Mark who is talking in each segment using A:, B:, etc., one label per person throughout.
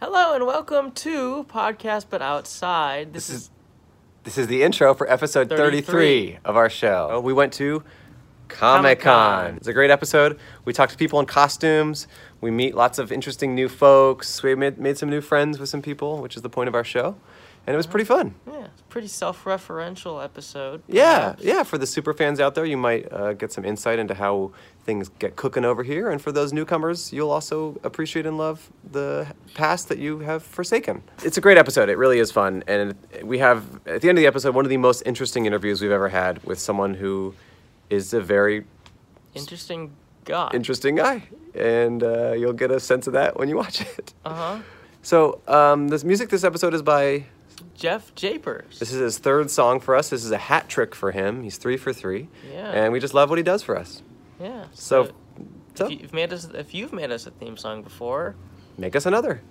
A: Hello and welcome to Podcast But Outside. This,
B: This
A: is,
B: is this is the intro for episode 33,
A: 33
B: of our show. Oh, we went to Comic Con. It's a great episode. We talked to people in costumes. We meet lots of interesting new folks. We made, made some new friends with some people, which is the point of our show. And it was pretty fun.
A: yeah, it's a pretty self referential episode.
B: Yeah,
A: perhaps.
B: yeah. For the super fans out there, you might uh, get some insight into how things get cooking over here. And for those newcomers, you'll also uh, appreciate and love the past that you have forsaken. It's a great episode. It really is fun. And we have, at the end of the episode, one of the most interesting interviews we've ever had with someone who is a very
A: Interesting guy.
B: interesting guy. And uh, you'll get a sense of that when you watch it.
A: uh huh.
B: So, um, this music this episode is by
A: Jeff Japers.
B: This is his third song for us. This is a hat trick for him. He's three for three.
A: Yeah.
B: And we just love what he does for us.
A: yeah.
B: So, so
A: if you've made us if you've made us a theme song before,
B: make us another.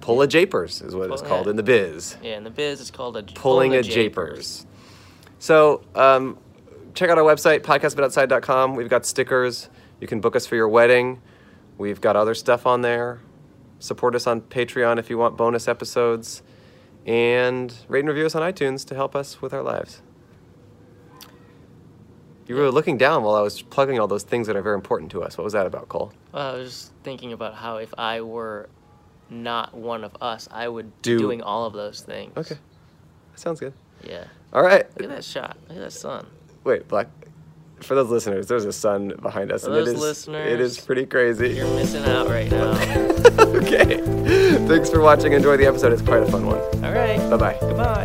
B: Pull a japers is what it's
A: Pull-
B: called
A: yeah.
B: in the biz.
A: yeah, in the biz it's called a
B: Pulling a
A: japers.
B: japers. So um, check out our website, podcastbutoutside.com. We've got stickers. You can book us for your wedding. We've got other stuff on there. Support us on Patreon if you want bonus episodes. And rate and review us on iTunes to help us with our lives. You were looking down while I was plugging all those things that are very important to us. What was that about, Cole?
A: Well, I was just thinking about how if I were not one of us, I would
B: Do-
A: be doing all of those things.
B: Okay. That sounds good.
A: Yeah.
B: All right.
A: Look at that shot. Look at that sun.
B: Wait, Black. For those listeners, there's a sun behind us,
A: For
B: and it
A: those
B: is it
A: listeners,
B: is pretty crazy.
A: You're missing out right now.
B: okay. Thanks for watching. Enjoy the episode. It's quite a fun one.
A: All right.
B: Bye bye.
A: Goodbye.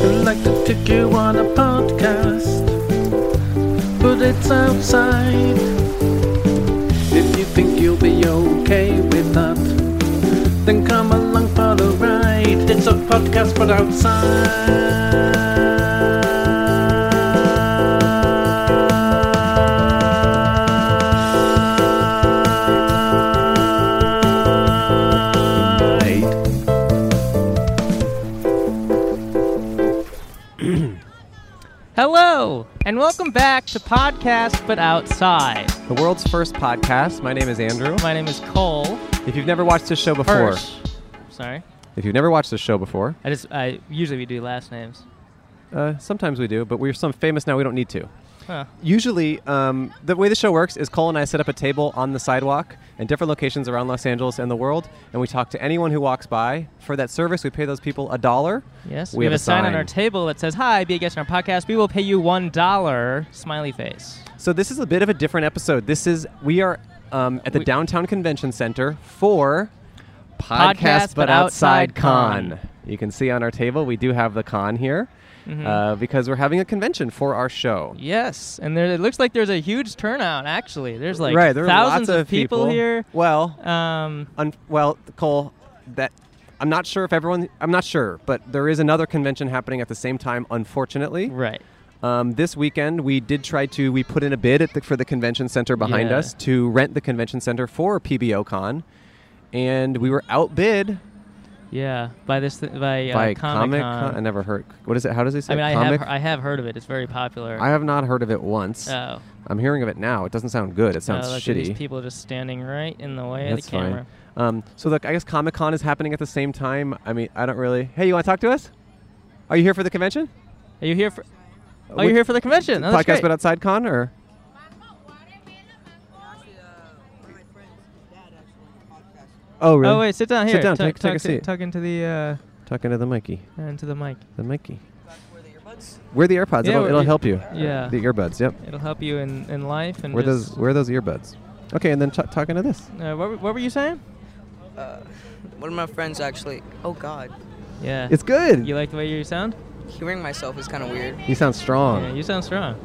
C: I'd like to take you on a podcast, but it's outside. If you think you'll be okay with that, then come along for the ride. It's a podcast, but outside.
A: Hello, and welcome back to Podcast But Outside.
B: The world's first podcast. My name is Andrew.
A: My name is Cole.
B: If you've never watched this show before,
A: Hirsch. Sorry.
B: if you've never watched this show before,
A: I just, I usually we do last names.
B: uh, sometimes we do, but we're some famous now. We don't need to.
A: Huh.
B: Usually, um, the way the show works is Cole and I set up a table on the sidewalk in different locations around Los Angeles and the world, and we talk to anyone who walks by. For that service, we pay those people a dollar.
A: Yes,
B: We have a
A: sign, on
B: sign.
A: our table that says, Hi, be a guest on our podcast. We will pay you $1. Smiley face.
B: So this is a bit of a different episode. This is we are um, at the
A: We-
B: downtown convention center for
A: Podcast But Outside Con.
B: You can see on our table we do have the con here
A: Mm-hmm.
B: uh, because we're having a convention for our show.
A: Yes, and there, it looks like there's a huge turnout, actually. There's like
B: right, there are
A: thousands
B: lots of,
A: people, here.
B: Well,
A: Um,
B: un- well, Cole, that I'm not sure if everyone. I'm not sure, but there is another convention happening at the same time. Unfortunately,
A: right.
B: Um, this weekend, we did try to we put in a bid at the, for the convention center behind
A: Yeah.
B: us to rent the convention center for PBOCon, and we were outbid
A: Yeah, by this, th- by, uh,
B: by
A: Comic
B: Con. I never heard. What is it? How does it say?
A: I mean, I
B: Comic.
A: have, I have heard of it. It's very popular.
B: I have not heard of it once.
A: oh.
B: I'm hearing of it now. It doesn't sound good. It sounds
A: Oh, look at These
B: shitty.
A: people just standing right in the way of
B: That's
A: the camera.
B: fine. Um, so look, I guess Comic Con is happening at the same time. I mean, I don't really. Hey, you want to talk to us? Are you here for the convention?
A: Are you here for? Oh,
B: Which-
A: you're here for the convention. Oh, that's
B: podcast,
A: great.
B: but outside con or? Oh really?
A: Oh wait, sit down
B: Sit
A: here.
B: down,
A: Tuck-
B: take- take a
A: tuck-
B: seat.
A: Tuck into the
B: Talking to the Mikey.
A: uh, into the mic.
B: The Mikey. Wear the AirPods.
A: Yeah,
B: it'll
A: we're-
B: it'll help you.
A: Yeah.
B: The earbuds. Yep.
A: It'll help you in, in life and
B: Where
A: just-
B: those Where those earbuds? Okay, and then t- talking to this.
A: Uh, what, were- what were you saying?
D: Uh, one of my friends actually. Oh God,
A: Yeah.
B: It's good.
A: you like the way you sound?
D: hearing myself is kind of weird.
B: You sound
A: Yeah,
B: strong.
A: you sound strong.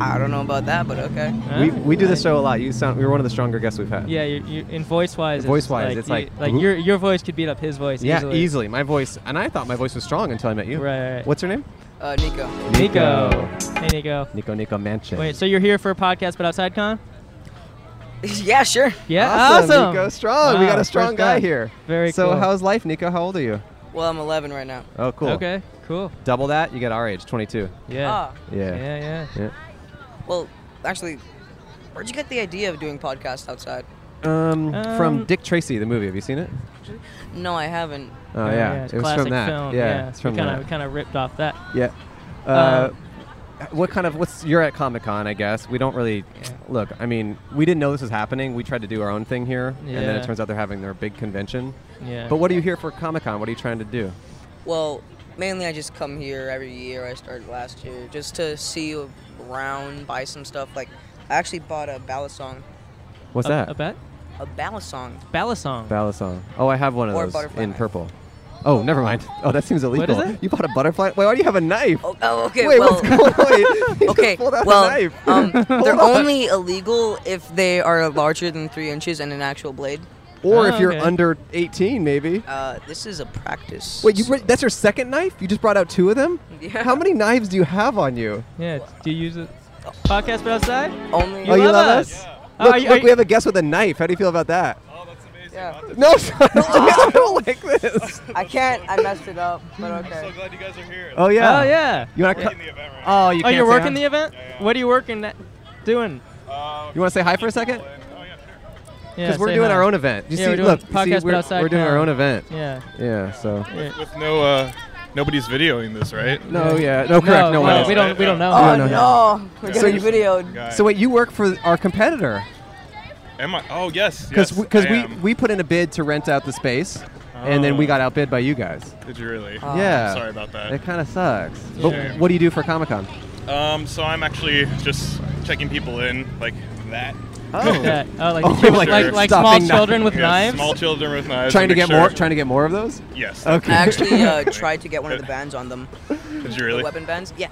D: I don't know about that, but okay.
B: we,
A: Alright.
B: we do this
A: I-
B: show a lot. You sound. You're one of the stronger guests we've had.
A: Yeah, you, you, in voice wise.
B: Voice-wise,
A: like
B: it's
A: you-
B: like-
A: like your your voice could beat up his voice.
B: Yeah,
A: easily.
B: easily. My voice, and I thought my voice was strong until I met you.
A: Right, right.
B: What's her name?
D: Uh, Nico.
A: Nico. Hey Nico.
B: Nico Nico Mansion.
A: Wait, so you're here for a podcast, but outside con?
D: yeah, sure.
A: Yeah.
B: awesome.
A: Awesome.
B: Nico, strong. we
A: Wow,
B: got a
A: first
B: strong guy
A: time.
B: here.
A: Very
B: so
A: cool.
B: how's life, Nico? How old are you?
D: Well, I'm 11 right now.
B: Oh, cool.
A: Okay. Cool.
B: Double that, you get our age, 22.
A: Yeah.
D: Ah,
B: Yeah.
A: Yeah. Yeah.
B: Yeah.
D: well, actually, where'd you get the idea of doing podcasts outside?
B: um, from
E: Um,
B: Dick Tracy, the movie. Have you seen it?
D: No, I haven't.
B: Oh, yeah.
E: it's
B: it was
E: classic
B: from that.
E: Film.
B: Yeah,
E: Yeah,
B: it's from
E: we kind
B: that.
E: of kind of ripped off that.
B: Yeah. Uh,
E: Um,
B: what kind of what's you're at Comic Con? I guess we don't really look. I mean, we didn't know this was happening. We tried to do our own thing here, and then
E: Yeah.
B: it turns out they're having their big convention.
E: Yeah.
B: But what are you here for Comic Con? What are you trying to do?
D: Well, mainly I just come here every year. I started last year just to see around, buy some stuff. Like, I actually bought a ballad song.
B: What's
E: a,
B: that?
E: A bet?
D: A ballad song.
E: Ballad song.
B: Ballad song. Oh, I have one of
D: Or
B: those
D: butterfly
B: in
D: knife.
B: purple. Oh, never mind. Oh, that seems
E: is
B: illegal.
E: it?
B: You bought a butterfly. Wait, why do you have a knife?
D: Oh, oh okay.
B: Wait,
D: well,
B: what's going on? You just
D: okay.
B: pulled out a
D: Well,
B: knife.
D: um, they're
B: on.
D: only illegal if they are larger than three inches and an actual blade.
B: or
E: Oh,
B: if you're
E: okay.
B: under 18, maybe.
D: Uh, this is a practice.
B: Wait, you re- that's your second knife? You just brought out two of them?
D: Yeah.
B: How many knives do you have on you?
E: Yeah. Do you use it? Podcast but outside?
D: only.
B: oh, you
E: love
B: love
E: us.
B: us?
E: Uh,
B: Look,
E: are you-
B: look
E: are
B: we
E: you-
B: have a guest with a knife. How do you feel about that?
D: yeah.
B: No, I don't, I don't like this.
D: I can't. I messed it up. But okay.
F: glad you guys are here. Uh,
B: Oh, yeah.
E: Oh yeah.
B: You want to
F: the event right
B: Oh, you
E: oh,
B: can't
E: you're
B: say
E: working
B: hi?
E: the event.
F: yeah.
E: What are you working? That, doing?
F: now.
B: You want to say hi for a second?
F: Oh, yeah, sure.
E: Yeah.
B: Because we're
E: say
B: doing
E: hi.
B: our own event. You
E: Yeah,
B: see,
E: we're doing
B: look,
E: podcast
B: see,
E: but
B: we're,
E: outside
B: we're doing our
E: Con.
B: own event.
E: Yeah.
B: Yeah, so.
E: yeah.
F: With no, uh, nobody's videoing this, right?
B: No, yeah. No, correct. No,
E: No,
B: one
E: no,
B: is.
E: we don't. We don't know.
B: Yeah,
D: Oh
B: no,
D: no,
B: yeah.
D: we're
F: So
D: getting
B: you-
D: videoed.
F: Guy.
B: So, wait, you work for our competitor?
F: Am I? Oh, yes.
B: Because
F: yes, I
B: we,
F: am.
B: we put in a bid to rent out the space, and then we
F: Oh.
B: got outbid by you guys.
F: Did you really?
D: Oh.
B: yeah.
F: Sorry about that.
B: It kind of sucks. But
F: Shame.
B: what do you do for Comic Con?
F: Um, so I'm actually just checking people in, like that.
E: Like that. Oh, like,
B: Oh,
E: like,
F: like
E: like, small
B: stuffing knife-
E: children with
F: Yeah,
E: knives.
F: Small children with knives.
B: Trying to
F: make
B: get
F: sure-
B: more. Trying to get more of those.
F: Yes.
B: Okay.
D: I actually uh, tried to get one of the bands on them.
F: Did you really?
D: The weapon bands. Yeah.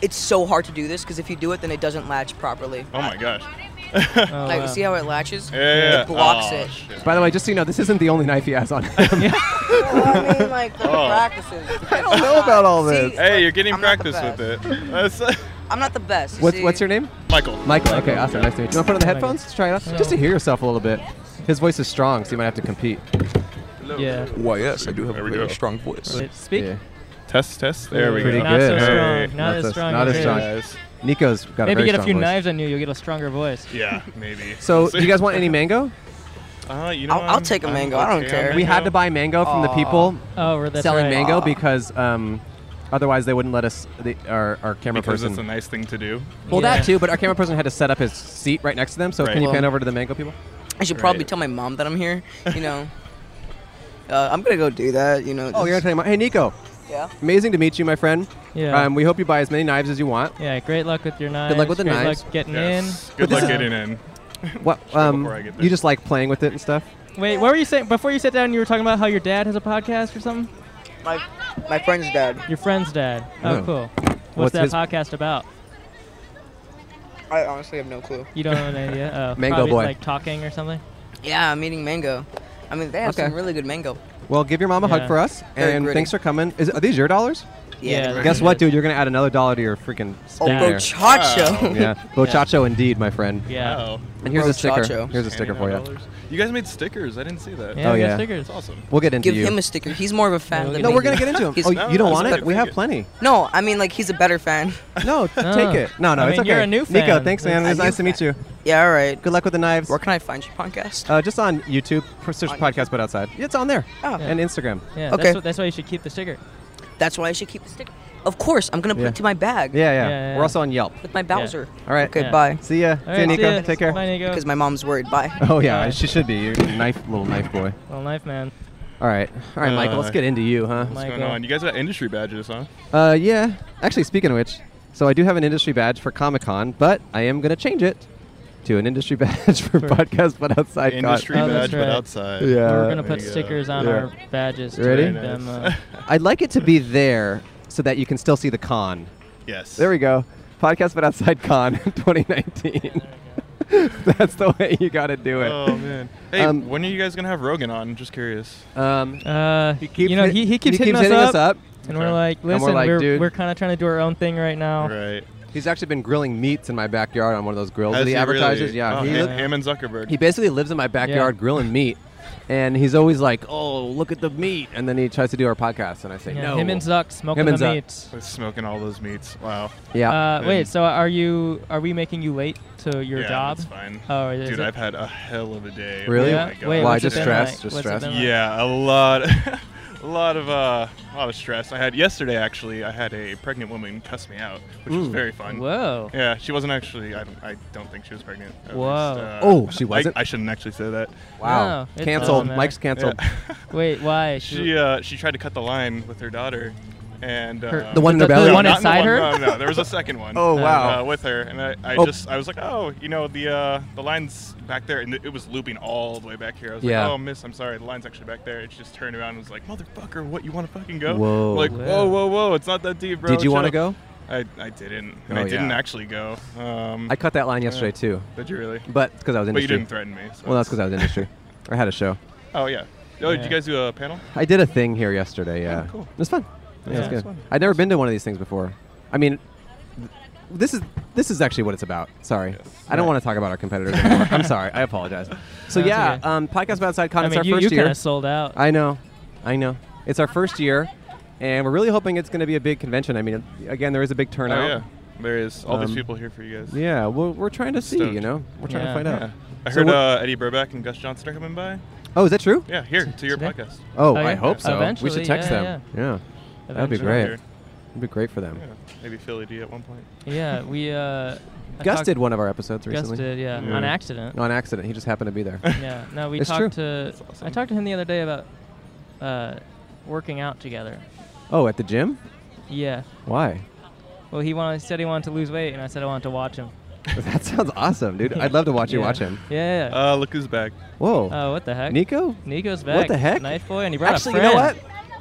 D: It's so hard to do this because if you do it, then it doesn't latch properly.
F: Oh my gosh.
E: Oh,
D: Like,
E: wow.
D: see how it latches?
F: Yeah, yeah, yeah.
D: It blocks
F: Oh,
D: it.
F: shit.
B: By the way, just so you know, this isn't the only knife he has on. him.
D: I mean, like the
F: Oh.
D: practices. I
B: don't know about all this.
F: Hey, you're getting
D: I'm not the
F: practice with it. That's-
D: I'm not the best. you
B: what's,
D: see?
B: what's your name?
F: Michael.
B: Michael. Okay, awesome. Nice to meet you. Want to put on the headphones? Just try it out. Just to hear yourself a little bit. His voice is strong, so you might have to compete.
E: Yeah.
C: Why, yes, I do have
F: There
C: a
F: we
C: very
F: go.
C: strong voice.
E: It- Speak.
B: Yeah.
F: Test, test. There we
B: Pretty
F: go.
E: Not so
B: good.
E: strong.
F: Hey.
E: Not,
B: Not
E: as
B: as-
E: strong.
B: not
E: as
B: as
E: yours.
B: strong.
F: Guys.
B: Nico's got a
E: Maybe
B: very
E: get a
B: strong
E: few
B: voice.
E: knives on you. You'll get a stronger voice.
F: Yeah, maybe.
B: So, do you guys want any mango?
F: Uh, you know,
D: I'll- I'll
F: I'm-
D: take a
F: I'm
D: mango, I don't
F: okay on
D: care.
B: We had
F: mango.
B: to buy mango from the
D: Aw.
B: people
E: Oh, we're that's
B: selling
E: right.
B: mango because um, otherwise they wouldn't let us. The, our, our camera
F: because
B: person.
F: it's a nice thing to do.
B: Well,
E: Yeah.
B: that too, but our camera person had to set up his seat right next to them. So
F: Right.
B: can you pan
D: Well-
B: over to the mango people?
D: I should probably
F: Right.
D: tell my mom that I'm here. You know. uh, I'm gonna go do that. You know.
B: Oh, you're
D: just-
B: gonna tell him. Hey, Nico.
D: Yeah.
B: Amazing to meet you, my friend.
E: Yeah.
B: Um, we hope you buy as many knives as you want.
E: Yeah. Great luck with your knives.
B: luck with the
E: great
B: knives.
E: Luck getting
F: Yes.
E: in.
F: Good
B: But this
F: luck
B: is-
F: getting in.
B: What? Um,
F: before I get there.
B: you just like playing with it and stuff.
E: Wait, what were you saying before you sat down? You were talking about how your dad has a podcast or something.
D: My my friend's dad.
E: Your friend's dad. Oh,
B: Oh.
E: cool. What's
B: What's
E: that
B: his-
E: podcast about?
D: I honestly have no clue.
E: You don't have an idea. Oh,
B: Mango
E: probably
B: boy.
E: Like talking or something.
D: Yeah, I'm eating mango. I mean, they have
B: Okay.
D: some really good mango.
B: Well, give your mom a
E: Yeah.
B: hug for us,
D: Very
B: and
D: gritty.
B: thanks for coming. Is, are these your dollars?
E: Yeah,
D: they're
E: they're
D: good.
B: Guess
E: Yeah.
B: what, dude? You're gonna add another dollar to your freaking
D: Oh,
B: spend there.
D: bochacho.
B: yeah, bochacho indeed, my friend.
E: Yeah.
F: Wow.
B: And here's a sticker.
D: Bochacho.
B: Here's a sticker for you.
F: $99. You guys made stickers. I didn't see that.
E: Yeah,
B: Oh,
E: we got
B: yeah.
E: stickers.
F: That's awesome.
B: We'll get into
D: Give
B: you.
D: him a sticker. He's more of a fan
E: No,
D: than
B: no,
D: me.
B: we're gonna get into him.
D: He's-
B: oh,
D: no,
B: you don't
F: no,
B: want
F: it's
B: it?
F: okay.
B: We have
F: Take it.
B: plenty.
D: I mean, like he's a better fan.
B: No, take it. No, no,
E: I
B: it's
E: mean,
B: okay.
E: you're a new
B: Nico,
E: fan.
B: thanks, man.
E: A
B: It's
D: new
B: nice to meet
D: fan.
B: you.
D: Yeah, all right.
B: Good luck with the knives.
D: Where can I find your podcast?
B: Uh, just on YouTube, for search
D: On
B: podcast, but outside. It's on there.
D: Oh.
B: And Instagram.
E: Yeah.
D: Okay.
E: That's, wh- that's why you should keep the sticker.
D: That's why I should keep the sticker. Of course, I'm gonna put
B: Yeah.
D: it to my bag.
B: Yeah, yeah.
E: Yeah, yeah, yeah.
B: We're also on Yelp.
D: With my Bowser.
B: All right.
D: Okay,
E: Yeah.
D: bye.
B: See ya.
E: All
B: see ya,
E: right,
B: Nico.
E: ya.
B: Take care.
E: Bye, Nico.
D: Because my mom's worried. Bye.
B: Oh yeah,
E: Yeah.
B: she should be. You're a knife, little knife boy.
E: Little knife man.
B: All right. All right, Michael. Let's
F: Uh,
B: get into you, huh?
E: Mike.
F: What's going
E: Michael.
F: on? You guys got industry badges, huh?
B: Uh, yeah. Actually, speaking of which, so I do have an industry badge for Comic Con, but I am gonna change it to an industry badge for,
E: For-
B: podcast, but outside. Con.
F: Industry
E: Oh, that's
F: badge, but
E: right.
F: outside.
B: Yeah.
E: we're
B: Uh,
E: gonna
F: there
E: put
F: you go.
E: stickers on
B: Yeah.
E: our badges. to
B: Ready?
E: make them, uh,
B: I'd like it to be there so that you can still see the con.
F: Yes.
B: There we go. Podcast but outside con 2019. That's the way you got to do it.
F: Oh man. Hey,
B: Um,
F: when are you guys gonna have Rogan on? Just curious.
B: Um,
E: Uh, you know,
B: hit-
E: he, he keeps hitting, us, up, and we're
F: Okay.
E: like,
B: we're
E: listen, we're,
B: like,
E: we're,
B: dude."
E: kind of trying to do our own thing right now.
F: Right.
B: He's actually been grilling meats in my backyard on one of those grills
F: Has
B: that he,
F: really-
B: advertises. Yeah,
F: Oh,
B: he,
F: Ham-
B: li-
F: Hammond Zuckerberg.
B: he basically lives in my backyard grilling meat. and he's always like, "Oh, look at the meat," and then he tries to do our podcast, and I say,
E: Yeah,
B: "No."
E: Him and Zuck smoking
B: Him and
E: the
B: Zuck.
E: meat.
F: With smoking all those meats. Wow.
B: yeah,
E: Uh, wait,
F: And-
E: so are you? Are we making you late to your
F: yeah,
E: job?
F: That's fine.
E: Oh, is
F: Dude,
E: it-
F: I've had uh, a hell of a day.
B: Really?
F: Oh
E: Yeah?
F: my God.
E: Wait,
B: Why,
E: what's it
B: just
E: been
B: stress,
E: like?
B: just
E: What's it
B: stress?
E: been like?
F: Yeah, a lot, a lot of uh, a lot of stress. I had yesterday actually. I had a pregnant woman cuss me out, which was very fun.
E: Whoa.
F: Yeah, she wasn't actually. I don't. I don't think she was pregnant. at
E: Whoa.
F: uh,
B: Oh, she wasn't?
F: I, I shouldn't actually say that.
B: wow,
E: No, it
B: canceled.
E: doesn't matter.
B: Mike's canceled.
F: Yeah.
E: Wait, why?
F: she uh, she tried to cut the line with her daughter, and uh,
E: Her-
B: The one in her
E: The- the
B: belly.
E: one
F: not
E: inside
F: the
E: her?
F: No, no, no, there was a second one.
B: Oh, wow.
F: Uh, with her, and I, I
B: Oh.
F: just I was like, oh, you know the uh, the line's back there, and it was looping all the way back here. I was
B: Yeah.
F: like, oh, miss, I'm sorry, the line's actually back there. It just turned around and was like, motherfucker, what you want to fucking go?
B: Whoa.
F: I'm like
E: Wow.
F: whoa, whoa, whoa, it's not that deep, bro.
B: Did you want to
F: chill."
B: go?
F: I, I didn't, and
B: Oh,
F: I didn't
B: yeah.
F: actually go. Um,
B: I cut that line yesterday too,
F: did you really?
B: but because I was
F: But you
B: industry.
F: didn't threaten me. So
B: well, that's
F: it's-
B: because I was industry. I had a show.
F: Oh yeah. Oh, did
E: Yeah.
F: you guys do a panel?
B: I did a thing here yesterday. Yeah,
F: Oh, cool.
B: it was fun. Yeah,
E: Yeah.
B: it was
E: That's
B: good.
F: fun.
B: I'd never been to one of these things before. I mean, th- this is this is actually what it's about. Sorry, I don't want to talk about our competitors anymore. I'm sorry. I apologize. So
E: No, it's
B: yeah,
E: okay.
B: um, podcast about outside con.
E: I
B: it's
E: mean,
B: our
E: you, you
B: first
E: kind
B: year.
E: of sold out.
B: I know, I know. It's our first year, and we're really hoping it's going to be a big convention. I mean, again, there is a big turnout.
F: Oh yeah. There is all
B: Um,
F: these people here for you guys.
B: Yeah, we're, we're trying to see. You
F: Stoked.
B: know, we're trying
E: Yeah.
B: to find
F: Yeah.
B: out.
F: I
B: So
F: heard
B: what-
F: uh, Eddie Burback and Gus Johnston are coming by.
B: Oh, is that true?
F: Yeah, here to your
E: today?
F: podcast.
B: Oh,
E: Oh,
B: I
E: yeah.
B: hope so. we
E: Eventually,
B: should text
E: yeah,
B: them. Yeah. that'd be
E: Eventually.
B: great.
F: Here.
B: it'd be great for them.
F: Yeah, maybe Philly D at one point.
E: Yeah, we. Uh, I
B: Gus
E: talked-
B: did one of our episodes
E: Gus
B: recently.
E: did, yeah, on
F: Yeah.
E: accident.
B: on accident. He just happened to be there.
E: yeah, no, we
B: It's
E: talked
B: true.
E: to.
F: That's awesome.
E: I talked to him the other day about uh, working out together.
B: oh, at the gym?
E: Yeah.
B: Why?
E: Well, he wanted, said he wanted to lose weight, and I said I wanted to watch him.
B: that sounds awesome, dude. I'd love to watch you
E: Yeah.
B: watch him.
E: Yeah. yeah.
F: Uh, look who's back.
B: Whoa,
E: oh, what the heck?
B: Nico.
E: Nico's back.
B: What the heck?
E: Knife boy, and he brought
B: Actually,
E: a
B: you
E: friend.
B: know what?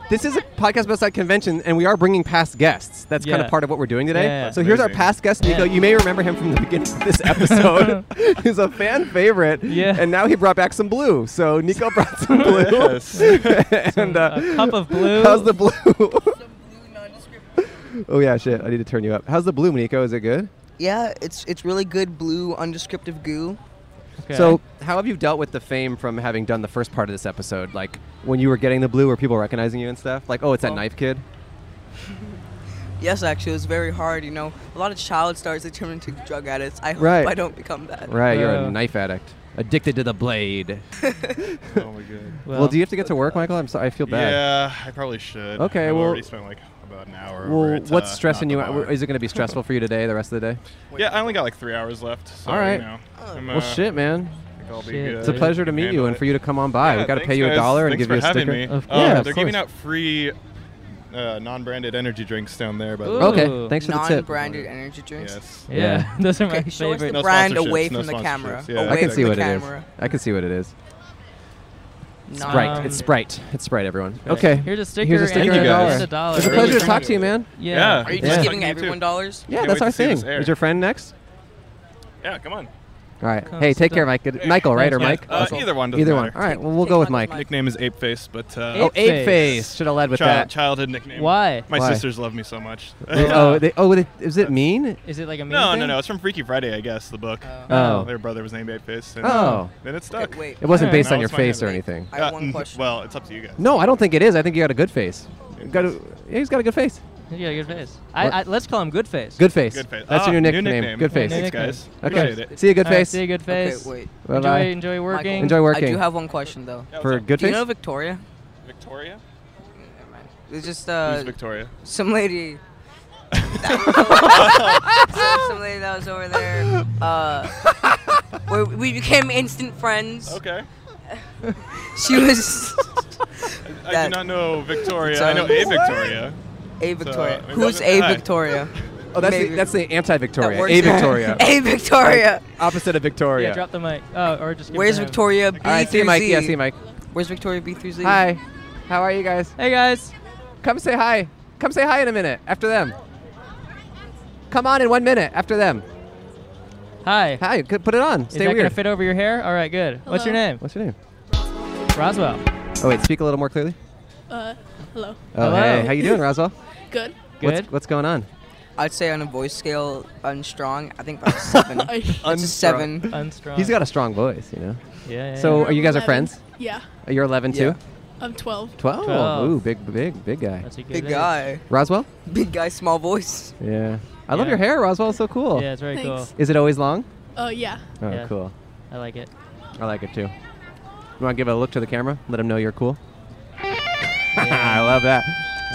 B: This is a podcast outside convention, and we are bringing past guests. That's kind
E: Yeah.
B: of part of what we're doing today.
E: Yeah.
B: So here's our
F: Amazing.
B: past guest, Nico.
E: Yeah.
B: You may remember him from the beginning of this episode. He's a fan favorite.
E: Yeah.
B: And now he brought back some blue. So Nico brought some blue.
F: Yes.
B: and uh,
E: A cup of blue.
B: how's the blue? oh yeah, shit. I need to turn you up. How's the blue, Nico? Is it good?
D: Yeah, it's it's really good blue undescriptive goo.
E: Okay.
B: So, how have you dealt with the fame from having done the first part of this episode? Like when you were getting the blue, were people recognizing you and stuff? Like, oh, it's that
D: Oh.
B: knife kid.
D: Yes, actually, it's very hard. You know, a lot of child stars they turn into drug addicts. I hope
B: Right.
D: I don't become that.
B: Right, you're
E: Yeah.
B: a knife addict, addicted to the blade.
F: oh my god.
B: Well, do you have to get to work, Michael? I'm sorry, I feel bad.
F: Yeah, I probably should.
B: Okay,
F: I've
B: well-
F: already spent like about an hour. over
B: Well,
F: at,
B: what's
F: uh,
B: stressing
F: not
B: you
F: the
B: out?
F: bar.
B: Is it going to be stressful for you today, the rest of the day?
F: yeah, I only got like three hours left. So,
B: All right.
F: You know, I'm, uh,
B: well, shit, man.
F: I think I'll be
E: Shit.
F: good.
B: It's a pleasure to meet you
F: Handle
B: and
F: it.
B: for you to come on by.
F: Yeah,
B: we got to
F: thanks,
B: pay you a
F: guys.
B: dollar and
F: Thanks
B: give you a
F: for having
B: sticker.
F: Me.
E: Of
F: Um,
B: Yeah, of
F: they're giving
B: course.
F: out free uh, non-branded energy drinks down there. By the
E: Ooh.
F: way.
B: Okay, thanks for the tip.
D: Non-branded energy drinks.
F: Oh, Yes.
E: Yeah, those are my
D: Okay, show us the
E: favorite.
F: No
D: brand
F: sponsorships,
D: away
F: no
D: from the camera.
F: sponsorships. Yeah,
D: away
B: I can
D: from
B: see
D: the
B: what it
D: camera.
B: is. I can see what it is.
D: Non-
B: Sprite.
E: Um,
B: it's Sprite. It's Sprite, everyone. Okay.
E: Here's a sticker,
B: Here's a sticker
E: and,
B: and a dollar.
E: and a dollar.
B: It's a
F: Really
B: pleasure to
F: appreciate
B: talk to you,
F: it.
B: man.
E: Yeah.
D: Are you
B: Yeah.
D: just
B: Yeah.
D: giving
F: Fucking
D: everyone
F: too.
D: dollars?
B: Yeah,
F: Can't
B: that's
F: wait
B: our
F: to see this
B: thing.
F: air.
B: Is your friend next?
F: Yeah, come on.
B: All right.
E: Come
B: Hey,
E: sit
B: take care,
E: down.
B: Mike. Good- Michael, right? Or
E: Yeah.
B: Mike?
F: Uh, either one. doesn't
B: Either one.
F: matter.
B: All right. Well, we'll go with
D: Take Mike's
B: Mike.
D: mic.
F: Nickname is Ape Face, but uh,
B: Oh,
E: Ape
B: Ape
E: Face.
B: Face. Should have led with
F: Child-
B: that.
F: Childhood nickname.
E: Why? Uh,
F: My
B: Why?
F: sisters love me so much.
B: They- oh, they, oh, they, is it mean?
E: Is it like a meme
F: no, no,
E: thing?
F: no. It's from Freaky Friday, I guess. The book.
B: Oh.
F: Their brother was named Ape Face. And,
B: Oh.
F: Then it stuck.
D: Okay, wait.
B: It wasn't
E: Hey,
B: based
F: no,
B: on your
F: it's fine.
B: face or anything.
D: I have
F: Uh,
D: one
F: n-
D: question.
F: Well, it's up to you guys.
B: No, I don't think it is. I think you got a good face. You Got a, yeah, he's got a good face.
E: Yeah, good face. I,
B: What?
E: I, let's call him good face.
B: Good face.
F: Good face.
B: That's
F: Ah,
B: your new
F: new
B: nickname.
F: nickname.
B: Good face.
F: Thanks, guys.
B: Okay.
F: Appreciate it.
B: See you, good
E: All right,
B: face.
E: see you, good
D: okay,
E: face.
D: wait.
B: Bye-bye.
E: Enjoy, enjoy working.
D: Michael,
B: Enjoy working.
D: I do have one question though.
F: Yeah,
B: For
F: what's up?
B: good
D: Do you
B: face.
D: know Victoria?
F: Victoria.
D: Never mind. It's just
F: Who's
D: uh,
F: Victoria?
D: some lady. some, some lady that was over there. Uh, where we became instant friends.
F: Okay.
D: She was
F: I do
D: That-
F: not know Victoria.
D: It's,
F: I know
D: um,
F: a Victoria.
D: a Victoria.
F: So, it
D: Who's
F: doesn't-
D: a
F: hi.
D: Victoria?
B: oh, that's the,
D: Maybe.
B: that's the
D: That
B: anti-Victoria.
D: works
B: A
D: there.
B: Victoria.
D: a Victoria.
B: Opposite of Victoria.
E: Yeah, drop the mic. Oh, or just. give it
D: Where's
E: to him.
D: Victoria B
B: All right. See you,
D: through
B: Mike.
D: Z?
B: Yeah, see you, Mike.
D: Where's Victoria B through Z?
B: Hi. How are you guys?
E: Hey guys.
B: Come say hi. Come say hi in a minute after them. Come on in one minute after them.
E: Hi.
B: Hi. Good. Put it on.
E: Is
B: Stay
E: that
B: weird.
E: gonna fit over your hair? All right, good. What's your name?
B: What's your name?
E: Roswell.
B: Oh wait, speak a little more clearly.
C: Uh, hello.
B: Oh
E: Hello.
B: hey, how you doing, Roswell?
C: Good.
E: Good.
B: What's, what's going on?
D: I'd say on a voice scale, unstrong. I think about a seven. It's a seven.
A: Unstrong.
B: He's got a strong voice, you know.
A: Yeah. yeah
B: So
A: yeah.
B: are you guys are
C: 11.
B: friends? Uh,
C: Yeah,
B: You're 11
D: Yeah.
B: too.
C: I'm 12.
B: 12.
A: Twelve.
B: Ooh, big, big, big guy.
A: That's a good
D: Big
A: age.
D: guy.
B: Roswell.
D: Big guy, small voice.
B: Yeah. I love
A: Yeah.
B: your hair, Roswell. It's so cool.
A: Yeah, it's very cool.
C: Thanks.
B: Is it always long?
C: Oh yeah.
B: Oh,
A: Yeah.
B: cool.
A: I like it.
B: I like it too. You want to give a look to the camera? Let them know you're cool. I love that.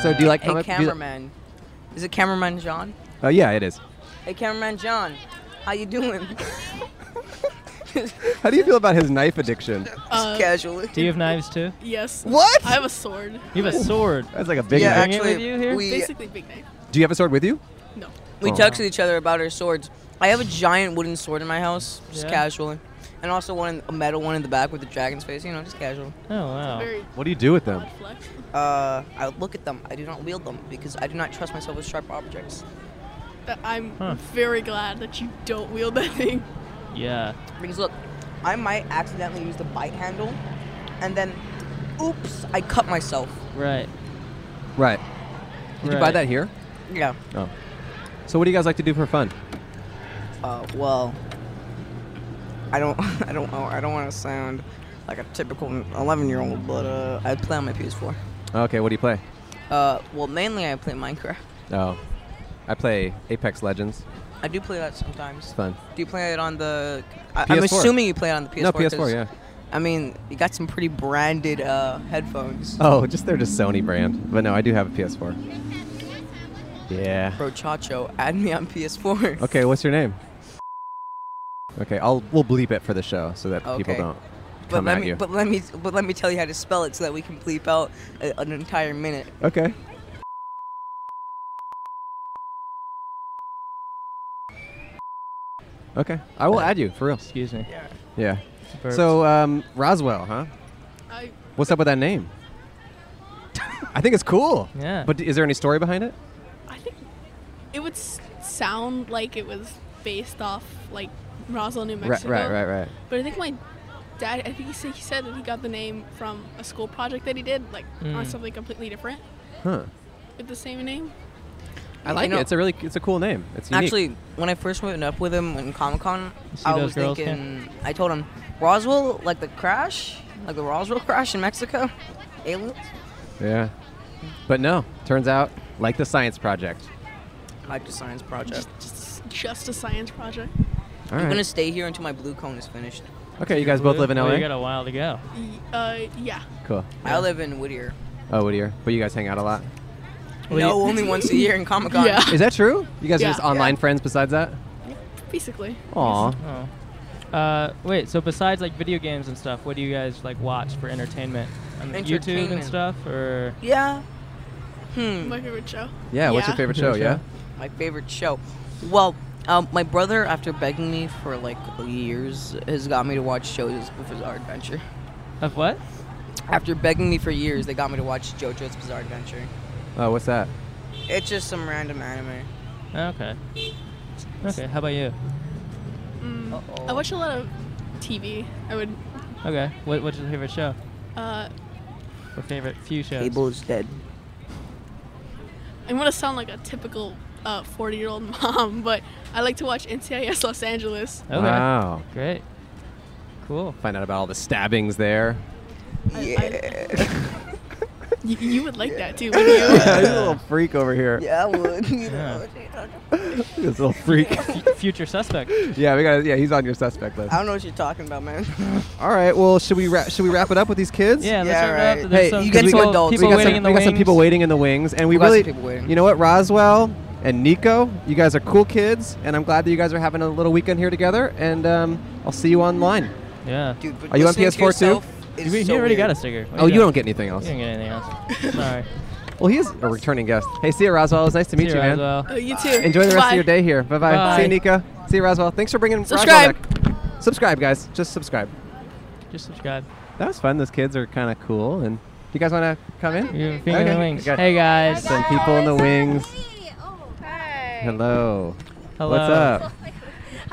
B: So,
A: Uh,
B: do you like
D: Hey,
B: comic? do you-
D: cameraman. Is it cameraman John?
B: Oh yeah, it is.
D: Hey, cameraman John. How you doing?
B: How do you feel about his knife addiction?
C: Uh,
D: Casually.
A: Do you have knives too?
C: yes.
B: What?
C: I have a sword.
A: You have a sword.
B: That's like a big
D: yeah,
B: knife.
A: knife.
D: actually,
A: Bring it with you here?
D: we
C: Basically, big knife.
B: Do you have a sword with you?
C: No.
D: we
B: Oh.
D: texted each other about our swords. I have a giant wooden sword in my house, just
A: Yeah.
D: casually, and also one a metal one in the back with the dragon's face. You know, just casual.
A: Oh wow.
C: Very
B: What do you do with them?
C: odd flex.
D: Uh, I look at them. I do not wield them because I do not trust myself with sharp objects.
C: That- I'm
A: Huh.
C: very glad that you don't wield that thing.
A: Yeah.
D: Because look, I might accidentally use the bite handle, and then, oops, I cut myself.
A: Right.
B: Right. Did you buy
A: Right.
B: that here?
D: Yeah.
B: Oh. So, what do you guys like to do for fun?
D: Uh, well, I don't, I don't, I don't want to sound like a typical 11 year old, but uh, I play on my PS4.
B: Okay, what do you play?
D: Uh, well, mainly I play Minecraft.
B: Oh, I play Apex Legends.
D: I do play that sometimes.
B: It's fun.
D: Do you play it on the? I, I'm
B: PS4.
D: assuming you play it on the PS4.
B: no, PS4,
D: 'cause,
B: yeah.
D: I mean, you got some pretty branded uh, headphones.
B: Oh, just they're just Sony brand. But no, I do have a PS4. Yeah.
D: Bro, Chacho, add me on PS4.
B: Okay, what's your name? Okay, I'll we'll bleep it for the show so that people
D: Okay.
B: don't
D: but
B: come
D: let
B: at
D: me,
B: you.
D: but let me, but let me tell you how to spell it so that we can bleep out a, an entire minute.
B: okay. Okay, I will add you for real.
A: Excuse me.
B: Yeah.
A: Burps.
B: So um, Roswell, huh?
C: I
B: What's up with that name? I think it's cool.
A: Yeah.
B: But is there any story behind it?
C: I think it would s- sound like it was based off like Roswell, New
B: Right,
C: Mexico.
B: right, right, right.
C: But I think my dad, I think he said, he said that he got the name from a school project that he did, like on
A: Mm.
C: something completely different
B: Huh.
C: with the same name.
B: I like
D: know-
B: it. It's a really, it's a cool name. It's unique.
D: Actually, when I first went up with him in Comic Con,
A: You see
D: I
A: those
D: was
A: girls, Ken?
D: thinking, I told him, Roswell, like the crash, like the Roswell crash in Mexico, aliens.
B: Yeah. But no, turns out, like the science project.
D: Like the science project.
C: Just, just, just a science project.
B: All
D: I'm
B: right.
D: gonna stay here until my blue cone is finished.
B: okay, you guys both live in
A: Oh,
B: LA.
A: you got a while to go.
C: Y- Uh, yeah.
B: cool.
D: I live in Whittier.
B: Oh, Whittier. But you guys hang out a lot.
A: Well,
D: no,
A: you-
D: only once a year in Comic Con.
C: Yeah.
B: Is that true? You guys
C: Yeah.
B: are just online friends besides that?
C: Basically.
B: Aw.
A: Oh. Uh, wait. So besides like video games and stuff, what do you guys like watch for entertainment? On YouTube and
D: Entertainment.
A: stuff, or
D: Yeah. Hmm.
C: My favorite show.
B: Yeah, What's your favorite show?
A: Favorite
B: Yeah.
A: show?
D: My favorite show. Well, um, my brother, after begging me for like years, has got me to watch JoJo's Bizarre Adventure.
A: of what?
D: After begging me for years, they got me to watch JoJo's Bizarre Adventure.
B: Oh, what's that?
D: It's just some random anime.
A: Okay. Okay. How about you?
C: Mm,
D: Uh-oh.
C: I watch a lot of TV. I would.
A: Okay. What, what's your favorite show?
C: Uh,
A: Or favorite few shows?
D: Cable is dead.
C: I'm gonna sound like a typical uh, 40 year old mom, but I like to watch NCIS Los Angeles.
A: Okay.
B: Wow.
A: Great. Cool.
B: Find out about all the stabbings there.
C: I- I-
D: Yeah.
C: Y- you would like that too, wouldn't you?
B: He's a little freak over here.
D: yeah, I would.
A: Yeah.
B: This little freak.
A: F- future suspect.
B: yeah, we got. Yeah, he's on your suspect list.
D: I don't know what you're talking about, man.
B: All right. Well, should we wrap? Should we wrap it up with these kids?
A: Yeah. Let's
D: Yeah,
A: wrap it up.
D: right.
A: There's
B: Hey,
A: some
D: you got some
A: people,
D: adults.
A: people
B: we got,
A: waiting
B: some,
A: in the
B: we got
A: wings.
B: some people waiting in the wings, and we,
D: We got some
B: really,
D: people waiting.
B: you know what, Roswell and Nico, you guys are cool kids, and I'm glad that you guys are having a little weekend here together. And um, I'll see you online.
A: Yeah.
D: Dude, but
B: Are you on
D: listening to
B: PS4 too?
D: yourself is
A: You, you
D: so
A: already
D: weird.
A: got a sticker. What
B: oh, you
A: doing?
B: don't get anything else.
A: You didn't get anything else. Sorry.
B: Well, he is a returning guest. Hey, see you, Roswell. It was nice to meet
A: See
B: you, man.
A: Roswell.
C: Oh, you too.
B: Enjoy the rest
C: Bye.
B: of your day here. Bye bye.
A: Bye.
B: See you, Nico. See you, Roswell. Thanks for bringing
C: Subscribe.
B: Roswell back. Subscribe, guys. Just subscribe.
A: Just subscribe.
B: That was fun. Those kids are kind of cool. And you guys want to come in?
A: You're finger in
B: Okay.
A: the wings.
B: Got-
A: Hey guys.
B: Some people in the wings.
G: Oh, hi.
B: Hello.
A: Hello.
B: What's up?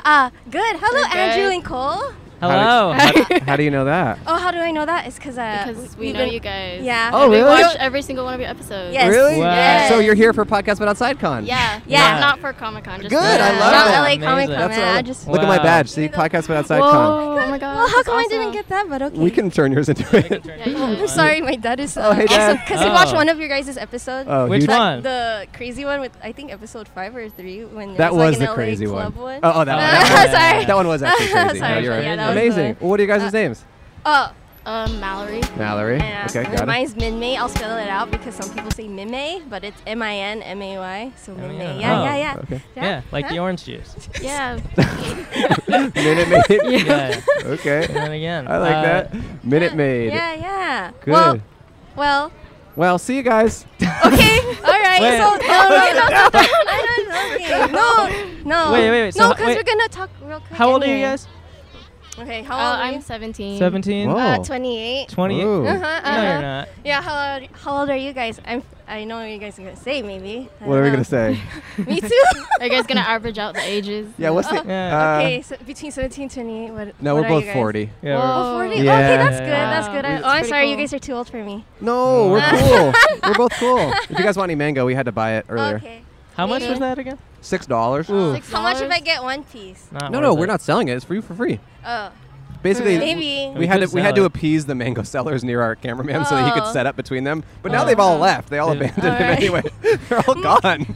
G: Uh, good. Hello, Ah, Andrew and Cole.
A: Hello.
B: How do, how, how do you know that?
G: Oh, how do I know that? It's cause uh,
H: Because
G: we-
H: we
G: we've
H: know
G: been-
H: you guys.
G: Yeah.
B: Oh,
H: And We
B: really?
H: watch every single one of your episodes.
G: Yes.
B: Really?
A: Wow. Yes.
B: So you're here for podcast but outside con.
H: Yeah.
G: Yeah.
H: Not, not for Comic Con. Just
B: Good,
H: for
B: I
H: that.
B: love
G: Not
B: that.
G: LA Comic
A: Amazing.
G: Con,
B: That's what
G: man.
B: I
G: I just
B: Look at my
A: Wow.
B: badge. See, podcast but outside
H: Whoa.
B: con.
H: Oh my god.
G: Well, how
H: that's
G: come I didn't
H: awesome.
G: get that? But okay.
B: We can turn yours into it.
H: Yeah, you
G: I'm
H: should.
G: sorry, my dad is
B: Oh,
G: uh,
B: hey,
G: also
B: Dad.
G: because he watched
A: Oh.
G: one of your guys' episodes.
B: Oh,
A: Which
B: huge-
A: one?
G: That- the crazy one with I think episode five or three when
B: That
G: it
B: was
G: like an
B: the
G: LA
B: crazy
G: club
B: one.
G: one.
B: Oh, oh, that one.
A: Oh,
B: That one.
A: yeah.
G: sorry.
B: That one was actually crazy.
G: Sorry,
B: No, you're right.
G: yeah, that was
B: Amazing.
G: the-
B: Well, what are you guys' names?
G: Oh,
H: Uh, Mallory.
B: Mallory.
G: yeah.
B: Okay,
G: And
B: got it.
G: mine's Minmay. I'll spell it out because some people say Minmay, but it's M I N M A Y. So
A: M A
G: Minmay.
A: N.
G: Yeah,
A: Oh,
G: yeah, yeah.
B: okay.
A: Yeah, like the
G: Huh?
A: orange juice.
H: Yeah.
B: Minute Maid.
A: Yeah. And
B: Okay.
A: then again.
B: I like
A: uh,
B: that. Minute Maid.
G: Yeah, yeah.
B: Good.
G: Well, well.
B: Well, see you guys.
G: Okay. All right.
A: Wait.
G: So no, no, no, no, no, no, no, no.
A: Wait, wait, wait,
G: No,
A: so-
G: because
A: wait.
G: we're gonna talk real quick.
A: How old are you
G: anyway.
A: guys?
G: Okay.
H: Uh,
G: How old? are
H: I'm
G: you?
H: 17.
A: 17?
B: Whoa.
G: Uh, 28.
A: 28?
B: Ooh.
G: Uh-huh,
A: No,
G: uh-huh.
A: you're not.
G: Yeah, how old, how old are you guys? I'm. I know what you guys are gonna say. Maybe. I
B: What are we
G: don't
B: gonna say?
G: know. Me too.
H: Are you guys gonna average out the ages?
B: Yeah. What's the?
A: Yeah.
B: uh,
G: okay, so between 17 and 28. What?
B: No,
G: what
B: we're
G: are you
B: both
G: guys?
B: forty.
A: Yeah, we're-
G: Oh, 40.
B: Yeah.
G: Okay, that's
A: Yeah.
G: good. That's good. I, oh,
H: Wow.
G: I'm
H: Pretty
G: sorry. You
H: cool.
G: guys are too old for me.
B: No, we're
A: Uh.
B: cool. we're both cool. If you guys want any mango, we had to buy it earlier.
G: Okay.
A: How much
G: Yeah.
A: was that again?
B: Six dollars.
A: Ooh.
H: Six
G: How much if I
H: dollars?
G: get one piece?
A: Not
B: No,
A: worth
B: no,
A: it.
B: we're not selling it. It's for you for free.
G: Oh,
B: Basically,
G: maybe.
B: we had to
A: Hmm. could
B: we had
A: sell
B: to
A: it.
B: appease the mango sellers near our cameraman so that he could
G: Oh.
B: set up between them. But now
A: Oh.
B: they've all left. They all
A: Yeah.
B: abandoned him
G: Alright.
B: anyway. They're all gone.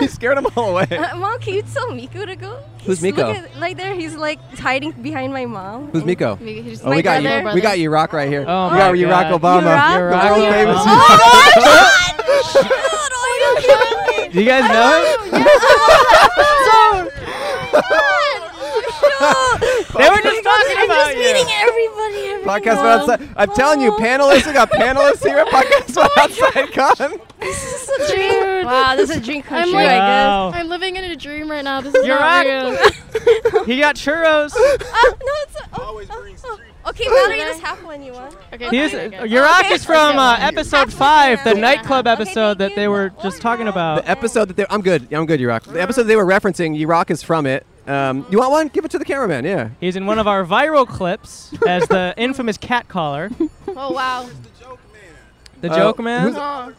B: he scared them all away.
G: Uh, Mom, can you tell Miku to go?
B: Who's
G: He's-
B: Miko?
G: Look at, like there, he's like hiding behind my mom.
B: Who's Miko?
H: Maybe he just-
B: Oh, we
G: My
B: got
G: brother.
B: you. We got you. Rock right here.
A: Oh
B: we got
A: my
B: you. Rock
A: God.
B: Obama.
G: You're
B: The
A: Rock?
B: world
A: You're
B: famous.
A: Obama.
G: Oh my God! Shoot! Oh my God!
A: Do you guys know him? They were just talking
G: I'm
A: about
G: just
A: you.
G: meeting everybody. everybody.
B: Podcast Without outside. I'm telling you,
G: Oh.
B: panelists. We got panelists here at Podcast Without Outside Con.
G: This is a dream. Wow, this is a dream come
H: I'm
G: true.
H: like-
G: I guess.
A: Wow.
H: I'm living in a dream right now. This is
A: You're
H: not
A: right.
H: real.
A: He got churros.
G: Oh, no, it's a, oh, oh, oh. Okay, Mallory, just have one. You want?
H: Okay.
A: He is,
H: fine, I guess.
A: Yurak is from uh, episode five, the
G: Okay,
A: nightclub
G: thank
A: episode that
G: you.
A: they were just talking about.
B: The episode that they, I'm good. Yeah, I'm good. Yurok. The episode they were referencing. Yurok is from it. Um, you want one? Give it to the cameraman. Yeah.
A: He's in one of our viral clips as the infamous cat caller,
H: Oh wow.
A: the
B: Uh,
A: joke man.
B: who's-
H: Oh.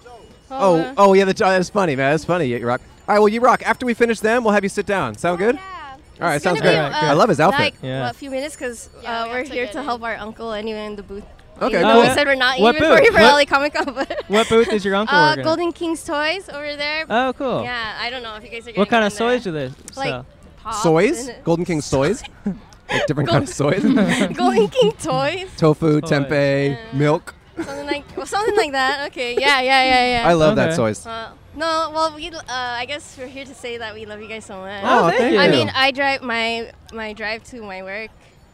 B: Oh, oh yeah. That's, that's funny, man. That's funny, Yurok. All right. Well, Yurok. After we finish them, we'll have you sit down. Sound good?
G: Oh, Yeah.
B: All right.
G: It's
B: Sounds
G: gonna
B: good.
G: be,
A: Alright,
G: uh,
B: I love his outfit.
G: Like
A: Yeah.
G: what, a few minutes because
H: Yeah,
G: uh,
H: we
G: we're
H: have to
G: here
H: get
G: to
H: in.
G: help our uncle anyway in the booth.
B: Okay,
G: Even though
A: cool.
G: We said we're not
A: What
G: even
A: booth?
G: for you for
A: What-
G: LA Comic Con, but
A: What booth is your uncle
G: uh,
A: working at?
G: Golden King's Toys over there.
A: Oh, cool.
G: Yeah, I don't know if you guys are. getting
A: What kind
G: one
A: of soys
G: there.
A: do they sell?
G: Like pops
B: Soys.
G: and-
B: Golden King soys. like different kind of soys.
G: Golden King toys,
B: Tofu,
A: Soy.
B: tempeh,
G: Yeah.
B: milk.
G: something like well, something like that. Okay, yeah, yeah, yeah, yeah.
B: I love that
A: Okay.
B: soys.
G: well, no, well, we uh, I guess we're here to say that we love you guys so much.
A: Oh, thank you.
G: I
A: Ew.
G: mean, I drive my my drive to my work.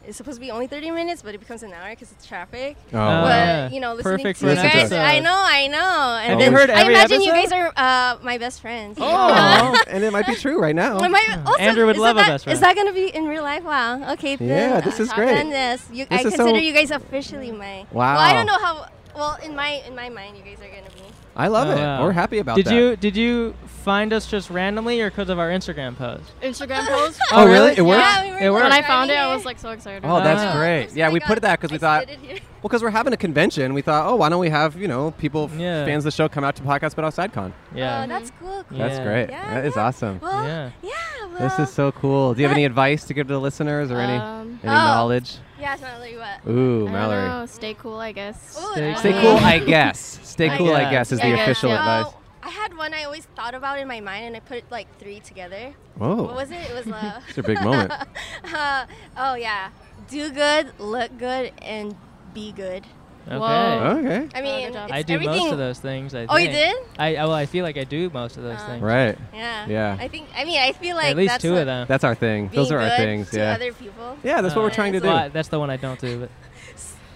G: is supposed to be only 30 minutes, but it becomes an hour because it's traffic.
B: Oh,
A: Uh,
G: but
B: wow.
A: yeah.
G: you know, listening
A: Perfect
G: to
B: for
G: you
B: an
G: guys,
B: episode.
G: I know, I know. And
A: Have
B: you
G: then
A: heard
G: I
A: every
G: imagine you guys
A: episode?
G: are uh, my best friends.
B: Oh, and it might be true right now.
G: Am I- also,
A: Hmm. Andrew would
G: is
A: love a
G: that,
A: best
G: Is
A: friend.
G: that gonna be in real life? Wow. Okay.
B: Yeah,
G: Then,
B: this
G: uh,
B: is great.
G: Then yes, you, I
B: This is
G: consider
B: so-
G: you guys officially my.
B: Wow.
G: Well, I don't know how. Well, in my in my mind, you guys are gonna be.
B: I love
A: Oh,
B: it.
A: wow.
B: We're happy about
A: Did
B: that.
A: you did you find us just randomly or because of our Instagram post?
H: Instagram post.
B: Oh,
A: Oh,
B: really?
A: really?
B: It worked.
G: Yeah, we were
A: It worked.
H: When I
G: driving
H: found it, I
G: here.
H: was like so excited.
B: Oh, that's
A: Wow.
B: great.
G: Oops,
B: Yeah,
G: I
B: we
G: got-
B: put it that because
G: I
B: we thought,
G: spit it here.
B: well, because we're having a convention, we thought, oh, why don't we have, you know, people,
A: Yeah.
B: fans of the show come out to Podcast But Outside Con?
G: Oh,
A: Yeah.
G: that's cool. cool.
A: Yeah.
B: That's great.
G: Yeah,
B: that is
G: yeah.
B: awesome.
G: Well,
A: Yeah.
G: yeah. Well,
B: This is so cool. Do you have any advice to give to the listeners or any,
H: Um,
B: any
G: Oh.
B: knowledge?
G: Yeah, it's not really what.
B: Ooh,
H: I
B: Mallory.
H: don't know. Stay cool, I guess.
G: Ooh,
A: Stay
G: uh,
B: Stay cool, I guess. Stay
A: I
B: cool, I
A: guess.
B: guess, is
H: I
B: the
H: guess,
B: official
H: yeah.
B: advice.
G: Well, I had one I always thought about in my mind, and I put like three together.
B: Whoa.
G: What was it? It was uh,
B: It's a big moment.
G: uh, oh yeah, do good, look good, and be good.
A: Okay.
H: Whoa.
B: Okay.
G: I mean,
H: good job.
G: it's
A: I do
G: everything.
A: most of those things. I
G: Oh, you
A: think.
G: did?
A: I, I well, I feel like I do most of those
G: Uh,
A: things.
B: Right.
G: Yeah.
B: Yeah.
G: I think. I mean, I feel like
A: At least
G: that's
A: two
G: what
A: of them.
B: That's our thing.
G: Being
B: Those are
G: good
B: our things.
G: to
B: Yeah.
G: other people.
B: Yeah, that's what we're
A: Uh,
B: trying to do.
A: Well, I- that's the one I don't do. But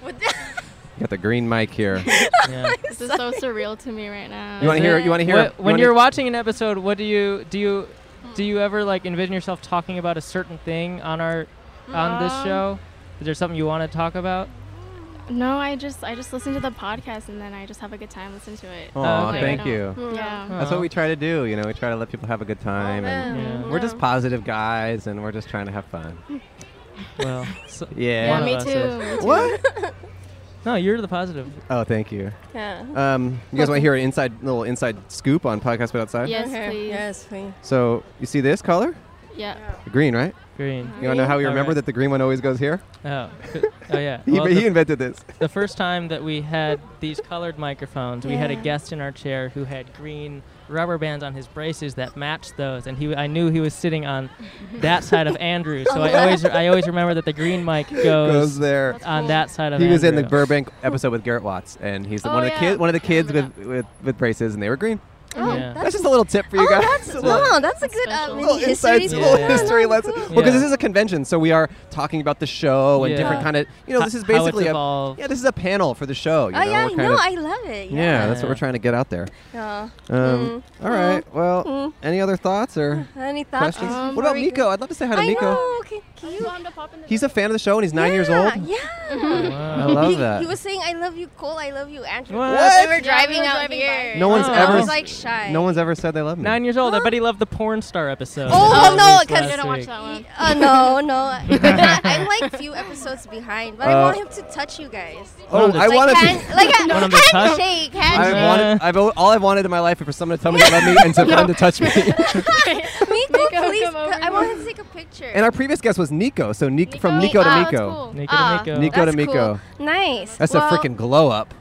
G: What
B: Got the green mic here.
A: yeah.
H: This is so surreal to me right now.
B: You want to
A: Is
B: hear?
A: it-
B: You want to hear?
A: What-
B: you
A: when
B: wanna-
A: you're watching an episode, what do you do? You do you ever like envision yourself talking about a certain thing on our on this
H: Um,
A: show? Is there something you want to talk about?
H: No, I just I just listen to the podcast and then I just have a good time listening to it.
B: Aw,
A: Oh, okay.
B: thank
H: I
B: you.
H: don't- Yeah. Oh,
B: That's what we try to do. You know, we try to let people have a good time, and
A: Yeah.
B: we're just positive guys, and we're just trying to have fun.
A: Well, so
B: Yeah.
A: one
H: Yeah,
A: of
H: me
A: us is.
H: too, me too.
B: What?
A: No, you're the positive.
B: Oh, thank you.
G: Yeah.
B: Um, you guys want to hear an inside little inside scoop on podcast but outside?
H: Yes,
G: Okay.
H: please.
G: Yes, please.
B: So you see this color?
H: Yeah.
B: The green, right?
A: Green.
B: You want to know how we
A: All
B: remember
A: right.
B: that the green one always goes here?
A: Oh, c- oh yeah.
B: He-
A: Well,
B: he
A: the-
B: invented this.
A: The first time that we had these colored microphones, we had a
G: Yeah.
A: guest in our chair who had green rubber bands on his braces that matched those, and he I knew he was sitting on that side of Andrew, so I always I always remember that the green mic goes,
B: Goes there. That's
A: on that side of
B: He
A: Andrew.
B: was in the Burbank episode with Garrett Watts, and he's the
H: Oh,
B: one of the
H: yeah.
B: kids. One of the kids with, with with braces, and they were green.
G: Oh,
A: Yeah.
B: That's just a little tip for you
G: oh,
B: guys.
G: That's,
B: A
G: no, no, that's a
H: That's
G: good uh,
H: special.
G: mini
B: little inside
G: history.
A: school
B: little
A: Yeah.
B: history lesson. Well, because this
A: Yeah.
B: is a convention, so we are talking about the show and
A: Yeah.
B: different kind of. You know,
A: Ho-
B: this is
A: how it's
B: basically a,
A: evolved.
B: yeah. This is a panel for the show. You
G: oh
B: know?
G: yeah,
B: We're kind
G: no,
B: of-
G: I love it.
B: yeah,
G: Yeah.
B: that's what we're trying to get out there.
G: Yeah.
B: Um,
G: Mm.
B: All right. Well,
G: Mm.
B: any other thoughts or
G: Any thoughts?
B: questions?
H: Um,
B: what about
H: very
B: Miko? I'd love to say hi to
G: I
B: Miko.
G: know. Okay, can you?
B: He's a fan of the show and he's nine years
G: Yeah,
B: old.
G: Yeah.
B: I love
G: he,
B: that.
G: he was saying, "I love you, Cole. I love you, Andrew."
A: What?
G: Because We
H: Yeah,
G: were
H: we
G: driving
H: were
G: out
H: driving
G: here.
H: by.
B: No one's
A: Oh.
B: ever.
G: I
A: s-
G: was like shy.
B: no one's ever said they love me.
A: Nine years old. I
G: Huh?
A: bet he loved the porn star episode.
G: Oh,
A: that we
G: no,
A: released
G: 'cause-
A: last
H: I don't watch
A: week.
H: that one.
G: Uh, no, no. I'm like few episodes behind, but
B: Uh,
G: I want him to touch you guys.
B: Oh,
A: One of the-
B: I
G: like
B: want to
G: hand,
B: be.
G: like a
A: One of the top-
G: handshake,
B: I've
G: handshake.
B: wanted, I've, al- all I've wanted in my life is for someone to tell me they love me and to, for them to touch me.
G: Miko,
H: Miko,
G: please.
H: come over
G: I
H: here.
G: want him to take a picture.
B: and our previous guest was Nico, so Nico, from Nico to
G: Oh,
B: Nico.
A: Nico
G: Ah,
A: to Nico.
B: Nico to
G: that's
B: Miko.
G: cool. Nice.
B: That's
G: Well,
B: a freaking glow up.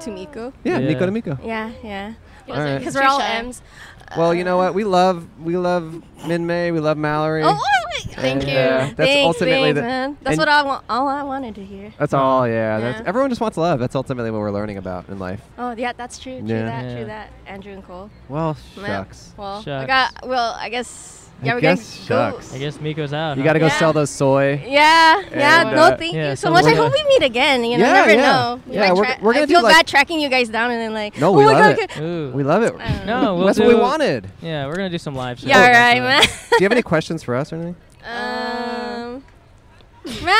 G: to Miko.
B: Yeah,
A: Yeah.
B: Nico to Miko.
G: Yeah, yeah.
B: All right.
G: Because we're all M's.
B: Well, you know what? We love we love Min May. We love Mallory.
G: Oh, oh, wait.
B: Thank
G: And,
B: you.
G: uh,
B: That's
G: thanks,
B: ultimately
G: thanks,
B: the-
G: man. That's
B: and-
G: what I want. All I wanted to hear.
B: That's all. Yeah, That's,
G: Yeah.
B: everyone just wants love. That's ultimately what we're learning about in life.
G: Oh yeah, that's true. True
B: Yeah.
G: that.
A: Yeah.
G: True that. Andrew and Cole.
B: Well,
G: Man,
B: shucks.
G: Well,
A: Shucks.
G: I got. Well, I guess.
B: I
G: Yeah, we're
B: guess
G: gonna go.
B: shucks.
A: I guess Miko's out.
B: You
A: huh?
B: got to go
G: Uh, Yeah.
B: sell those soy.
G: Yeah, yeah.
B: And,
G: no,
B: uh,
G: thank
A: yeah,
G: you so
A: so
G: much.
A: we're
G: I hope
A: gonna-
G: we meet again. You know,
B: Yeah,
G: never
B: yeah.
G: know. We
B: Yeah,
G: might
B: we're-
G: try-
B: we're gonna
G: I
B: do
G: feel
B: like-
G: bad tracking you guys down and then like.
B: No,
G: oh
B: we
G: my
B: love
G: God,
B: it.
G: okay.
A: Ooh.
B: We love it.
G: Uh,
A: No, we'll
B: That's what we
A: do-
B: wanted.
A: Yeah, we're gonna do some live shows.
G: Yeah, all right,
A: definitely.
B: Do you have any questions for us or anything?
G: man. Um, man,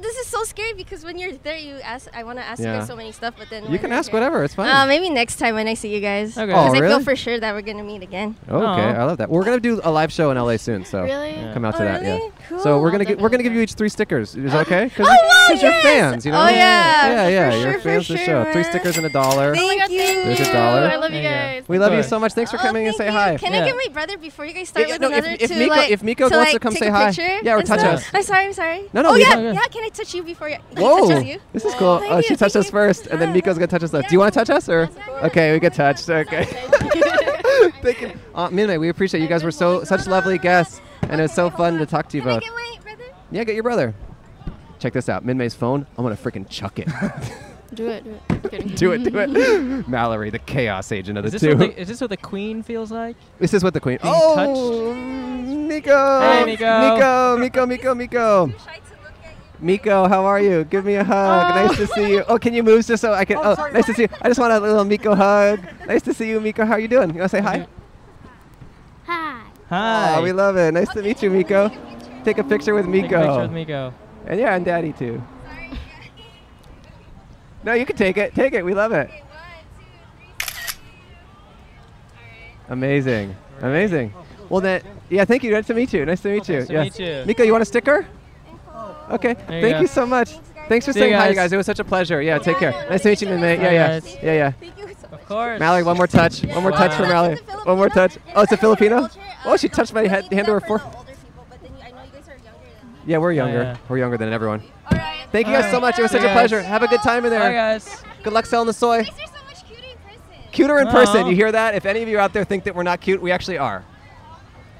G: this is so scary because when you're there, you ask. I want to ask you
B: Yeah.
G: guys so many stuff, but then
B: You
G: when
B: can
G: you're
B: ask
G: here-
B: whatever. It's fine.
G: Uh, maybe next time when I see you guys.
A: Okay.
B: Oh,
G: Because I
B: really?
G: feel for sure that we're gonna meet again.
B: Okay,
A: Aw.
B: I love that. We're gonna do a live show in LA soon, so
H: Really?
A: Yeah.
B: come out to
G: Oh,
B: that.
G: really?
B: Yeah. So
G: Cool.
B: we're gonna
H: I'll
B: gi- we're gonna
H: definitely
B: give you each three stickers. Is that okay? Because
G: Oh, wow,
B: you're
G: yes.
B: fans, you know.
G: Oh, yeah.
B: Yeah,
G: For
B: yeah.
G: sure,
B: you're
G: for
B: fans of the
G: sure,
B: show. Three
G: man.
B: stickers and a dollar.
G: Thank
H: Oh my God,
G: you.
H: thank
B: There's a
H: you.
B: dollar.
H: I love you
A: There you
H: guys.
B: We love you
A: course.
B: so much. Thanks for
G: Oh,
B: coming and
G: thank
B: say
G: you.
B: hi.
G: Can
A: Yeah.
G: I get my brother before you guys start
B: Yeah,
G: with
B: no, if-
G: another
B: if
G: to
B: Miko-
G: like
B: if Miko
G: to,
B: wants to
G: like,
B: come
G: take
B: say
G: a
B: hi.
G: picture
B: Yeah, or
G: and
B: touch
G: stuff?
A: us.
G: I'm sorry, I'm sorry.
B: No, no,
G: Oh
B: we-
G: yeah,
A: Oh, yeah.
G: yeah. Can I touch you before you? Can I
B: Whoa,
G: touch you?
B: this is cool.
G: Thank
B: Oh,
G: you,
B: she touched
G: thank
B: us
G: you.
B: first, and then
G: Yeah.
B: Miko's gonna touch us last. Do you want to touch us or? Okay, we get touched. Okay. Thank you, Aunt Minmay. We appreciate you guys were so such lovely guests, and it was
G: Okay,
B: so
G: hold
B: fun
G: on.
B: to talk to you
G: Can I
B: both.
G: get my brother?
B: Yeah, get your brother. Check this out. Minmay's phone. I'm gonna freaking chuck it.
H: Do it. Do it. I'm kidding.
B: do it, do it. Mallory, the chaos agent of the
A: Is this,
B: two.
A: what the, is this what the queen feels like?
B: this is what the queen.
A: Being
B: oh, Miko.
A: Hey, Nico.
B: Miko. Miko. Miko. Miko.
G: Shy to look at you.
B: Miko, how are you? Give me a hug. nice to see you. Oh, can you move just so I can? Oh, nice to see you. I just want a little Miko hug. Nice to see you, Miko. How are you doing? You want to say hi?
H: Hi.
A: Hi.
B: Aw, we love it. Nice to meet you, Miko. Take a picture with Miko.
A: Take a picture with Miko.
B: And yeah, and Daddy too. No, you can take it. Take it. We love it.
G: Okay, one, two,
B: Amazing. Amazing. Well then, yeah. Thank you. Nice to meet you. Nice to meet you.
A: nice to
B: yeah.
A: meet you.
B: Miko, you want a sticker? Okay.
A: you
B: thank
A: go.
B: you so much. Thanks for
A: See you
B: saying hi, you
A: guys.
B: guys. It was such a pleasure. Yeah. Take care.
G: no,
B: Nice to meet you, Minmay. Yeah,
A: Bye,
B: yeah.
A: guys.
B: Yeah, yeah.
G: three. Thank you so much.
A: Of course.
B: Mallory, one more touch. One more touch
A: Wow.
B: for
A: That's
B: Mallory.
G: Filipino.
B: One more touch. Oh, it's a Filipino?
G: Culture, uh,
B: Oh, she
G: no,
B: touched my
G: we
B: head,
G: did that
B: hand to her
G: for the
B: forehead.
G: older people, but then you- I know you guys are younger than us.
B: Yeah, we're younger.
A: yeah.
B: We're younger than everyone.
G: All right.
B: Thank you guys so
A: Alright.
B: much. It was such a
A: Yes.
B: pleasure. Have a good time in
A: Hi
B: there.
A: guys.
B: Good luck selling the soy.
G: You guys are so much cuter in person.
B: Cuter in person.
A: Aw.
B: You hear that? If any of you out there think that we're not cute, we actually are.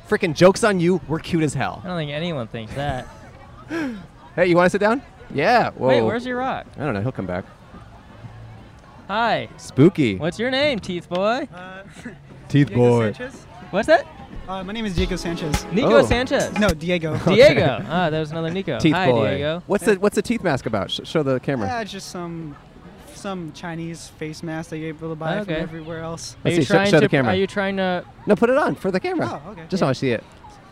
B: Freaking jokes on you. We're cute as
A: I
B: hell.
A: don't think anyone thinks that.
B: Hey, you want to sit down? Yeah. Whoa.
A: Wait, where's your rock?
B: I don't know. He'll come back.
A: Hi.
B: Spooky.
A: What's your name, Teeth Boy?
I: Uh,
B: Teeth
I: Diego
B: boy.
I: Sanchez.
A: What's that?
I: Uh, my name is Diego Sanchez.
A: Nico
B: Oh.
A: Sanchez.
I: No, Diego.
A: Diego. Ah, that was another Nico.
B: Teeth
A: Hi,
B: boy.
A: Diego.
B: What's the What's the teeth mask about? Sh- show the camera.
I: Yeah, just some some Chinese face mask that you're able to buy
A: Oh, Okay.
I: from everywhere else.
A: Are
B: Let's
A: you
B: see, sh-
A: trying
B: show
A: to?
B: the camera.
A: Are you trying to?
B: no, put it on for the camera.
I: Oh, okay.
B: Just
I: Yeah.
B: want to see it.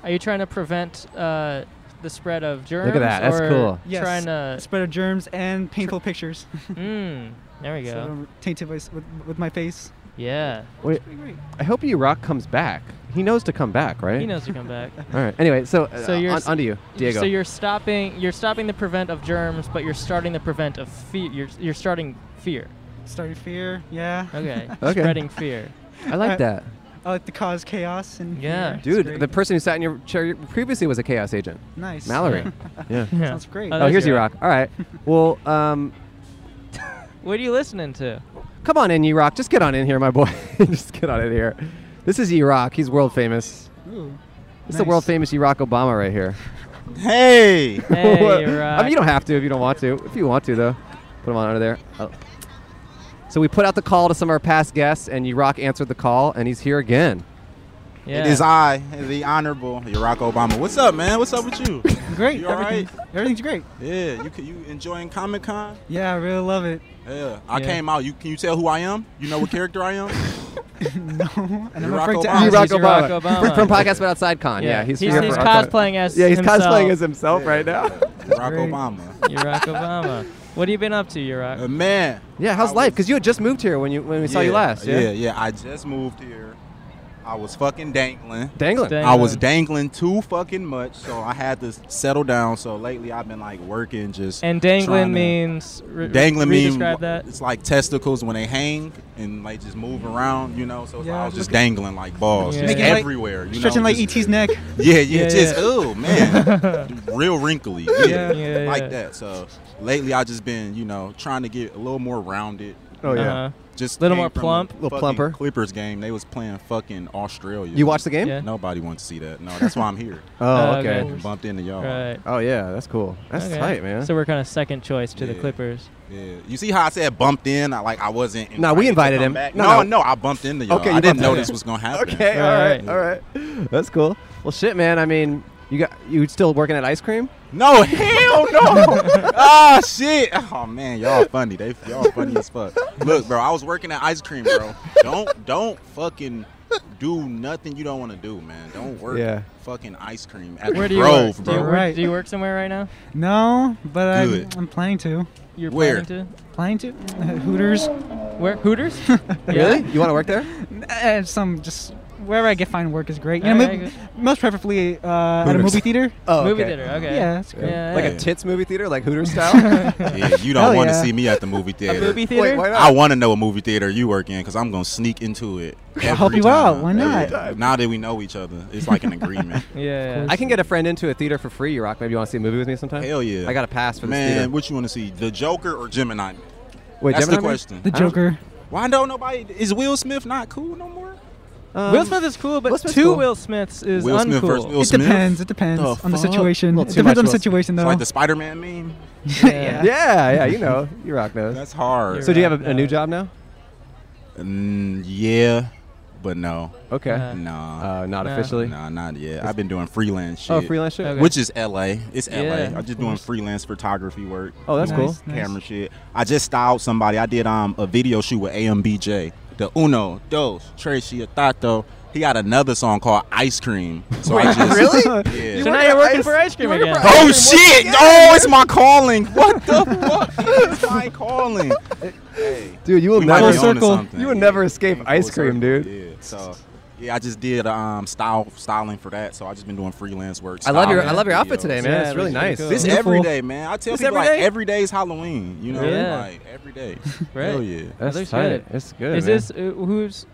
A: Are you trying to prevent uh, the spread of germs?
B: at that, that's
A: or
B: cool.
I: Yes.
A: Trying to.
I: spread of germs and painful pictures.
A: Mmm. There we
I: so
A: go.
I: I'm tainted with, with, with my face.
A: Yeah.
B: Wait,
I: Pretty great.
B: I hope you rock comes back. He knows to come back, right?
A: He knows to come back.
B: All right. Anyway, so, uh,
A: so you're
B: on,
A: s-
B: onto you, Diego.
A: So you're stopping you're stopping the prevent of germs, but you're starting the prevent of fear. You're you're starting fear.
I: Started fear, yeah.
A: Okay. Okay. Spreading fear.
B: I like
I: Uh,
B: that.
I: I like to cause chaos and fear. It's
B: dude,
I: great.
B: the person who sat in your chair previously was a chaos agent.
I: Nice.
B: Mallory.
I: Yeah.
B: yeah.
I: Yeah. Sounds great. Oh,
B: Oh,
I: that's
B: here's you
I: you.
B: rock. All right. Well, um,
A: What are you listening to?
B: come on in, you rock. Just get on in here, my boy. Just get on in here. This is you rock. He's world famous.
I: Ooh.
B: It's the world famous Iraq Obama right here.
J: Hey.
A: Hey,
B: I mean, you don't have to if you don't want to. If you want to, though, put him on under there. Oh. So we put out the call to some of our past guests, and Iraq answered the call, and he's here again.
J: It is I, the Honorable Barack Obama. What's up, man? What's up with you?
I: Great.
J: You all right?
I: Everything's great.
J: Yeah. You c- you enjoying Comic Con?
I: Yeah, I really love it.
J: Yeah. I
I: Yeah.
J: came out. You can you tell who I am? You know what character I am? no.
I: And
J: I'm
I: I'm afraid to
B: You
I: ask.
B: Rock Obama. From- From Podcast But Outside Con. Yeah,
A: Yeah.
B: he's,
A: He's-
B: here
A: he's
B: for our-
A: cosplaying as
B: Yeah, he's cosplaying
A: himself.
B: as himself right now.
J: Barack Obama.
A: Iraq Obama. What have you been up to, Iraq?
J: man.
B: Yeah, how's life? Because you had just moved here when you when we saw you last. Yeah,
J: yeah, I just moved here. I was fucking dangling.
B: Dangling.
J: I was dangling too fucking much, so I had to settle down. So lately, I've been like working just.
A: And dangling
J: trying to-
A: means- re-
J: dangling
A: re-
J: means
A: describe
J: wh- It's like testicles when they hang and like just move around, you know. So it's like I was just
I: look at-
J: dangling like balls,
I: Yeah.
J: just
I: Making like-
J: everywhere. you
I: stretching
J: know,
I: like
J: just-
I: ET's neck.
J: Yeah, yeah,
I: Yeah,
J: just
I: yeah.
J: oh man, real wrinkly, yeah,
I: Yeah. Yeah,
J: like
I: yeah.
J: that. So lately, I just been you know trying to get a little more rounded.
B: Oh, yeah. Uh-huh.
J: just
B: Little
J: came
B: more
J: from the
B: plump. Little
J: fucking
B: plumper.
J: Clippers game. They was playing fucking Australia.
B: You watched the game? Yeah.
J: Nobody wants to see that. No, that's why I'm here.
B: Oh, okay.
J: Bumped into y'all.
A: Right.
B: Oh yeah, that's cool. That's
A: Okay.
B: tight, man.
A: So we're kind of second choice to the
J: Yeah.
A: Clippers.
J: Yeah. You see how I said bumped in? I like I wasn't.
B: No, we
J: invited to come
B: invited him.
J: back.
B: No,
J: No, no,
B: no.
J: I bumped into y'all.
B: Okay,
J: I
B: you
J: didn't
B: bumped
J: know
B: in.
J: this was gonna happen.
B: Okay, all right, all right. That's cool. Well, shit, man. I mean, you got you still working at ice cream?
A: Oh,
J: No, hell no. Ah, shit. Oh man, y'all funny. They y'all funny as fuck. Look, bro, I was working at ice cream, bro. Don't don't fucking do nothing you don't want to do, man. Don't work.
B: Yeah.
J: Fucking ice cream at
A: Where
J: the
A: do you
J: Grove,
A: work? Do
J: bro.
A: you work,
I: Right.
A: do you work somewhere right now?
I: No, but I'm,
J: Good.
I: I'm planning to.
A: You're
J: Where?
A: planning
I: Planning to? Hooters.
A: Where? Hooters?
B: Really? You want to work there?
I: Uh, some just wherever I get find work is great. You know,
A: Alright,
I: mo-
A: good.
I: most preferably uh, at a
B: Hooters.
I: movie theater.
B: Oh,
A: Movie
B: okay.
A: theater, okay.
I: Yeah, that's great.
A: Yeah,
B: like
A: yeah.
B: a tits movie theater, like Hooters style.
J: Yeah, you
B: Hell
J: don't want to
B: yeah.
J: see me at the movie theater.
A: movie theater? Wait, why not?
J: I want to know what movie theater you work in because I'm gonna sneak into it.
I: I'll help
J: every
I: you out.
J: time.
I: Why
J: Every
I: not?
J: time. Now that we know each other, it's like an agreement.
A: Yeah.
B: I can get a friend into a theater for free. You rock. Maybe you want to see a movie with me sometime?
J: Hell yeah.
B: I got a pass for this
J: Man,
B: theater.
J: what you want to see? The Joker or Gemini? Man?
B: Wait,
J: That's
B: Gemini
J: the
B: Man?
J: question.
I: The Joker.
J: Why don't nobody? Is Will Smith not cool no more?
B: Uh,
A: Will Smith is cool, but
B: Will
A: two
B: Smith's cool.
A: Will Smiths is
I: Mm,
J: Will Smith versus
A: uncool.
J: Will
I: it
J: Smith.
I: depends. It depends
J: The
I: on the
J: fuck?
I: situation.
B: Little too
I: It
B: much
I: depends on the
B: Will Smith.
I: situation,
J: It's
I: though.
J: like the Spider-Man meme.
A: yeah.
B: Yeah, yeah. You know, you rock knows.
J: That's hard.
B: so do you have a, a new job now?
J: Mm, yeah, but no.
B: Okay.
A: Uh,
J: Nah.
B: Uh, not
A: No.
B: officially.
J: Nah, not yet. I've been doing freelance shit.
B: Oh, freelance shit.
A: Okay.
J: Which is LA. It's
A: Yeah,
J: LA. I'm
A: of
J: just doing
A: course.
J: freelance photography work.
B: Oh, that's
J: doing
B: cool.
I: Nice,
J: Camera shit. I just styled somebody. I did um a video shoot with AMBJ. The Uno, Dos, Tres, Atato. He got another song called Ice Cream. So I just
B: really?
J: Yeah.
A: So now you're working for ice cream again.
J: Oh shit! Oh, it's my calling. What the fuck? It's my calling. Hey,
B: Dude, you will
J: we might be
B: never
J: onto
B: circle.
J: something.
B: You will
J: Yeah.
B: never escape
J: Full
B: ice
J: circle.
B: cream, dude.
J: Yeah. So, yeah, I just did um style styling for that. So I just been doing freelance work.
B: I love your I
J: styling
B: love your outfit
J: videos.
B: today, man.
A: Yeah,
B: it's
A: it
B: really
A: looks really
B: nice.
A: cool.
J: This
I: Beautiful.
J: every day, man. I tell
B: This
J: people
B: every
J: like
B: day?
J: every day is Halloween. You know,
A: Yeah.
J: like every day.
A: Right.
J: Hell yeah.
B: That's
A: It looks
B: tight.
A: good.
B: That's good.
A: is
B: man.
A: this uh, who's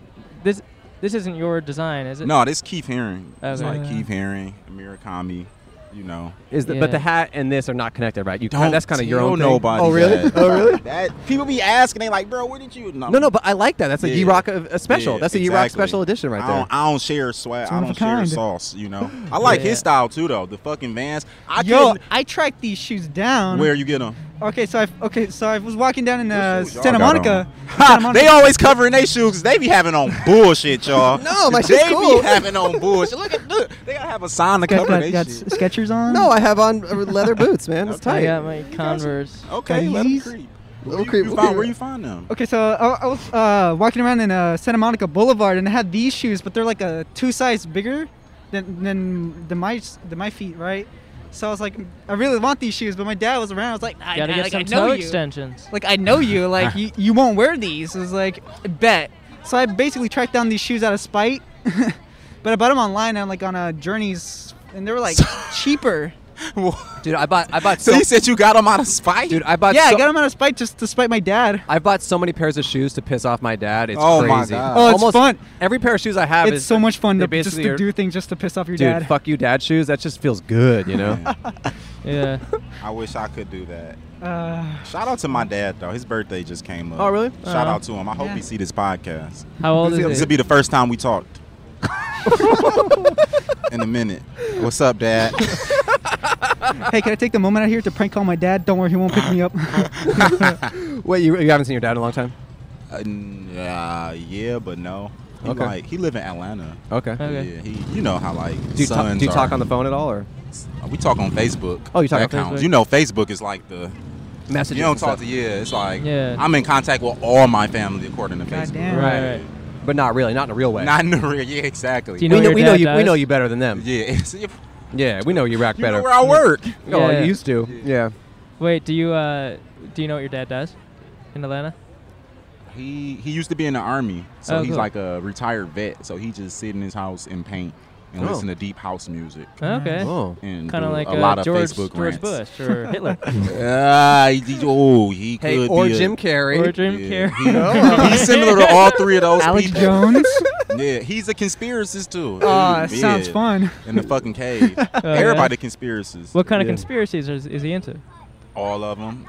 A: this? This isn't your design, is it?
J: No, this Keith Haring.
B: Oh,
J: It's
A: Okay.
J: like Keith Haring, Mirakami. You know,
B: Is the, but
A: Yeah.
B: the hat and this are not connected, right? You
J: don't
B: kind that's kind of your
J: tell
B: own thing.
J: nobody.
B: Oh really?
J: that.
B: oh really?
J: That people be asking, they like, bro, where did you?
B: No, no, but I like that. That's a
J: Yeah.
B: E Rock uh, a special.
J: Yeah,
B: that's a E Rock
J: exactly.
B: special edition right
J: I
B: there.
J: Don't, I don't share swag.
I: one
J: I
I: of
J: don't
I: a
J: share
I: kind.
J: sauce. You know, I like
A: Yeah.
J: his style too, though. The fucking Vans. I
I: Yo, um,
J: couldn't-
I: I tracked these shoes down.
J: Where you get them?
I: Okay, so I okay, so I was walking down in uh,
J: Those shoes y'all
I: Santa
J: got
I: Monica.
J: on.
I: Santa
J: Ha,
I: Monica.
J: they always covering their shoes 'cause they be having on bullshit, y'all.
B: No, my
J: they
B: shit's cool.
J: be having on bullshit. Look at look, they gotta have a sign to
I: got,
J: cover
I: got,
J: their
I: got
J: shit.
I: Skechers on.
B: no, I have on uh, leather boots, man. It's
A: I
B: tight.
A: got my Uh, Converse.
J: Okay, let them
I: Yeezys.
J: creep.
B: Let 'em
J: Where you,
B: creep,
J: you
B: let 'em
J: find,
B: creep.
J: where you find them?
I: Okay, so I, I was uh, walking around in uh, Santa Monica Boulevard, and I had these shoes, but they're like a two size bigger than than, than my s- than my feet, right? So I was like, I really want these shoes, but my dad was around. I was like, I,
A: Gotta
I: I-
A: get
I: like,
A: some
I: I know
A: toe
I: you.
A: extensions.
I: Like I know you. Like you, you won't wear these. I was like, bet. So I basically tracked down these shoes out of spite. But I bought them online on like on uh, Journeys, and they were like cheaper.
B: Dude, I bought. I bought.
I: So you
B: said you got them out of spite. Dude, I bought.
I: yeah,
B: so,
I: I got them out of spite just to spite my dad.
B: I bought so many pairs of shoes to piss off my dad. It's
I: Oh
B: crazy.
I: my God. Oh, it's
B: Almost
I: fun.
B: Every pair of shoes I have
I: It's
B: is
I: so much fun
B: they
I: to just
B: basically
I: to
B: are-
I: do things just to piss off your
B: Dude,
I: dad.
B: fuck you, dad shoes. That just feels good, you know.
A: yeah.
J: I wish I could do that.
I: Uh,
J: Shout out to my dad though. His birthday just came up.
I: Oh, really?
J: Shout
B: Uh,
I: Aw.
J: out to him. I hope
I: Yeah.
J: he see this podcast.
A: How old is he?
J: This will be the first time we talked. In a minute. What's up, Dad?
I: hey, can I take the moment out here to prank call my dad? Don't worry, he won't pick me up.
B: Wait, you, you haven't seen your dad in a long time.
J: Uh, n- uh, yeah, but no. He
B: Okay.
J: like he live in Atlanta.
B: Okay. Okay.
J: Yeah, he. You know how like
B: Do you, talk,
J: sons
B: do you
J: are-
B: talk on the phone at all, or
J: We talk on Facebook.
B: Oh, you talk
J: That
B: on
J: counts.
B: Facebook.
J: You know, Facebook is like the
B: Messages
J: You don't
B: and
J: talk
B: stuff.
J: to yeah. It's like
B: Yeah.
J: I'm in contact with all my family according to Facebook.
B: Right, right. But not really, not in a real way.
J: Not in the real. Yeah, exactly.
B: we know, we know you. We know you better than them.
J: Yeah.
B: yeah, we know you rack
J: You know
B: better.
J: where I work.
B: Oh,
A: Yeah.
B: you used to. Yeah.
A: Wait, do you uh, do you know what your dad does in Atlanta?
J: He he used to be in the army, so
A: Oh,
J: he's
A: cool.
J: like a retired vet. So he just sit in his house and paint and
A: Oh.
J: listen to deep house music.
A: Okay. Whoa.
J: And
A: Kinda
J: do
A: like,
J: a
A: uh,
J: lot of
A: George-
J: Facebook rants.
A: George Bush or Hitler.
J: Ah, he- oh, he
B: Hey,
J: could
B: or
J: be a-
B: Jim Carrey.
A: Or Jim
J: He- he's similar to all three of those
I: Alex
J: people.
I: Jones.
J: Yeah, he's a conspiracist too.
I: Aw,
B: Ah,
J: Yeah,
I: sounds fun.
J: In the fucking cave.
A: Oh,
J: Everybody
A: yeah?
J: conspiracist.
A: What kind of
J: Yeah.
A: conspiracies is, is he into?
J: All of them.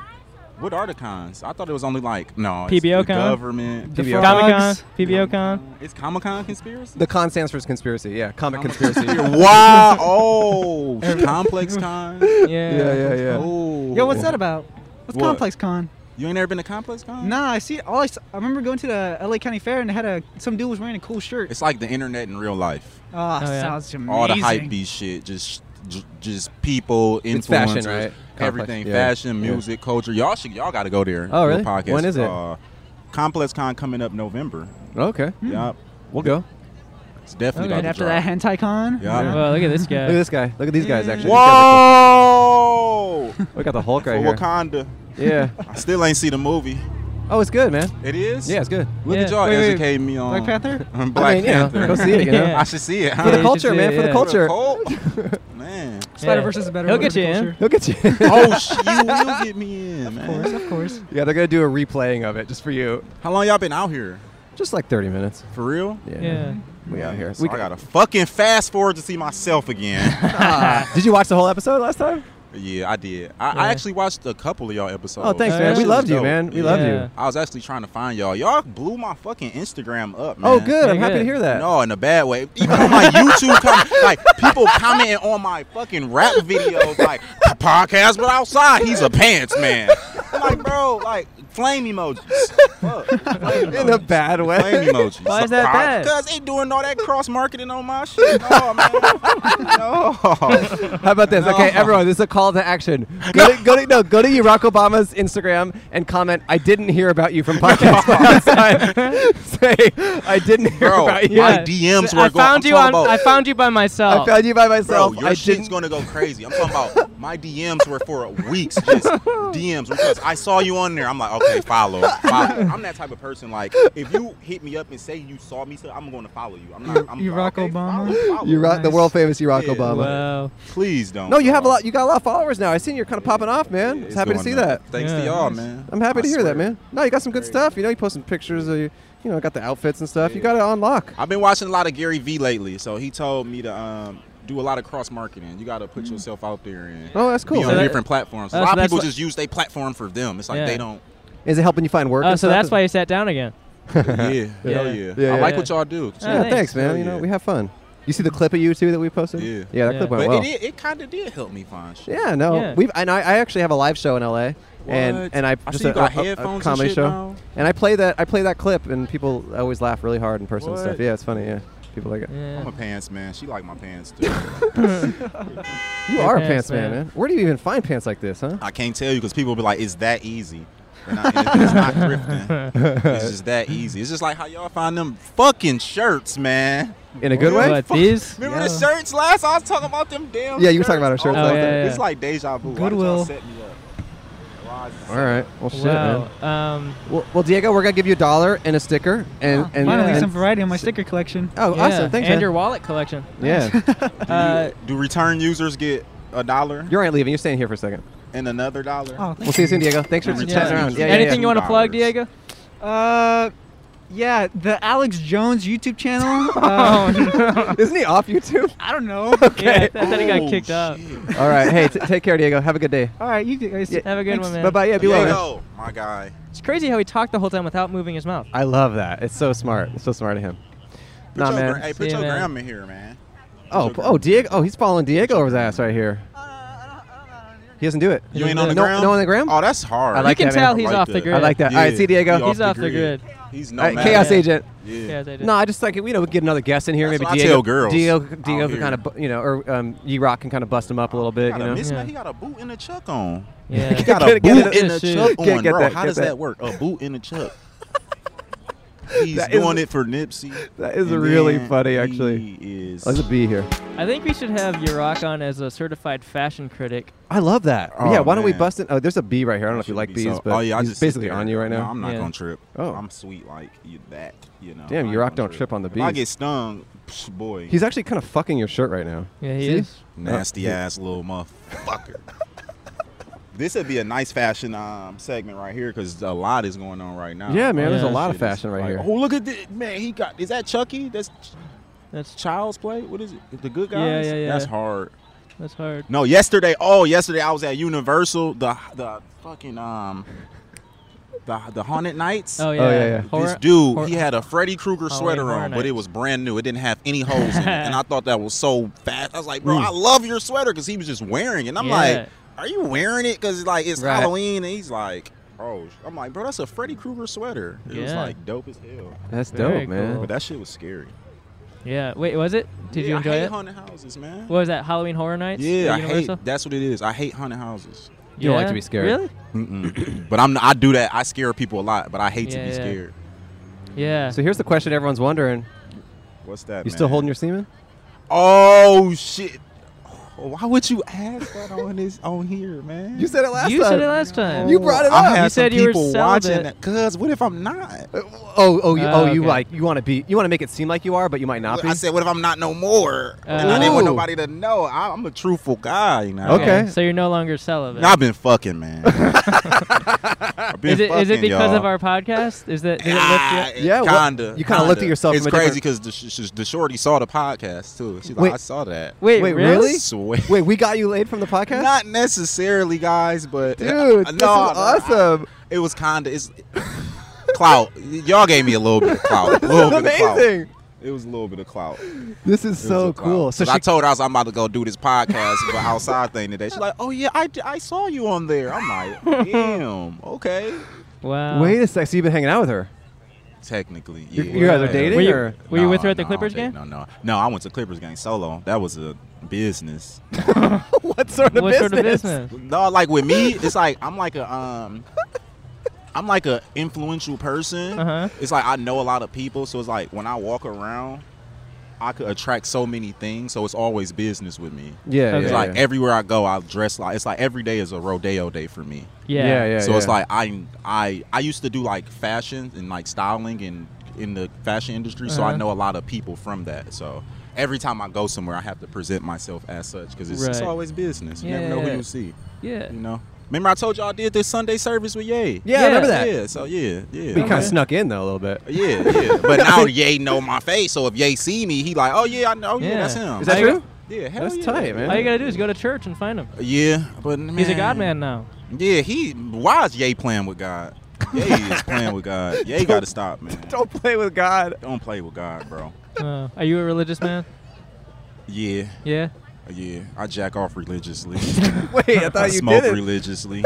J: What are the cons? I thought it was only like no it's
A: PBO
J: the
A: con?
J: government,
A: The PBO Comic Con? PBO con?
J: It's Comic Con Uh, conspiracy.
B: The con stands for conspiracy. Yeah, comic conspiracy.
J: wow! Ah, Oh, complex con. Yeah,
B: Yeah, yeah, yeah.
J: Oh,
I: Yo, what's that about? What's
J: What?
I: Complex Con?
J: You ain't never been to Complex Con?
I: Nah, I see. All I, s- I remember going to the L.A. County Fair and they had a some dude was wearing a cool shirt.
J: It's like the internet in real life.
I: Oh, Oh, yeah. sounds
J: All the
I: amazing.
J: hype beast shit, just j- just people, influencers,
B: It's fashion, right? Complex,
J: Everything,
B: yeah.
J: fashion,
B: Yeah.
J: music, culture. Y'all should, y'all got to go there.
B: Oh,
J: Your
B: really?
J: Podcast.
B: When is it?
J: Uh, Complex Con coming up November.
B: Okay.
J: Yup.
B: We'll go.
J: It's
B: Oh,
J: definitely
I: And
J: about
I: after
J: to
I: that,
J: drop.
I: Hentai Con.
J: Yeah. Yeah.
A: Well, look at this guy.
B: Look at this guy. Look at these guys. Actually.
J: Whoa!
B: We got the Hulk right
J: For
B: here.
J: Wakanda.
B: Yeah.
J: I still ain't see the movie.
B: Oh, it's good, man.
J: It is?
B: Yeah, it's good.
J: Look
B: Yeah.
J: at y'all
B: Wait, wait,
J: educating me on
I: Black Panther?
J: on
B: I
J: Black
B: mean, you know,
J: Panther.
B: go see it, you know?
J: I should see it.
B: For
J: huh?
B: the Yeah, you culture, should see man, it, for the yeah. culture.
J: cult? man.
I: Spider-Verse is a better
A: He'll
I: word
A: get
I: for
A: you in.
I: culture.
B: He'll get you.
J: oh, sh- you will get me in, man.
I: Of course, of course.
B: Yeah, they're gonna do a replaying of it just for you.
J: How long y'all been out here?
B: Just like 30 minutes.
J: For real?
B: Yeah.
A: Yeah.
B: We out here.
J: So I gotta fucking fast forward to see myself again.
B: Did you watch the whole episode last time?
J: yeah, I did. I, I
B: Yeah.
J: actually watched a couple of y'all episodes.
B: Oh, thanks,
J: That
B: man. We
J: shit was
B: loved you,
J: dope.
B: man. We loved you.
J: I was actually trying to find y'all. Y'all blew my fucking Instagram up, man.
B: Oh, good. I'm happy to hear that.
J: No, in a bad way. Even on my YouTube, com- like people commenting on my fucking rap videos, like "The podcast, but outside he's a pants man. I'm like, bro, like flame emojis.
B: In a bad way.
J: Flame emojis.
B: Why is that bad?
J: Because they doing all that cross marketing on my shit. No, man. No.
B: How about this? Okay, everyone, this is a call to action. Go to, go to no, go to Barack Obama's Instagram and comment. I didn't hear about you from podcast outside. Say I didn't hear
J: Bro,
B: about you.
J: my DMs were
A: I
J: going-
A: found
J: I'm
A: you on.
J: talking about-
A: I found you by myself.
B: I found you by
J: Bro,
B: myself.
J: your
B: I
J: shit's
B: didn't.
J: gonna go crazy. I'm talking about my DMs were for weeks, just DMs because I saw you on there. I'm like, okay, follow. follow. I'm that type of person. Like, if you hit me up and say you saw me, so I'm going to follow you. I'm not. I'm
I: Barack Obama.
B: You rock the world famous Barack Obama.
A: Wow.
J: Please don't.
B: No, you have a lot. You got a lot of followers now. I seen you're kind of popping off, man. It's happy to
J: doing
B: see
J: that.
B: that.
J: Thanks to Yeah. y'all, man.
B: I'm happy
J: I
B: to hear
J: swear.
B: that, man. No, you got some good stuff. You know, you posting pictures of you. You know, got the outfits and stuff. You got it on lock.
J: I've been watching a lot of Gary Vee lately, so he told me to um, do a lot of cross marketing. You got to put yourself out there and
B: Oh, that's cool.
J: be
B: So
J: on
B: that-
J: different platforms.
B: Oh,
J: a
B: so
J: lot of
B: that's
J: people
B: what-
J: just use their platform for them. It's like
A: Yeah.
J: they don't.
B: Is it helping you find work?
A: Oh,
B: and
A: so
B: stuff?
A: that's why you sat down again.
J: Yeah, hell yeah. I like what y'all do.
B: Yeah, thanks, man.
J: Hell
B: You know,
J: yeah.
B: we have fun. You see the clip of you too that we posted?
J: Yeah.
B: Yeah, that clip went
J: but
B: well.
J: it, it, kind of did help me find shit.
B: Yeah, no, we've and I, I actually have a live show in LA,
J: What?
B: and and I
J: I
B: just
J: see you
B: a,
J: got
B: a- a- a
J: headphones and
B: comedy
J: shit
B: show,
J: now.
B: and I play that I play that clip, and people always laugh really hard in person and
J: What?
B: stuff. Yeah, it's funny. Yeah, people like it.
J: I'm a pants man. She like my pants too.
B: You
J: Hey,
B: are a
J: pants
B: pants man,
J: man.
B: man. Where do you even find pants like this, huh?
J: I can't tell you because people be like, it's that easy. And I, and it's not thrifting. It's just that easy. It's just like how y'all find them fucking shirts, man.
B: In a good way? What,
J: Fuck-
B: these?
J: Remember
B: Yeah.
J: the shirts last? I was talking about them damn.
B: Yeah, you were talking
J: shirts. Oh,
B: about our shirts
J: my
B: last
J: God.
B: night.
J: It's like deja vu. Why did y'all
I: Goodwill.
J: set me up? Wow.
B: All right. Well, shit,
A: Wow,
B: man.
J: um,
B: well, well, Diego, we're gonna give you a dollar and a sticker, and and
I: Finally,
B: and-
I: some variety on my sticker collection.
B: Oh,
A: Yeah,
B: awesome! Thanks,
A: and
B: man.
A: your wallet collection.
B: Yeah. Uh,
J: do, you- do return users get a dollar
B: you aren't leaving. You're staying here for a second.
J: and another dollar?
I: Oh,
B: We'll see you soon, Diego. Thanks
A: Uh,
B: for
J: And
B: chatting
J: return
B: around.
J: users
B: Yeah,
J: get
B: yeah, yeah.
J: two dollars.
A: Diego?
I: Uh, yeah, the Alex Jones YouTube channel. um,
B: Isn't he off YouTube? Oh,
I: I don't know.
A: Oh, Yeah, I thought he got kicked up.
B: All right. Hey, t- take care, Diego. Have a good day.
I: All right, you guys
A: Have a good one, man.
B: Bye bye. Yeah, be well. man.
J: Yo, my guy.
A: It's crazy how he talked the whole time without moving his mouth.
B: I love that. It's so smart. It's so smart of him.
J: Put
B: nah,
J: your,
B: man.
J: gra- Hey, put
A: See
J: your
A: ya, man.
J: gram in here, man.
B: Oh, p- oh, Diego. Oh, he's following Diego over his ass right here. He doesn't do it.
J: You ain't on the
B: no,
J: gram?
B: No on the gram.
J: Oh, that's hard.
B: I like
A: you can
B: that, man.
A: tell he's
J: I like
A: off the
J: that.
A: grid.
B: I like that. All right, see Diego.
J: he off
A: He's off the grid.
J: He's
B: All right,
J: nomadic.
B: chaos agent.
J: Yeah.
A: Chaos agent.
B: No, I just like you know we get another guest in here.
J: That's
B: maybe
J: what I
B: Diego,
J: tell girls Oh,
B: Diego,
J: out
B: Diego can
J: here.
B: kind of you know, or um, E Rock can kind of bust him up a little
J: He
B: bit.
J: got,
B: You
J: a
B: know,
J: miss,
A: Yeah.
J: man. he got a boot in the chuck on.
A: Yeah.
J: He got a
B: Get- get
J: boot
B: it-
J: in the
B: shoot.
J: chuck
B: Get-
J: on,
B: get
J: bro.
B: that,
J: How
B: get
J: does that.
B: that.
J: work? A boot in the chuck. He's
B: That is-
J: doing it for Nipsey.
B: that is
J: and
B: really
J: then
B: funny, actually.
J: He is.
B: Let's be here.
A: I think we should have Yurok on as a certified fashion critic.
B: I love that.
J: Oh,
B: yeah, why don't we
J: man.
B: bust it? Oh, there's a bee right here. I don't know if you like
J: be
B: bees,
J: so-
B: but
J: oh, yeah, I
B: he's
J: just sit
B: basically
J: there.
B: on you right
J: No,
B: now.
J: I'm not
A: Yeah.
J: gonna trip.
B: Oh.
J: I'm sweet like you, that. You know.
B: Damn,
J: I
B: you
J: ain't
B: rock
J: gonna
B: don't trip on the
J: If I
B: bees.
J: get stung, psh, boy,
B: He's actually kind of fucking your shirt right now.
A: Yeah, he
B: See?
A: is.
J: nasty
B: Oh,
J: ass little motherfucker. this would be a nice fashion um, segment right here because a lot is going on right now.
B: Yeah, man, there's a
A: Yeah.
B: lot of
J: Shit is
B: fashion right
J: like,
B: here.
J: Oh, look at this man. He got. Is that Chucky? That's
A: That's
J: Child's Play. What is it? The Good
A: Yeah,
J: Guys.
A: yeah, yeah.
J: That's hard.
A: that's hard.
J: No, yesterday. Oh, yesterday I was at Universal. The the fucking um. The, the haunted nights.
A: Oh yeah.
B: yeah, yeah.
A: Horror-
J: this dude,
A: hor-
J: he had a Freddy Krueger
A: Halloween
J: sweater
A: Horror
J: on, but it
A: Nights.
J: was brand new. It didn't have any holes in it, and I thought that was so fast. I was like, "Bro, I love your sweater," because he was just wearing it. And I'm
A: Mm. Yeah.
J: like, "Are you wearing it?" Because like it's
B: Right.
J: Halloween, and he's like, "Oh," sh-" I'm like, "Bro, that's a Freddy Krueger sweater." It was
A: Yeah.
J: like dope as hell,
B: That's
A: Very
B: dope, man.
A: cool.
J: but that shit was scary.
A: yeah. Wait, was it? Did
J: Yeah,
A: you
J: I
A: enjoy
J: hate
A: it?
J: Haunted houses, man.
A: What was that? Halloween Horror Nights?
J: yeah,
A: at
J: I hate.
A: Universal?
J: That's what it is. I hate haunted houses.
B: You don't like to
A: Yeah?
B: be scared.
A: Really?
J: Mm-mm. but I'm. I do that. I scare people a lot, but I hate
A: Yeah,
J: to be
A: yeah.
J: scared.
A: Yeah.
B: So here's the question everyone's wondering:
J: What's that?
B: You still
J: man?
B: holding your semen?
J: Oh shit! Oh, Why would you ask that on this on here, man?
B: You said it last
A: you
B: time.
A: said it last time.
B: You brought it
J: I
B: up.
J: had
A: You said
J: some
A: you were
J: people watching that.
A: celibate.
J: Cause what if I'm not?
B: Oh, oh, you,
A: Oh,
B: oh, you
A: okay.
B: like you want to be? You want to make it seem like you are, but you might not be.
J: I said, what if I'm not no more? and I didn't want
B: Ooh.
J: nobody to know. I, I'm a truthful guy, you know.
B: Okay.
A: So you're no longer celibate.
J: Nah, I've been fucking, man. I've been
A: is it is it
J: fucking,
A: because of
J: y'all.
A: our podcast? Is that did it
J: Ah,
A: lift you?
B: Yeah, what-
J: kinda.
B: you kinda looked
J: kinda.
B: at yourself
J: It's
B: from a
J: crazy because the, sh- sh- the shorty saw the podcast too. She's
B: Wait.
J: like, I saw that.
A: Wait,
B: Wait,
A: really?
B: really?
J: Swear.
B: Wait, we got you laid from the podcast?
J: Not necessarily, guys, but
B: Dude,
J: no,
B: this is
J: no,
B: awesome.
J: it was kind of it's clout. Y'all gave me a little bit of clout. A little bit Of clout.
B: Amazing.
J: It was a little bit of clout.
B: This is
J: It was
B: so
J: a clout.
B: cool. So
J: 'Cause I
B: she,
J: told her I was I'm about to go do this podcast but outside thing today. She's like, "Oh yeah, I, I saw you on there." I'm like, "Damn, okay."
A: Wow.
B: wait a sec. So you've been hanging out with her?
J: Technically,
B: You-
J: yeah.
B: you guys are dating,
A: Were you-
B: or-
A: were you with her at the
J: no,
A: Clippers
J: I don't
A: game?
J: date- No, no, no. I went to Clippers game solo. That was a business.
B: what sort of
A: what
B: business?
A: sort of business?
J: No, like with me, it's like I'm like a um, I'm like a influential person.
A: Uh-huh.
J: It's like I know a lot of people, so it's like when I walk around, I could attract so many things. So it's always business with me.
B: Yeah,
A: Okay.
J: It's
B: yeah,
J: like
B: yeah.
J: everywhere I go, I dress like it's like every day is a rodeo day for me.
A: Yeah.
B: yeah, yeah.
J: so it's
B: yeah.
J: like I I I used to do like fashion and like styling and in the fashion industry, so I
A: Uh-huh.
J: know a lot of people from that. So. Every time I go somewhere, I have to present myself as such because it's, it's
A: Right.
J: always business. You
A: Yeah,
J: never know
A: yeah.
J: who you see.
A: Yeah.
J: You know. Remember I told y'all I did this Sunday service with Ye.
B: yeah, I remember that?
J: Yeah. So yeah, yeah.
B: We kind of
A: Okay.
B: snuck in though a little bit.
J: Yeah, yeah. But now Ye know my face, so if Ye see me, he like, oh yeah, I know, yeah,
A: Yeah.
J: that's him.
B: Is that
A: I-
B: true?
J: yeah, hell
B: That's
J: yeah.
B: tight, man.
A: All you gotta do is go to church and find him.
J: Yeah, but man,
A: He's a God man now.
J: Yeah, he. Why is Ye playing with God? Ye is playing with God. Ye got to stop, man. Don't,
B: Don't play with God.
J: play with God, bro.
A: Uh, are you a religious man?
J: Yeah,
A: Yeah.
J: yeah. I jack off religiously.
B: Wait, I
J: I
B: thought you
J: smoke
B: did it.
J: religiously.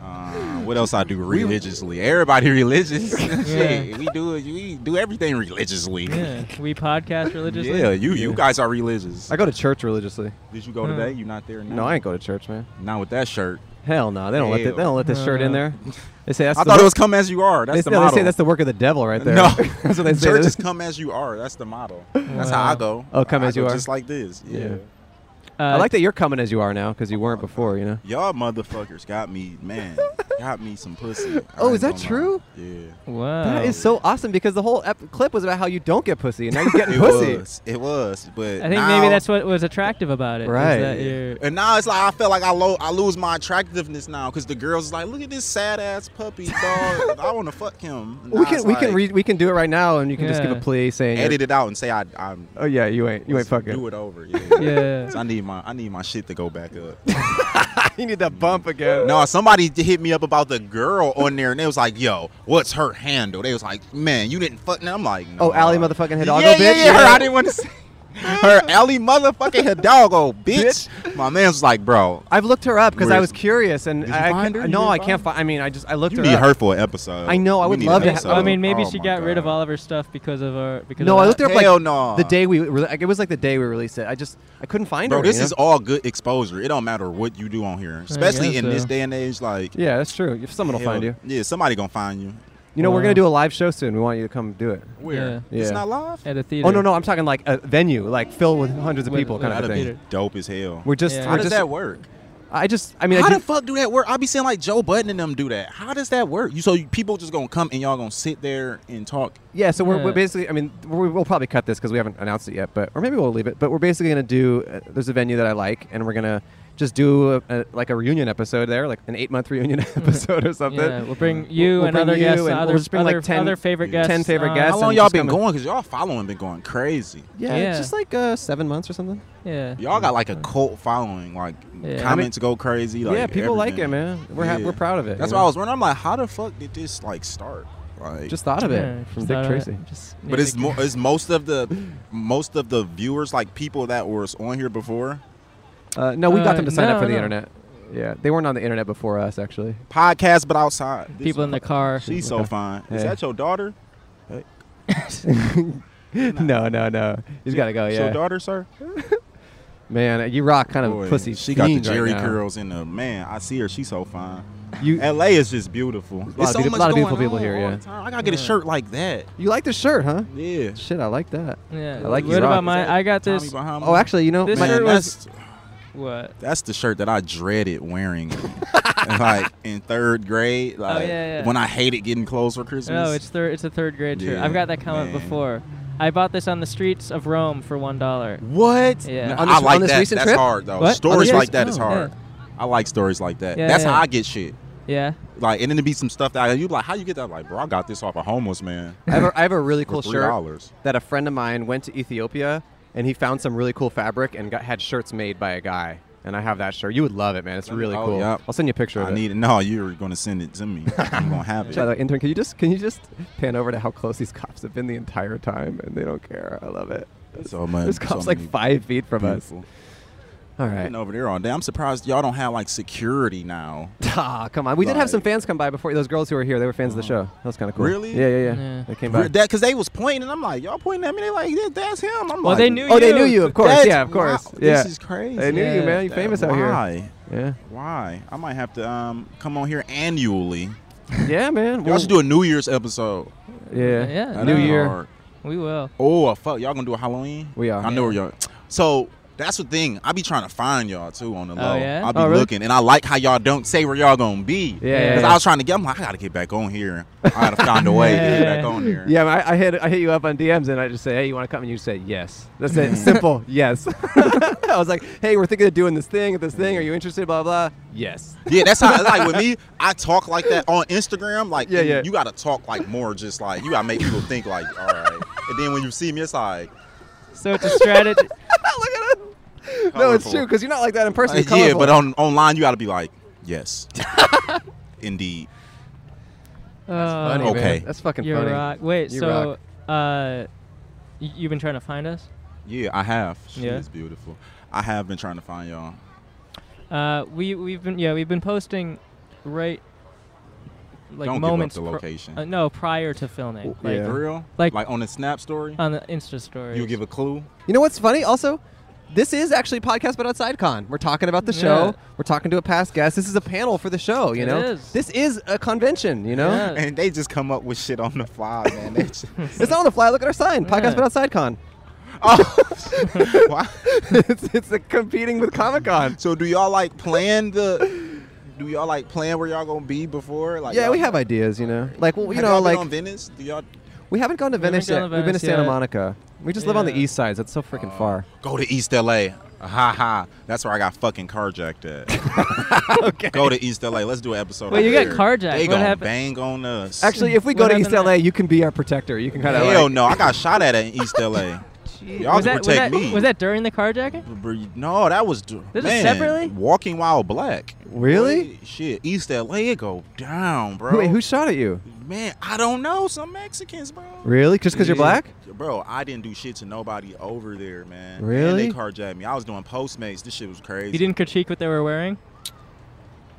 J: Uh, what else I do religiously? Everybody religious. Shit, we do it. We do everything religiously.
A: Yeah. We podcast religiously.
J: Yeah, you you guys are religious.
B: I go to church religiously.
J: Did you go
A: Huh.
J: today? You not there now?
B: No, I ain't go to church, man.
J: Not with that shirt.
B: Hell no, they don't let th- they don't let this shirt in there. They say that's
J: I
B: the
J: thought it
B: wo-
J: was come as you are. That's
B: they,
J: the
B: no,
J: motto.
B: they say that's the work of the devil right there.
J: No,
B: that's what they say.
J: Church is come as you are. That's the motto. That's how I
A: Wow.
J: go.
B: Oh, come
J: I
B: as you
J: go
B: are.
J: Just like this. Yeah.
B: Yeah.
A: Uh,
B: I like that you're coming as you are now because you weren't before, you know?
J: Y'all motherfuckers got me, man. got me some pussy. I
B: Oh,
J: ain't
B: is that
J: gonna lie.
B: true?
J: Yeah.
A: Wow.
B: That is so awesome because the whole ep- clip was about how you don't get pussy and now you're getting
J: It
B: pussy.
J: was. It was. But
A: I think
J: now-
A: maybe that's what was attractive about it. is
B: Right.
A: that you're-
J: And now it's like I feel like I lo- I lose my attractiveness now because the girls is like, look at this sad ass puppy dog. I want to fuck him. And
B: We
J: now
B: can
J: it's
B: we can
J: like,
B: re- we can do it right now and you can just give a
J: Yeah.
B: plea saying you're-
J: edit it out and say I I'm.
B: Oh yeah, you ain't you
J: let's
B: ain't fucking.
J: Do it over. Yeah.
B: Yeah.
J: So I need my I need my shit to go back up.
B: you need that bump again.
J: No, somebody d- hit me up about the girl on there and they was like, yo, what's her handle? They was like, man, you didn't fuck. And I'm like, no.
B: Oh, Allie motherfucking Hidalgo
J: yeah,
B: bitch.
J: Yeah, yeah, her. I didn't want to say her. Allie motherfucking Hidalgo bitch. My man's was like, bro.
B: I've looked her up because I
J: Where's-
B: was curious and I, I
J: find
B: can't-
J: her? You
B: no,
J: didn't
B: I can't find. I mean, I just I looked
J: You
B: her
J: need
B: up.
J: her for an episode.
B: I know. I
J: We
B: would
J: need an
B: love to.
J: episode.
B: Have,
A: I mean, maybe
J: Oh
A: she
J: my
A: got rid of all of her stuff because of our. Because
B: no,
A: of
B: I
A: that.
B: looked her up
J: Hell
B: like
J: no.
B: the day we re- like it was like the day we released it. I just I couldn't find
J: Bro,
B: her.
J: this
B: you know?
J: is all good exposure. It don't matter what you do on here, especially
B: guess
J: in this
B: so.
J: day and age. Like,
B: yeah, that's true. If someone will
J: hell,
B: find you,
J: Yeah, somebody gonna find you.
B: you know we're gonna do a live show soon. We want you to come do it.
J: Where?
B: Yeah.
J: It's not live?
A: At a
B: Oh no no! I'm talking like a venue, like filled with hundreds of people, kind of
J: That'd
B: thing.
J: be dope as hell.
B: We're just.
J: how
B: we're
J: does
B: just-
J: that work?
B: I just. I mean,
J: how
B: I
J: the fuck do that work? I be seeing like Joe Budden and them do that. How does that work? You so you, people just gonna come and y'all gonna sit there and talk?
B: Yeah, so we're, we're basically, I mean, we- we'll probably cut this because we haven't announced it yet, but or maybe we'll leave it. But we're basically going to do, uh, there's a venue that I like, and we're going to just do a, a, like a reunion episode there, like an eight month reunion episode or something.
A: Mm. Yeah, we'll bring you and
B: bring
A: other
B: you,
A: guests,
B: and
A: other-
B: we'll just bring
A: other-
B: like 10
A: other favorite guests,
B: 10 favorite
A: uh,
B: guests.
J: How long
B: and
J: y'all
B: just
J: been
B: come and-
J: going? Cause y'all following been going crazy.
B: Yeah,
A: Yeah.
B: it's just like uh, seven months or something.
A: Yeah.
J: Y'all got like a cult following. Like
B: Yeah.
J: comments
B: I mean-
J: go crazy. Like,
B: Yeah, people like
J: everything.
B: it, man. We're ha- we're proud of it,
J: That's
B: you
J: why
B: know?
J: I was wondering. I'm like, how the fuck did this like start? Like,
B: Just thought of it Yeah, from just Dick thought of it. Tracy. Just-
J: but
B: yeah,
J: it's
B: Dick-
J: mo- it's most of the most of the viewers like people that were on here before.
B: Uh, no, we got them to sign
J: no,
B: up for the
J: no.
B: internet. Yeah, they weren't on the internet before us, actually.
J: Podcast, but outside. This
B: People in the
J: motherfucker.
B: car.
J: She's
B: Yeah.
J: so fine. Is
B: Yeah.
J: that your daughter? Hey.
B: no, no, no. He's got to go,
J: It's
B: yeah.
J: Your daughter, sir.
B: Man, you rock kind of
J: Boy,
B: pussy.
J: She got the
B: fiend right
J: Jerry
B: now.
J: curls in the man. I see her. She's so fine.
B: You,
J: LA is just beautiful.
B: A lot, of, beauti- lot of beautiful people here, yeah.
J: I gotta get a shirt like that.
B: You like the shirt, huh?
J: Yeah.
B: Shit, I like that.
A: Yeah.
B: I like
A: What
B: you rock.
A: about my? I got
J: Tommy
A: this.
J: Bahama?
B: Oh, actually, you know,
A: this
B: my-
A: shirt
B: Man,
A: was. What?
J: That's the shirt that I dreaded wearing, like in third grade. Like,
A: Oh, yeah, yeah.
J: When I hated getting clothes for Christmas.
A: No, Oh, it's third. It's a third grade shirt.
J: Yeah,
A: I've got that comment
J: man.
A: before. I bought this on the streets of Rome for one dollar.
J: What?
A: Yeah.
J: I like that. That's hard though.
A: What?
J: Stories
A: Yeah.
J: like that is
A: Oh,
J: hard. I like stories like that.
A: Yeah,
J: That's
A: yeah.
J: how I get shit.
A: Yeah.
J: Like, and then there be some stuff that I, you like. How you get that? Like, bro, I got this off a homeless man.
B: I have a, I have a really cool
J: for
B: shirt
J: $3.
B: that a friend of mine went to Ethiopia and he found some really cool fabric and got, had shirts made by a guy. And I have that shirt. You would love it, man. It's really
J: Oh,
B: cool.
J: yep.
B: I'll send you a picture of
J: I
B: it.
J: need it. No, you're gonna send it to me. I'm gonna have it.
B: By the way, intern, can you just can you just pan over to how close these cops have been the entire time, and they don't care. I love it.
J: So much.
B: This cop's like five feet from us. All right.
J: Been over there all day. I'm surprised y'all don't have like security now.
B: Ah, come on. We did have some fans come by before. Those girls who were here, they were fans of the show. That was kind of cool.
J: Really?
B: Yeah, yeah, yeah.
J: Yeah.
B: They came by.
J: Re- That because they was pointing, and I'm like, y'all pointing at me. They like, "Yeah, that's him. I'm
B: Well,
J: like,
B: they knew Oh, they you. knew you, of course.
J: That's
B: Yeah, of course.
J: wild.
B: Yeah.
J: This is crazy.
B: They knew you, Yeah. man. You
J: That-
B: famous out here.
J: Why?
B: Yeah.
J: Why? I might have to um come on here annually.
B: yeah, man.
J: Y'all
B: Well-
J: should do a New Year's episode.
B: Yeah.
A: Yeah,
J: That'd
A: New
J: be
A: Year.
J: hard.
A: We will.
J: Oh uh, fuck, y'all gonna do a Halloween?
B: We are.
J: I know where y'all. So that's the thing. I be trying to find y'all too on the
A: Oh,
J: low.
A: yeah?
J: I be
A: Oh, really?
J: looking, and I like how y'all don't say where y'all gonna be.
B: Yeah, yeah,
J: Because
B: yeah.
J: I was trying to get. I'm like, I gotta get back on here. I gotta find a way to get back on here.
B: Yeah, I, I hit I hit you up on DMs and I just say, hey, you want to come? And you said yes. That's it. Simple. Yes. I was like, hey, we're thinking of doing this thing, this thing. Are you interested? Blah blah. Yes.
J: Yeah, that's how like with me, I talk like that on Instagram. Like
B: Yeah, yeah.
J: you gotta talk like more just like you gotta make people think like, all right. And then when you see me, it's like
A: So it's a strategy.
B: Oh, No, it's
J: Colorful.
B: true because you're not like that in person.
J: Like,
B: It's
J: yeah,
B: colorful.
J: but on online you gotta be like, yes. Indeed.
A: Oh. funny,
J: man. Okay.
B: That's fucking
A: You're
B: funny.
A: rock. Wait,
B: You
A: so uh, y- you've been trying to find us?
J: Yeah, I have. She
A: Yeah.
J: is beautiful. I have been trying to find y'all.
A: Uh, we we've been yeah we've been posting right like
J: Don't give up
A: moments
J: the
A: pri-
J: location.
A: uh, no, prior to filming. Like,
J: Like for real?
A: Like
J: on the snap story?
A: on the Insta story.
J: You give a clue?
B: You know what's funny? Also, this is actually podcast, but outside con. We're talking about the
A: Yeah.
B: show. We're talking to a past guest. This is a panel for the show. You
A: It
B: know,
A: is.
B: this is a convention. You know,
A: Yeah.
J: And they just come up with shit on the fly, man. They just-
B: it's not on the fly. Look at our sign, podcast,
A: Yeah.
B: but outside con.
J: oh, Why? it's, it's like competing with Comic Con. So do y'all like plan the? Do y'all like plan where y'all gonna be before? Like
B: yeah,
J: y'all-
B: we have ideas, you know. Like well, you
J: Have
B: know,
J: y'all been
B: like
J: on Venice. Do y'all
B: we haven't gone to
J: We haven't
B: Venice
J: gone to
B: yet. We've been to
J: Venice
B: Santa
J: yet.
B: Monica. We just live on the east side. so That's so
A: Uh,
B: freaking far.
J: go to East LA? Ha ha. That's where I got fucking carjacked at. okay. Go to East LA. Let's do an episode.
A: Wait,
J: out
A: you got
J: there.
A: carjacked.
J: They
A: What
J: gonna
A: happened?
J: bang on us.
B: Actually, if we go to East LA, you can be our protector. You can kind of
J: Hell
B: like,
J: no, I got shot at in East LA. Y'all
A: was
J: can
A: that, was, that,
J: protect me.
A: was that during the carjacking?
J: Br- No, that was d-
A: This is
J: man,
A: separately?
J: Walking Wild Black.
B: Really?
J: Shit, East LA it go down, bro.
B: Wait, who shot at you?
J: Man, I don't know. Some Mexicans, bro.
B: Really? Just 'cause you're black?
J: Bro, I didn't do shit to nobody over there, man. And
A: Really?
J: they carjacked me. I was doing Postmates. This shit was crazy.
A: You didn't critique what they were wearing?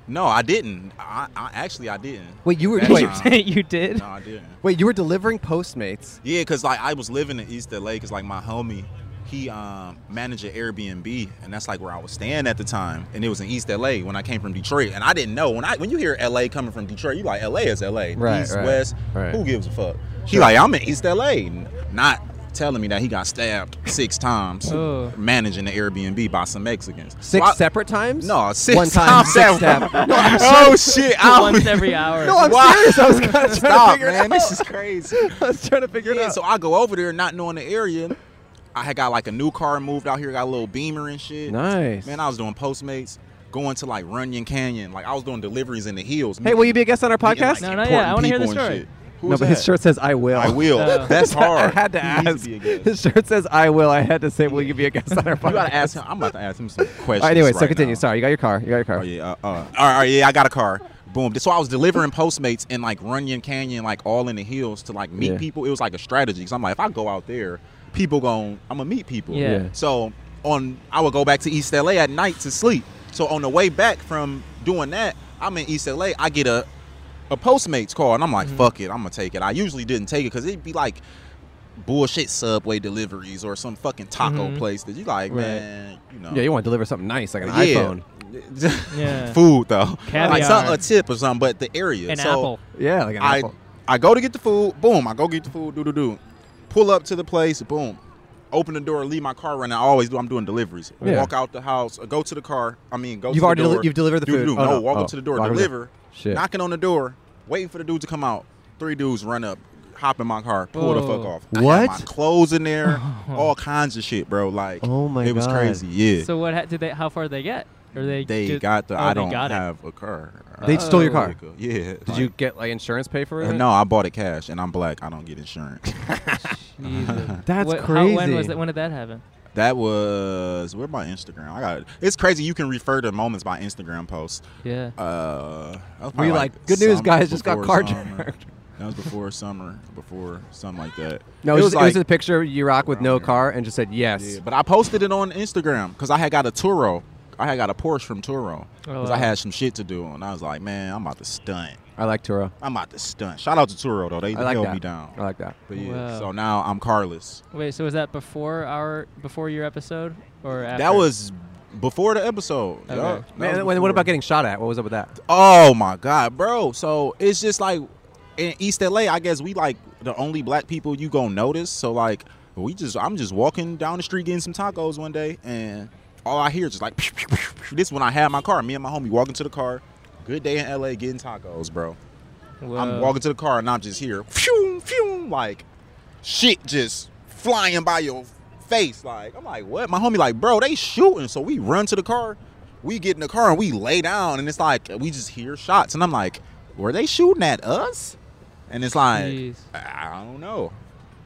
J: No, I didn't. I, I actually I didn't.
B: Wait, you were-
J: That
B: wait.
J: time.
B: You did?
J: No, I didn't.
B: Wait, you were delivering Postmates.
J: Yeah, cause like I was living in East LA, cause like my homie, he um, managed an Airbnb, and that's like where I was staying at the time, and it was in East LA when I came from Detroit, and I didn't know when I when you hear LA coming from Detroit, you like LA is LA,
B: Right,
J: East
B: right,
J: West,
B: right.
J: who gives a fuck? He
B: Sure.
J: like I'm in East LA, N- not telling me that he got stabbed six times
B: Oh.
J: managing the Airbnb by some Mexicans.
B: Six
J: So I-
B: separate times?
J: no, six
B: One time,
J: times.
B: six
J: at-
B: stab. No, I'm
J: oh
B: serious.
J: shit! I
B: Once
J: don't-
B: every hour. No, I'm serious. I was kinda trying to
J: Stop,
B: figure it
J: man. This
B: out.
J: is crazy.
B: I was trying to figure
J: it out. So I go over there, not knowing the area. I had got like a new car moved out here, got a little Beamer and shit.
B: Nice.
J: Man, I was doing Postmates, going to like Runyon Canyon. Like I was doing deliveries in the hills.
B: Hey, will you be a guest on our
J: Meeting, like,
B: podcast? No, not
J: important
B: yet. I wanna hear the
J: people and
B: story.
J: shit.
B: No,
J: Who's
B: but his
J: that?
B: shirt says I will.
J: I will.
B: Oh.
J: That's hard.
B: I had to
J: He needs
B: ask.
J: be a guest.
B: His shirt says I will. I had to say, will you be a guest on our podcast?
J: You gotta ask him. I'm about to ask him some questions.
B: All right, anyway, so
J: right
B: continue. Sorry, you got your car. You got your car.
J: Oh yeah. Uh, uh, all, right, all right, yeah, I got a car. Boom. So I was delivering Postmates in like Runyon Canyon, like all in the hills to like meet
B: Yeah.
J: people. It was like a strategy because I'm like, if I go out there, people going, I'm gonna meet people.
B: Yeah. Yeah.
J: So on, I would go back to East LA at night to sleep. So on the way back from doing that, I'm in East LA. I get a a Postmates call and I'm
B: Mm-hmm.
J: like, fuck it, I'm gonna take it. I usually didn't take it because it'd be like bullshit subway deliveries or some fucking taco
B: Mhm.
J: place that you like,
B: Right.
J: man, you know.
B: Yeah, you want to deliver something nice, like an
J: Yeah.
B: iPhone. Yeah.
J: food though,
B: Caviar.
J: like some, a tip or something. But the area,
B: An
J: so
B: apple. Yeah, like an
J: I,
B: apple.
J: I go to get the food. Boom, I go get the food. Do do do. Pull up to the place. Boom, open the door. Leave my car running. I always do. I'm doing deliveries.
B: Oh, Yeah.
J: Walk out the house. Go to the car. I mean, go.
B: You've
J: to the
B: already deli-
J: door.
B: you've delivered the
J: Do, do,
B: food.
J: do.
B: Oh,
J: no,
B: no.
J: walk
B: Oh,
J: up to the door.
B: walk up to the-
J: deliver.
B: Shit.
J: Knocking on the door. Waiting for the dude to come out. Three dudes run up. Hop in my car. Pull the fuck
B: Whoa.
J: off. I had my
B: What?
J: clothes in there. all kinds of shit, bro. Like,
B: Oh my
J: it was
B: God.
J: crazy. Yeah.
A: So what ha- did they? How far did they get? Or they?
J: They
A: just-
J: got the.
A: oh,
J: I
A: they
J: don't
A: got it.
J: have a car. Oh.
B: They stole your car.
J: Yeah.
B: Did you get like insurance pay for
J: Uh,
B: it?
J: No, I bought it cash, and I'm black. I don't get insurance.
B: That's
A: What- how-
B: crazy.
A: when was that? When did that happen?
J: That was where my Instagram. I got. It's crazy. You can refer to moments by Instagram posts.
A: Yeah.
J: Uh, that was
B: Were you
J: probably
B: like, "Good news,
J: sum-
B: guys, just got
J: before
B: carjacked."
J: summer. That was before summer, before something like that.
B: No, it was, just- it was
J: like- Oh,
B: a picture of you rock with no car and just said yes.
J: yeah, but I posted it on Instagram because I had got a Turo. I had got a Porsche from Turo
B: Oh,
J: because
B: wow.
J: I had some shit to do, and I was like, man, I'm about to stunt.
B: I like Turo.
J: I'm about to stunt. Shout out to Turo though. They
B: I like
J: held
B: that.
J: me down.
B: I like that.
J: But yeah,
A: Wow.
J: so now I'm carless.
A: Wait, so was that before our before your episode or after?
J: That was before the episode.
A: Okay.
J: yup. That
B: Man,
J: was
B: and what
J: before.
B: about getting shot at? What was up with that?
J: Oh my God, bro. So it's just like in East LA, I guess we like the only black people you gonna notice. So like we just I'm just walking down the street getting some tacos one day and all I hear is just like pew, pew, pew, pew. this is when I had my car. Me and my homie walking to the car. Good day in LA getting tacos, bro.
A: Whoa.
J: I'm walking to the car and I'm just here. Phew, phew, like shit just flying by your face. Like, I'm like, what? My homie, like, bro, they shooting. So we run to the car, we get in the car and we lay down, and it's like we just hear shots. And I'm like, were they shooting at us? And it's like, I I don't know.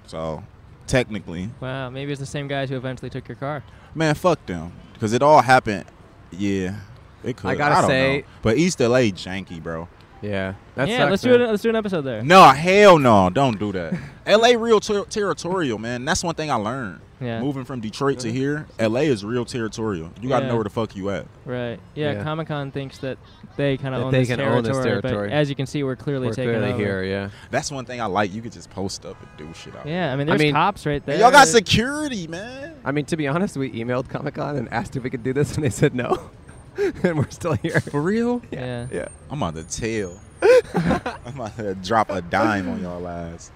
J: So technically,
A: Wow, maybe it's the same guys who eventually took your car.
J: man, fuck them. Because it all happened. Yeah. It could.
A: I gotta
J: don't
A: say-
J: know. But East LA janky, bro.
B: Yeah.
A: yeah, let's do it. Let's do an episode there.
J: No, hell no, don't do that. LA real ter- territorial, man. That's one thing I learned.
A: Yeah.
J: Moving from Detroit to here, LA is real territorial. You got to
A: Yeah.
J: know where the fuck you at.
A: Right. Yeah.
B: Yeah.
A: Comic Con thinks that they kind
B: That
A: of own,
B: they
A: this
B: can own this
A: territory, but
B: territory.
A: as you can see, we're clearly
B: We're
A: taking
B: clearly
A: over.
B: here, yeah.
J: That's one thing I like. You could just post up and do shit out.
A: Yeah, I mean,
B: I
A: there's
B: mean-
A: cops right there.
J: And y'all got security, man.
B: I mean, to be honest, we emailed Comic Con and asked if we could do this, and they said no, and we're still here. For
J: real?
A: Yeah.
B: Yeah.
J: I'm on the tail. I'm about to drop a dime on y'all lives.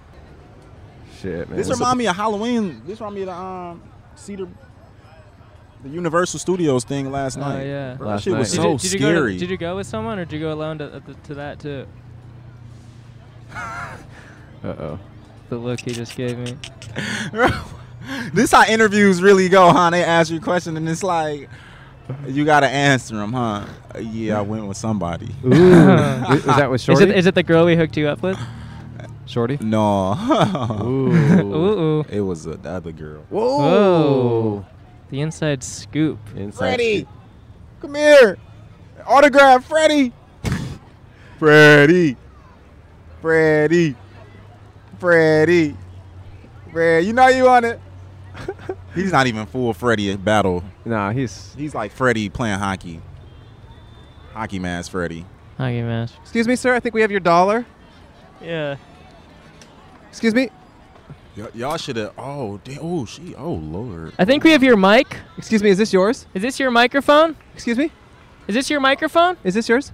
B: Shit, man.
J: This remind me of Halloween. This remind me of the um, Cedar, the Universal Studios thing last
A: Oh,
J: night.
A: yeah.
J: Bro, that shit was
A: Did
J: so
A: you- did you go to-
J: scary.
A: did you go with someone or did you go alone to, to, to that too?
E: Uh oh. The look he just gave me.
J: this how interviews really go, huh? They ask you a question and it's like you gotta answer them, huh? Uh, Yeah, I went with somebody.
B: Ooh, was that with
A: Is
B: Shorty?
A: it, is it the girl we hooked you up with?
B: Shorty?
J: No.
A: Ooh.
J: It was uh, the other girl.
A: Whoa. The inside scoop.
B: Inside
J: Freddie, come here. Autograph, Freddie. Freddie. Freddie. Freddie. Fred, you know you on it. he's not even full Freddy at battle.
B: Nah, he's
J: he's like Freddy playing hockey. Hockey mask Freddy.
A: Hockey mask.
B: Excuse me, sir. I think we have your dollar.
A: Yeah.
B: Excuse me.
J: Y- y'all should have. Oh, damn. Oh, she. Oh, Lord.
A: I think we have your mic.
B: Excuse me, is this yours?
A: Is this your microphone?
B: Excuse me?
A: Is this your microphone?
B: Is this yours?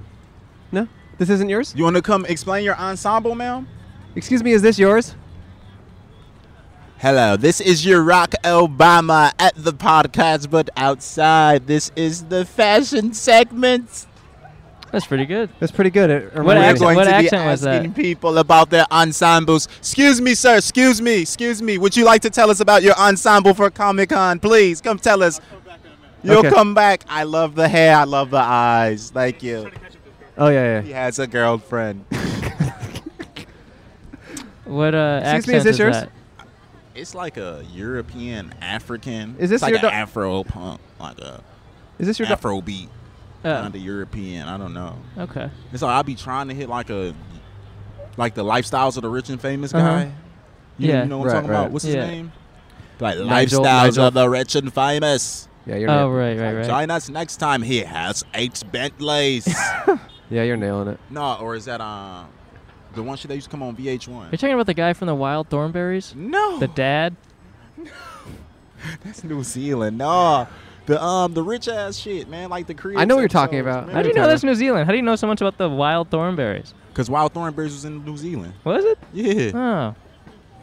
B: No, this isn't yours.
J: You want to come explain your ensemble, ma'am?
B: Excuse me, is this yours?
J: Hello, this is your Rock Obama at the podcast, but outside. This is the fashion segment.
A: That's pretty good.
B: That's pretty good. It
A: What
B: reminds me-
A: accent- what accent was that?
J: asking people about their ensembles. Excuse me, sir. Excuse me. Excuse me. Would you like to tell us about your ensemble for Comic Con? Please come tell us. You'll
B: Okay.
J: come back. I love the hair. I love the eyes. Thank you.
B: Oh yeah,
J: He has a girlfriend.
A: What uh,
J: Excuse
A: accent
J: me, is this yours?
A: that?
J: It's like a European African.
B: Is
J: it's
B: this
J: like
B: your
J: an
B: do-
J: Afro punk, like a.
B: Is this your do-
J: Afro beat?
A: Oh.
J: Kind of European. I don't know.
A: Okay.
J: And so I'll be trying to hit like a, like the lifestyles of the rich and famous
A: Uh-huh.
J: guy. You,
A: Yeah.
J: you know what
B: Right,
J: I'm talking
B: right.
J: about? What's
A: Yeah.
J: his name? Like
B: Nigel-
J: lifestyles
B: Nigel-
J: of the rich and famous.
B: Yeah, you're
A: Oh,
B: nailing-
A: right, right, right.
J: Join us next time. He has eight Bentleys.
B: Yeah, you're nailing it.
J: no, or is that um, the one shit that used to come on
A: Are
J: VH1?
A: you talking about the guy from the Wild Thornberries?
J: No.
A: The dad?
J: That's New Zealand. No, the um, the rich ass shit, man. Like the Korean.
B: I know what you're talking about.
A: How do you know that's New Zealand? How do you know so much about the Wild Thornberries?
J: Because Wild Thornberries was in New Zealand.
A: Was it?
J: Yeah.
A: Oh,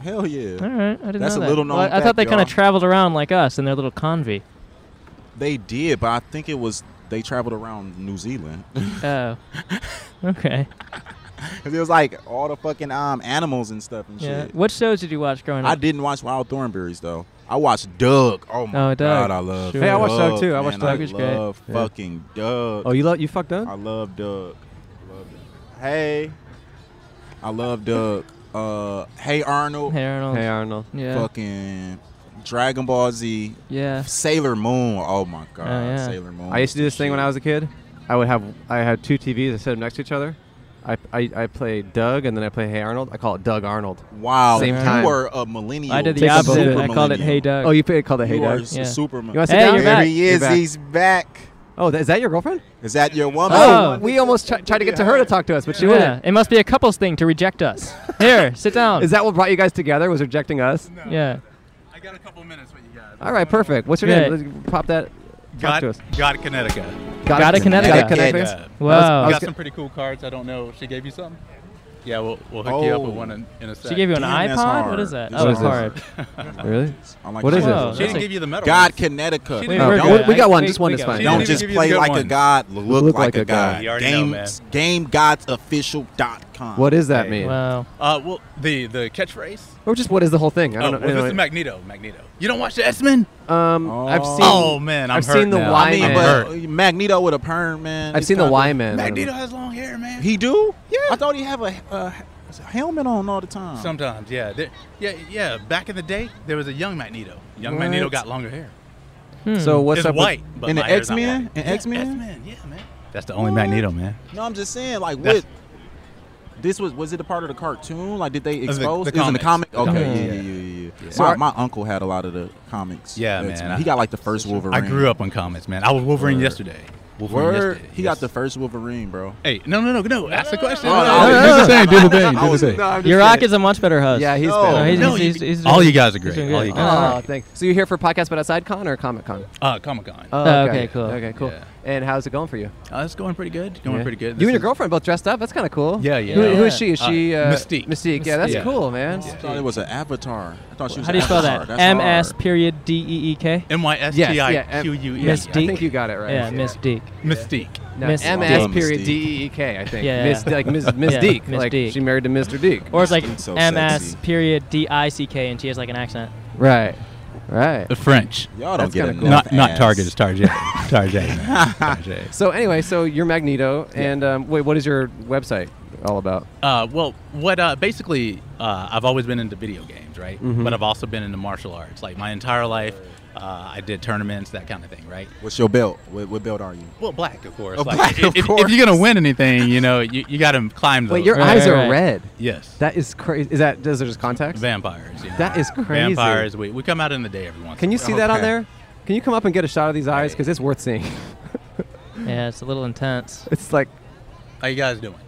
J: Hell yeah.
A: all right. I didn't
J: That's
A: know
J: a
A: that.
J: little known.
A: Well, I- I
J: fact,
A: thought they kind of
J: y'all.
A: traveled around like us in their little convy.
J: They did, but I think it was they traveled around New Zealand.
A: Oh. okay.
J: Cause it was like all the fucking um animals and stuff and
A: Yeah.
J: shit.
A: What shows did you watch growing
J: I
A: up?
J: didn't watch Wild Thornberries though. I watched Doug. Oh my
A: Oh, Doug.
J: god, I love.
A: Sure. Hey, I
B: watched Doug, too. I
J: man.
B: watched Doug. Doug is
J: I
B: great.
J: love
B: Yeah.
J: fucking Doug.
B: Oh, you love you fucked up.
J: I love Doug. I love Doug. Hey, I love Doug. Uh, hey Arnold.
A: Hey Arnold.
B: Hey Arnold.
A: Yeah.
J: Fucking Dragon Ball Z.
A: Yeah.
J: Sailor Moon. Oh my god,
A: yeah.
J: Sailor Moon.
B: I used to do this thing when I was a kid. I would have I had two TVs. I set them next to each other. I, I, I play Doug and then I play Hey Arnold. I call it Doug Arnold.
J: Wow,
B: Same
J: you
B: time.
J: were a millennial.
A: I did the
B: Take a
A: opposite.
B: vote.
A: I called it Hey Doug.
B: Oh, you play, called it Hey
J: you are
B: Doug.
J: s-
A: Yeah.
J: Superman.
B: You wanna sit
A: Hey,
B: down?
A: you're
J: There
A: back.
J: he is.
B: You're back.
J: He's back.
B: Oh, th- is that your girlfriend?
J: Is that your woman?
A: Oh.
B: we almost tri- tried to get to her to talk to us, but she
A: Yeah.
B: wouldn't.
A: It must be a couple's thing to reject us. Here, sit down.
B: Is that what brought you guys together? Was rejecting us?
A: yeah.
K: I got a couple minutes with you guys.
B: All right, perfect. What's your
A: Yeah.
B: name? Let's pop that. Talk
K: Got,
B: to us.
K: got Connecticut.
B: Got,
A: Gotta Connecticut.
B: Gotta
A: Connecticut.
B: Connecticut.
A: Wow.
B: I was- I
A: Oh,
K: I
B: was
K: got
B: g-
K: some pretty cool cards. I don't know. She gave you some? Yeah, we'll, we'll hook you up with
J: Oh.
K: one in, in a sec.
A: She gave you an
J: Damn, that's
A: iPod?
J: hard.
A: What is that?
J: That's
A: oh, it's
B: hard.
A: hard.
B: Really?
J: I'm like,
B: What is
A: Whoa,
B: this?
K: she didn't
A: that's a-
K: give you the medal.
J: God, Connecticut.
K: She didn't
B: Oh,
K: even
B: we-
K: give
B: we
K: you-
B: got one.
A: we-
B: Just one
A: we
B: is
A: got
B: fine.
K: She
J: Don't
K: didn't
J: just
K: even give you
J: play
K: the good
J: like a
K: one.
J: god. Look,
B: Look
J: like, a god.
K: You already know, man.
J: Game, GameGodsOfficial.com.
B: What does that mean?
A: Wow.
K: Uh, well, the, the catchphrase?
B: Or just what is the whole thing? I
K: Oh,
B: don't
K: well,
B: know.
K: this is Magneto. Magneto. You don't watch the X-Men?
B: Um, I've
J: Oh.
B: seen.
K: Oh, man, I'm
B: have seen
K: hurt
B: the
K: now.
B: Y
J: I mean,
K: I'm
B: Man.
K: hurt.
J: but Magneto with a perm, man.
B: I've
J: It's
B: seen the
J: kinda-
B: Y Man.
K: Magneto has long hair, man.
J: uh, He do?
K: Yeah.
J: I thought he have a, a helmet on all the time.
K: Sometimes, yeah. There- yeah, yeah. Back in the day, there was a young Magneto. Young Magneto
J: What?
K: got longer hair.
B: So what's
K: it's
B: up? with-
K: white, but
J: Hmm. in the
K: my hair's not
J: X-Men?
K: white.
J: In
K: yeah,
J: X-Men?
K: X-Men, yeah, man. That's the only Magneto, man.
J: No, I'm just saying, like,
K: That's-
J: what? This was was it a part of the cartoon? Like, did they
K: the-
J: expose?
K: the
J: it was in the comic.
K: comics. The
J: Okay, yeah,
K: comics,
J: yeah,
K: yeah.
J: yeah, yeah.
K: Yeah.
J: My, my uncle had a lot of the comics.
K: Yeah,
J: That's-
K: man, I-
J: He got like the first Wolverine.
K: I grew up on comics, man. I was Wolverine
J: Word.
K: yesterday. Wolverine
J: Word.
K: yesterday.
J: He
K: yes.
J: got the first Wolverine, bro. Oh,
K: Hey, no, no, no, no. Ask the question.
J: no,
K: No,
J: no,
K: no,
J: no,
K: no.
J: no.
L: thing, do the thing,
J: I
L: do
J: was-
L: the thing.
J: no, I'm just
A: Your rock
J: kidding.
A: is a much better host.
B: Yeah, he's
J: No.
A: No, he's-
K: No,
A: he's-
K: you-
A: he's- he's-
K: all you guys are great.
A: he's doing
K: All
A: good.
K: you guys.
B: Oh, thanks. So you're here for podcast, but outside con or Comic Con?
K: Uh, Comic Con.
B: Oh,
A: Oh, okay, cool.
B: Okay, cool.
K: Yeah.
B: And how's it going for you?
L: Uh, it's going pretty good. Going
B: Yeah.
L: pretty good.
B: You
L: This
B: and your
L: is-
B: girlfriend both dressed up. That's kind of cool.
L: Yeah, yeah.
B: Who, who is
L: Yeah.
B: she? Is she
L: Uh,
B: uh,
L: Mystique.
B: Mystique. Yeah, that's
L: Mystique.
B: cool,
J: I
B: man.
J: thought it was an avatar. I thought she was
A: How do you
J: an
A: spell
J: avatar.
A: that?
J: That's
A: M S period D E E K.
L: M Y S T I Q U E.
A: uh, Miss
L: I
A: Deek.
L: think you got it right.
A: Yeah,
L: Yeah.
A: Miss Deek.
L: Mystique.
B: No,
A: Miss
B: M
A: Deek.
B: S period D E E K. I think.
A: Yeah,
B: Miss,
A: yeah.
B: like Miss, Miss
A: Yeah,
B: Deek.
A: Miss
B: like
A: Deek.
B: she married to Mr. Deek.
A: Or it's like
B: so
A: M S
B: sexy.
A: period D I C K, and she has like an accent.
B: Right. Right.
L: The French.
J: Y'all don't
B: That's
J: get
B: kinda
J: enough
L: Not not
J: ass.
L: Target. It's Target. Target. Target.
B: So anyway, so you're Magneto, and um, wait, what is your website all about?
L: Uh, well, what uh, basically, uh, I've always been into video games, right?
B: Mhm.
L: But I've also been into martial arts. Like my entire life, uh, I did tournaments, that kind of thing, right?
J: What's your belt? What, what belt are you?
L: Well, black, of course.
J: Oh,
L: Like,
J: black,
L: if,
J: of
L: if- if
J: course.
L: you're gonna win anything, you know, you, you got to climb. Those.
B: Wait, your eyes are red.
L: Yes.
B: That is crazy. Is that does it just contacts?
L: Vampires. You know?
B: That is crazy.
L: Vampires. We, we come out in the day every once.
B: Can
L: in
B: you
L: a
B: see
L: while.
B: that on
L: Okay.
B: there? Can you come up and get a shot of these eyes? Because it's worth seeing.
A: Yeah, it's a little intense.
B: It's like
L: How you guys doing?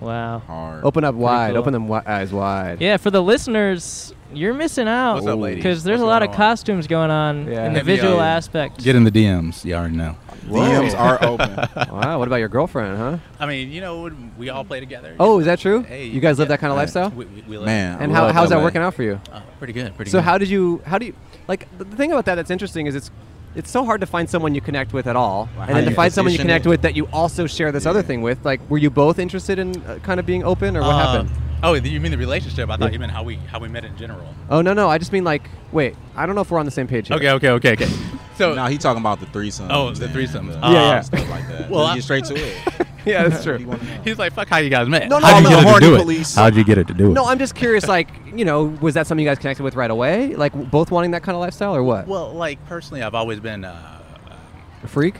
A: Wow.
B: open up
A: Pretty
B: wide,
A: cool.
B: open them wi- eyes wide.
A: Yeah, for the listeners, you're missing out.
L: What's up, ladies?
A: Because there's a lot of costumes going on in the
L: Hit me
A: visual
L: up.
A: aspect.
L: Get in the DMs. You already know.
J: DMs are open.
B: wow. What about your girlfriend, huh?
L: I mean, you know, when we all play together.
B: Oh, is that true?
L: Hey,
B: you guys live
L: yeah.
B: that kind of lifestyle?
L: We, we, we live
B: and how, how's that working out for you?
L: Uh, pretty good. Pretty
B: so
L: good.
B: how did you how do you like the the thing about that that's interesting is it's it's so hard to find someone you connect with at all, and then
L: you
B: to find someone you
L: position
B: connect
L: it.
B: with that you also share this other thing with. Like, were you both interested in uh, kind of being open, or what
L: Um,
B: happened?
L: Oh, you mean the relationship? I thought
B: Yeah.
L: you meant how we how we met in general.
B: Oh no, no, I just mean like, wait, I don't know if we're on the same page. Here.
L: Okay, okay, okay, okay. So
J: now he talking about the threesomes.
L: Oh, the threesomes.
J: and, uh,
B: Yeah, yeah.
J: Stuff like that.
L: Well,
J: Well,
L: I-
J: get straight to it.
B: yeah, that's true.
L: He's like, fuck how you guys met.
B: No, no,
L: How'd
B: no,
L: you get it to
B: horny
L: do it?
B: police.
L: How'd you get it to do it?
B: No, I'm just curious. Like, you know, was that something you guys connected with right away? Like, w- both wanting that kind of lifestyle, or what?
L: Well, like personally, I've always been. Uh,
B: A freak?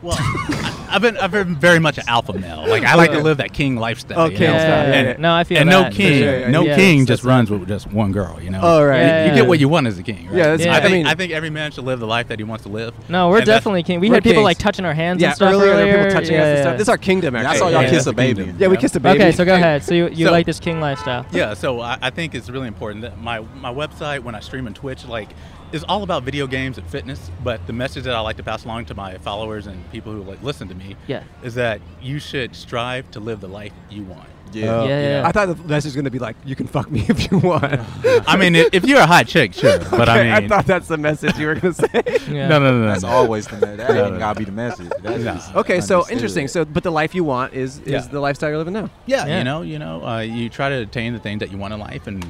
L: well, I- I've been I've been very much an alpha male. Like I like to live that king lifestyle.
B: Oh,
L: you
B: king
L: know?
B: style, yeah,
L: And,
B: yeah. No, I feel
L: and
B: that,
L: no
B: for
L: king,
B: sure, yeah,
L: no
B: yeah.
L: king
B: Yes,
L: just
B: that's
L: runs with just one girl. You know.
B: Oh, right.
L: You- You,
A: Yeah.
L: get what you want as a king. Right?
B: Yeah, that's-
L: I,
B: I
L: think,
B: mean-
L: I think every man should live the life that he wants to live.
A: No, we're
L: And that's-
A: definitely king. We
L: we're
A: had people
L: kings.
A: like touching our hands
B: Yeah,
A: and stuff
B: earlier there were people
A: earlier.
B: touching
A: yeah,
B: us and
A: yeah.
B: stuff. This is our kingdom,
J: Yeah, I saw
B: actually.
J: y'all
B: Yeah,
J: kiss
B: that's
J: a
B: the
J: baby.
B: kingdom. Yeah, we kissed a baby.
A: Okay, so go ahead. So you, you
L: So-
A: like this king lifestyle?
L: Yeah, so I, I think it's really important that my my website when I stream on Twitch like is all about video games and fitness, but the message that I like to pass along to my followers and people who like listen to me
A: Yeah.
L: is that you should strive to live the life you want.
B: Yeah.
L: You know?
B: I thought the message was gonna be like, you can fuck me if you want.
L: I mean, i- if you're a hot chick, sure, but I
B: Okay, I
L: mean-
B: thought that's the message you were gonna say.
L: No, no, no, no.
J: That's
L: no.
J: always the me- that
L: No,
J: ain't
L: no,
J: gotta
L: no.
J: be the message. That's
L: No.
J: just
B: Okay, so
J: understood.
B: interesting. So, but the life you want is is
L: Yeah.
B: the lifestyle you're living now.
L: Yeah, you know, you know, uh, you try to attain the things that you want in life, and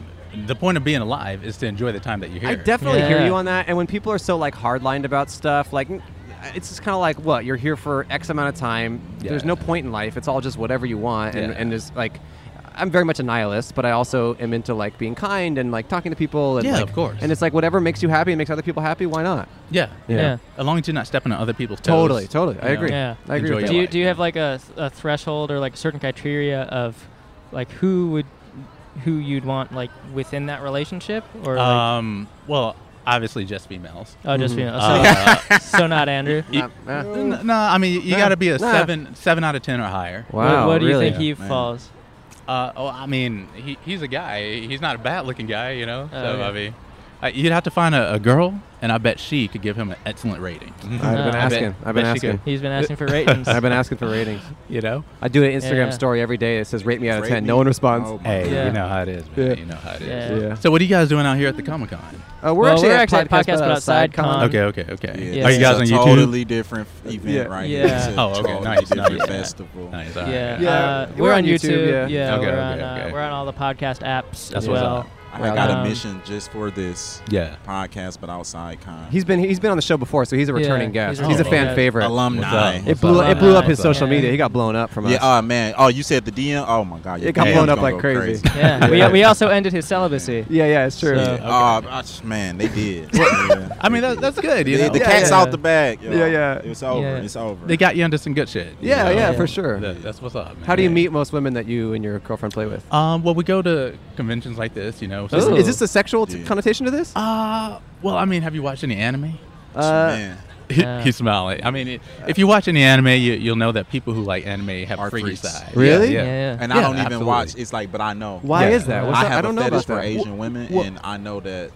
L: the point of being alive is to enjoy the time that you're here.
B: I definitely hear you on that. And when people are so like hardlined about stuff, like n- it's just kind of like, what you're here for X amount of time. There's no point in life. It's all just whatever you want. And
L: Yeah.
B: and there's like, I'm very much a nihilist, but I also am into like being kind and like talking to people. And,
L: Yeah,
B: like-
L: of course.
B: And it's like whatever makes you happy and makes other people happy. Why not?
L: Yeah,
B: Yeah. Yeah.
L: As long as you're not stepping on other people's toes.
B: Totally, totally. I
L: you know,
B: agree. Yeah. I agree
L: enjoy your
B: with that.
A: Do you,
L: life.
A: do you have like a, a threshold or like certain criteria of like who would who you'd want like within that relationship or like-
L: um, well, obviously just females. Uh,
A: Oh, just Mhm.
B: Mm-hmm.
A: females. So- so not Andrew?
L: You-
A: Nah, nah.
L: N- No, I mean you
A: Nah,
L: got to be a
A: nah.
L: seven, seven out of ten or higher.
A: Wow, What- what do you really? think he falls?
L: Uh, oh, I mean he, he's a guy. He's not a bad-looking guy, you know.
A: Oh,
L: so
A: yeah.
L: I mean, uh, you'd have to find a, a girl, and I bet she could give him an excellent rating.
B: I've been
L: I bet-
B: asking. I've been
L: bet she could.
B: asking.
A: He's been asking for ratings.
B: I've been asking for ratings.
L: You know?
B: I do an Instagram
A: Yeah.
B: story every day that says rate me out of
L: Rate
B: 10.
L: me.
B: No one responds.
L: Oh my Hey, you Yeah. know how it is, man. You know how it is.
B: Yeah.
L: So what are you guys doing out here at the Comic Con?
B: Uh, we're
A: Well,
B: actually
A: we're
B: at
A: actually at
B: podcast,
A: Podcast
B: but
A: But
B: outside
A: Outside
B: con.
A: Con.
L: Okay, okay, okay.
J: Yeah,
L: are
J: this
L: you
J: is
L: guys
J: a
L: on YouTube?
J: Totally different f- event
B: Yeah.
J: right
A: Yeah.
J: here. It's a
L: Oh, okay,
J: totally
L: nice,
J: different
L: nice.
J: festival.
L: Nice, all right.
A: yeah,
L: Yeah.
A: uh,
L: We're
A: we're
L: on
A: on YouTube.
L: YouTube, yeah.
A: yeah,
L: Okay,
A: we're,
L: okay,
A: on, uh,
L: okay.
A: we're on all the podcast apps
L: That's
A: as
L: what's
A: well.
L: up.
J: I got
A: Um,
J: a mission just for this
L: Yeah.
J: podcast, but outside con.
B: He's been he's been on the show before, so he's a
J: Yeah,
B: returning
J: he's
B: guest.
J: a
B: He's, a
J: returning
B: fan
J: guest.
B: favorite.
J: Alumni. What's up?
B: It blew
J: What's
B: it blew
J: up?
B: up his
J: What's up?
B: social media. He got blown up from
J: yeah,
B: us.
J: oh man. Oh, you said the DM? Oh my god.
B: It got blown up like crazy.
A: yeah, we, we also ended his celibacy.
B: Yeah, yeah, it's true.
A: So-
J: Yeah. Oh, I just- man, they did. Yeah.
L: I mean, that, that's good. You
J: The-
L: know?
J: the
L: Yeah,
J: cat's
L: yeah.
J: out the bag. yo.
B: Yeah, yeah.
J: It's over.
B: Yeah.
J: It's over.
L: They got you into some good shit. you
B: Yeah,
L: know?
B: yeah, for sure.
L: That- that's what's up. Man.
B: How do you meet most women that you and your girlfriend play with?
L: Um, well, we go to conventions like this, you know.
B: Is, is this a sexual t- connotation to this?
L: Uh, well, I mean, have you watched any anime?
B: Uh,
L: He-
B: Uh,
L: He's smiling. I mean, it, if you watch any anime, you, you'll know that people who like anime have
J: Are
L: freaky
J: freaks.
L: side.
B: Really?
L: Yeah.
J: And I
L: Yeah,
J: don't even
L: absolutely.
J: watch. It's like, but I know.
B: Why is that? What's
J: I
B: up?
J: have
B: I don't
J: a
B: know
J: fetish
B: about
J: for
B: that.
J: Asian
B: Wh-
J: women,
B: wh-
J: and I know that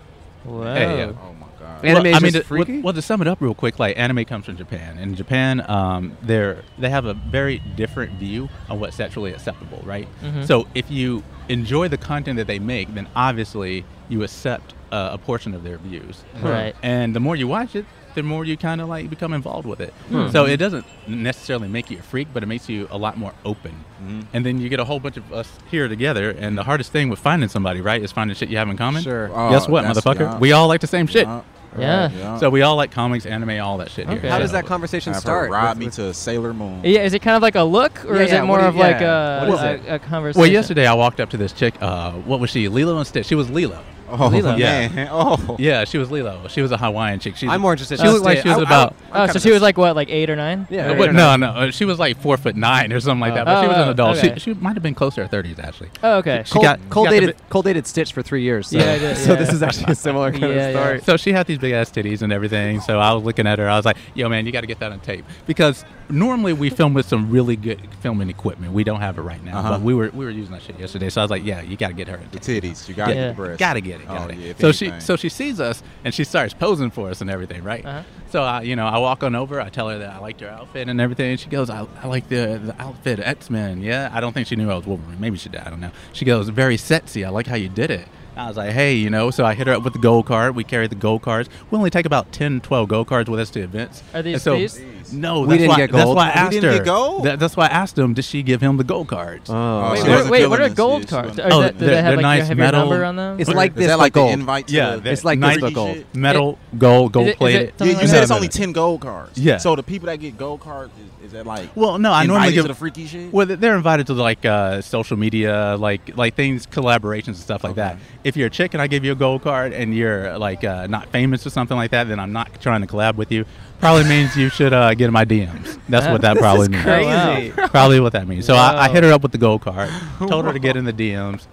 A: Wow.
L: Hey, yeah.
J: Oh my god.
L: Well,
J: Anime's
L: I mean,
J: just
L: to- well-
J: freaky?
L: Well, to sum it up real quick, like anime comes from Japan, and in Japan, um, they're they have a very different view on what's sexually acceptable, right?
M: Mhm.
L: So if you enjoy the content that they make, then obviously you accept uh, a portion of their views,
A: Hmm. Right.
L: And the more you watch it, the more you kind of like become involved with it.
A: Hmm.
L: So it doesn't necessarily make you a freak, but it makes you a lot more open.
J: Mm-hmm.
L: And then you get a whole bunch of us here together. And the hardest thing with finding somebody, right, is finding shit you have in common.
J: Sure.
L: Guess
J: Oh,
L: what,
J: that's-
L: motherfucker?
J: yeah.
L: We all like the same shit.
J: Yeah.
A: Yeah.
J: Yeah.
L: So we all like comics, anime, all that shit. Here.
B: How does
L: So-
B: that conversation
J: I've heard
B: start?
J: Ride
B: With-
J: me to Sailor Moon.
A: Yeah, is it kind of like a look, or
B: Yeah,
A: is
B: yeah,
A: it more
B: what do
A: of
B: you-
A: like
B: yeah.
A: a,
B: What is
A: a,
B: it?
A: a conversation?
L: Well, yesterday I walked up to this chick. Uh, what was she? Lilo and Stitch. She was Lilo.
A: Oh, Lilo.
L: yeah.
A: man. Oh.
L: yeah. She was Lilo. She was a Hawaiian chick. She's
B: I'm more interested
L: She
B: in
L: looked like
B: Stitch.
L: she was
B: I- I-
L: about.
A: Oh, so she was like what, like eight or nine?
L: Uh, what- no, no. uh, She was like four foot nine or something like that. But
A: Oh,
L: she was an
A: oh,
L: adult.
A: okay.
L: She, she might have been closer to thirties actually.
A: Oh, okay.
L: She
B: cold,
L: got
B: cold
L: got the
B: dated, cold dated Stitch for three years. So,
L: Yeah, I did,
B: so
L: yeah.
B: this is actually a similar kind
L: Yeah,
B: of
L: yeah.
B: story.
L: So she had these big ass titties and everything. So I was looking at her. I was like, "Yo, man, you got to get that on tape because normally we film with some really good filming equipment. We don't have it right now,
J: Uh-huh.
L: but we were we were using that shit yesterday. So I was like, "Yeah, you got to get her on tape.
J: titties. You gotta get the breasts.
L: Got to get it.
J: Oh,
L: Got it.
J: yeah, if
L: so she
J: anything.
L: so she sees us and she starts posing for us and everything, right?
B: Uh.
J: Uh-huh.
L: So I, you know, I walk on over. I tell her that I liked her outfit and everything. And she goes, "I, I like the the outfit, X Men. Yeah, I don't think she knew I was Wolverine. Maybe she did. I don't know. She goes, very sexy. I like how you did it." I was like, hey, you know, so I hit her up with the gold card. We carry the gold cards. We only take about 10, 12 gold cards with us to events.
A: Are these
L: And so,
A: these?
L: No,
B: We
L: that's
B: didn't
L: why,
B: get
L: That's
B: gold.
L: why I
B: We
L: asked
B: didn't
L: her.
B: get gold?
L: That- that's why I asked him, did she give him the gold cards? Oh,
B: Oh.
A: Wait, what, wait, what are gold cards? Are that, do they have like your, have your number on them?
L: Is that
J: gold? invite to
L: yeah,
J: the-
L: that-
J: It's like
L: nice
J: this- gold.
L: metal,
J: It-
L: gold,
J: is
L: gold
J: it- is
L: plated.
J: it something like that? You said it's only 10 gold cards.
L: Yeah.
J: So the people that get gold cards is, is that like
L: well, Oh, no, I
J: invited
L: normally give
J: to the freaky shit.
L: Well, they're invited to like uh, social media, like like things, collaborations and stuff like that. If you're a chick and I give you a gold card and you're like uh, not famous or something like that, then I'm not trying to collab with you. Probably means you should uh, get in my DMs. That's what that
B: This
L: probably
B: is
L: means.
B: crazy. Wow.
L: Probably what that means. So I, I
B: Wow.
L: hit her up with the gold card, told her to get in the DMs,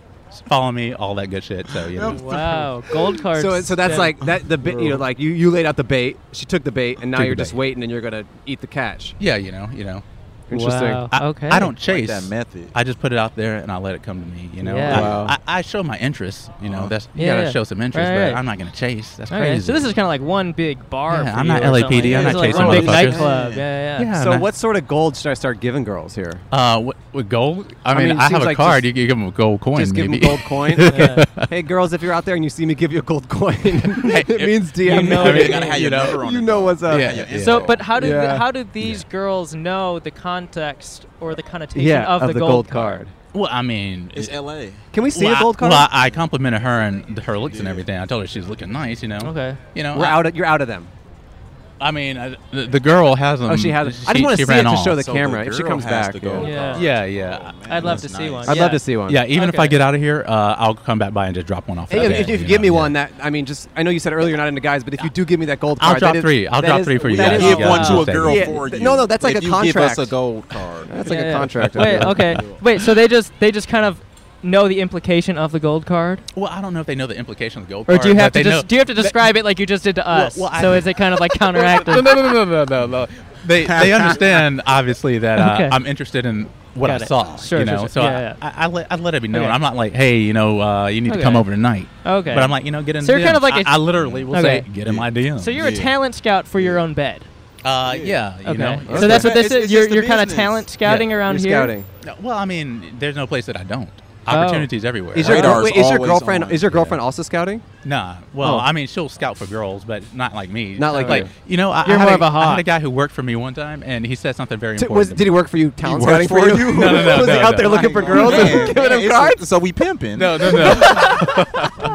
L: follow me, all that good shit. So you know.
A: Wow, gold cards.
B: So, so that's
A: Yeah.
B: like that the bit you know like you, you laid out the bait. She took the bait, and now
L: Took the
B: you're just
L: bait.
B: waiting, and you're gonna eat the catch.
L: Yeah, you know, you know.
B: Interesting.
A: Wow,
L: I,
A: okay.
L: I don't
A: Like
L: chase
A: that
J: method.
L: I just put it out there and I let it come to me. You know,
A: Yeah.
L: I,
A: Wow.
L: I, I show my interest. You know, that's you
A: Yeah,
L: gotta
A: yeah.
L: show some interest,
A: Right,
L: but
A: right.
L: I'm not gonna chase. That's
A: Okay,
L: crazy.
A: So this is kind of like one big bar.
L: Yeah,
A: for
L: I'm
A: you
L: not
A: or something
L: LAPD,
A: like
L: I'm
A: that.
L: not
A: It's
L: chasing
A: like one big
L: motherfuckers.
A: nightclub. Yeah, yeah.
L: Yeah,
B: so
L: man.
B: what sort of gold should I start giving girls here?
L: uh, what, with gold? I
B: I
L: mean, I,
B: mean, it
L: have
B: seems
L: a
B: like
L: card.
B: just-
L: you can give them a gold coin.
B: Just give
L: maybe.
B: them gold coin. Okay. hey girls, if you're out there and you see me give you a gold coin, it means DM. me.
L: know
B: I
L: it
B: mean,
L: means- gotta have
B: you
L: your
B: know,
L: number on
B: you
L: it.
B: know what's up.
L: Yeah, yeah, yeah.
A: So, but how do
B: Yeah.
A: how do these girls know the context or the connotation
L: Yeah,
A: of,
L: of
A: the,
L: the
A: gold,
L: gold
A: card?
L: Well, I mean,
J: It's LA.
B: Can we see
L: well,
B: a
L: I-
B: gold card?
L: Well, I, I complimented her and her looks and everything. I told her she's looking nice. You know.
A: Okay.
L: You know,
B: We're
L: I-
B: out. Of, you're out of them.
L: I mean, I, the, the girl has them.
B: Oh, she has 'em. I just wanna
L: she
B: see
L: ran
B: it to
L: off.
B: show the So the camera. If she girl comes has back, the yeah. gold
A: card.
L: yeah, yeah.
A: Oh, man, I'd love that's to see nice. one.
B: I'd love
A: Yeah.
B: to see one.
L: Yeah, even if I
A: Okay.
L: get out of here, uh, I'll come back by and just drop one off.
B: Hey,
L: that
B: if,
L: van,
B: if you
L: know?
B: give me one, that I mean, just I know you said earlier you're not into guys, but if you do give me that gold
L: I'll
B: card,
L: drop
B: that is-
L: three. I'll
B: that
L: drop
B: is-
L: three for you
B: that
L: guys.
B: is-
L: Give one to a girl
B: Yeah,
J: for
B: th-
J: you.
B: No, no, that's like
J: If
B: a
J: you give us
B: contract.
J: a gold card.
B: That's like
A: Yeah,
B: a
A: yeah.
B: contract.
A: Wait, okay. Wait, so they just they just kind of know the implication of the gold card?
L: Well, I don't know if they know the implication of the gold
A: Or
L: card.
A: do you have
L: but
A: to
L: they
A: just,
L: know-
A: do you have to describe it like you just did to uh,
L: Well,
A: us?
L: well, I-
A: so is it kind of like
L: no,
A: counteractive?
L: no, no, no, no, no, no. They they understand obviously that uh,
A: Okay.
L: I'm interested in what
A: Got
L: I
A: it.
L: saw.
A: Sure,
L: you
A: sure,
L: know,
A: sure.
L: so
A: Yeah,
L: I,
A: yeah.
L: I, I let I let it be known.
A: Okay.
L: I'm not like, hey, you know, uh, you need
A: Okay.
L: to come over tonight.
A: Okay.
L: But I'm like, you know, get in.
A: So
L: the
A: you're kind of
L: DMs.
A: like a-
L: I, I literally will
A: Okay.
L: say, get in my DM.
A: So you're a talent scout for your own bed.
L: Uh, yeah, you
A: Okay.
L: know.
A: So that's what this is. You're, you're kind of talent scouting around here.
L: No, well, I mean, there's no place that I don't.
A: Oh.
L: Opportunities everywhere.
B: Is your, wait, is your girlfriend is your girlfriend also scouting?
L: Nah. Well,
B: Oh.
L: I mean, she'll scout for girls, but not like me.
B: Not like
L: like
B: you.
L: you know. I,
B: You're
L: I had
B: more of a
L: I
B: hog.
L: had a guy who worked for me one time, and he said something very
B: T-
L: important.
B: was-
L: to me.
B: did he work for you, talent
L: worked
B: scouting for you?
L: No, no, no.
B: Was he
L: no,
B: out
L: no.
B: there looking for girls and giving them
J: it's a-
B: cards?
J: so we pimping.
L: No, no, no.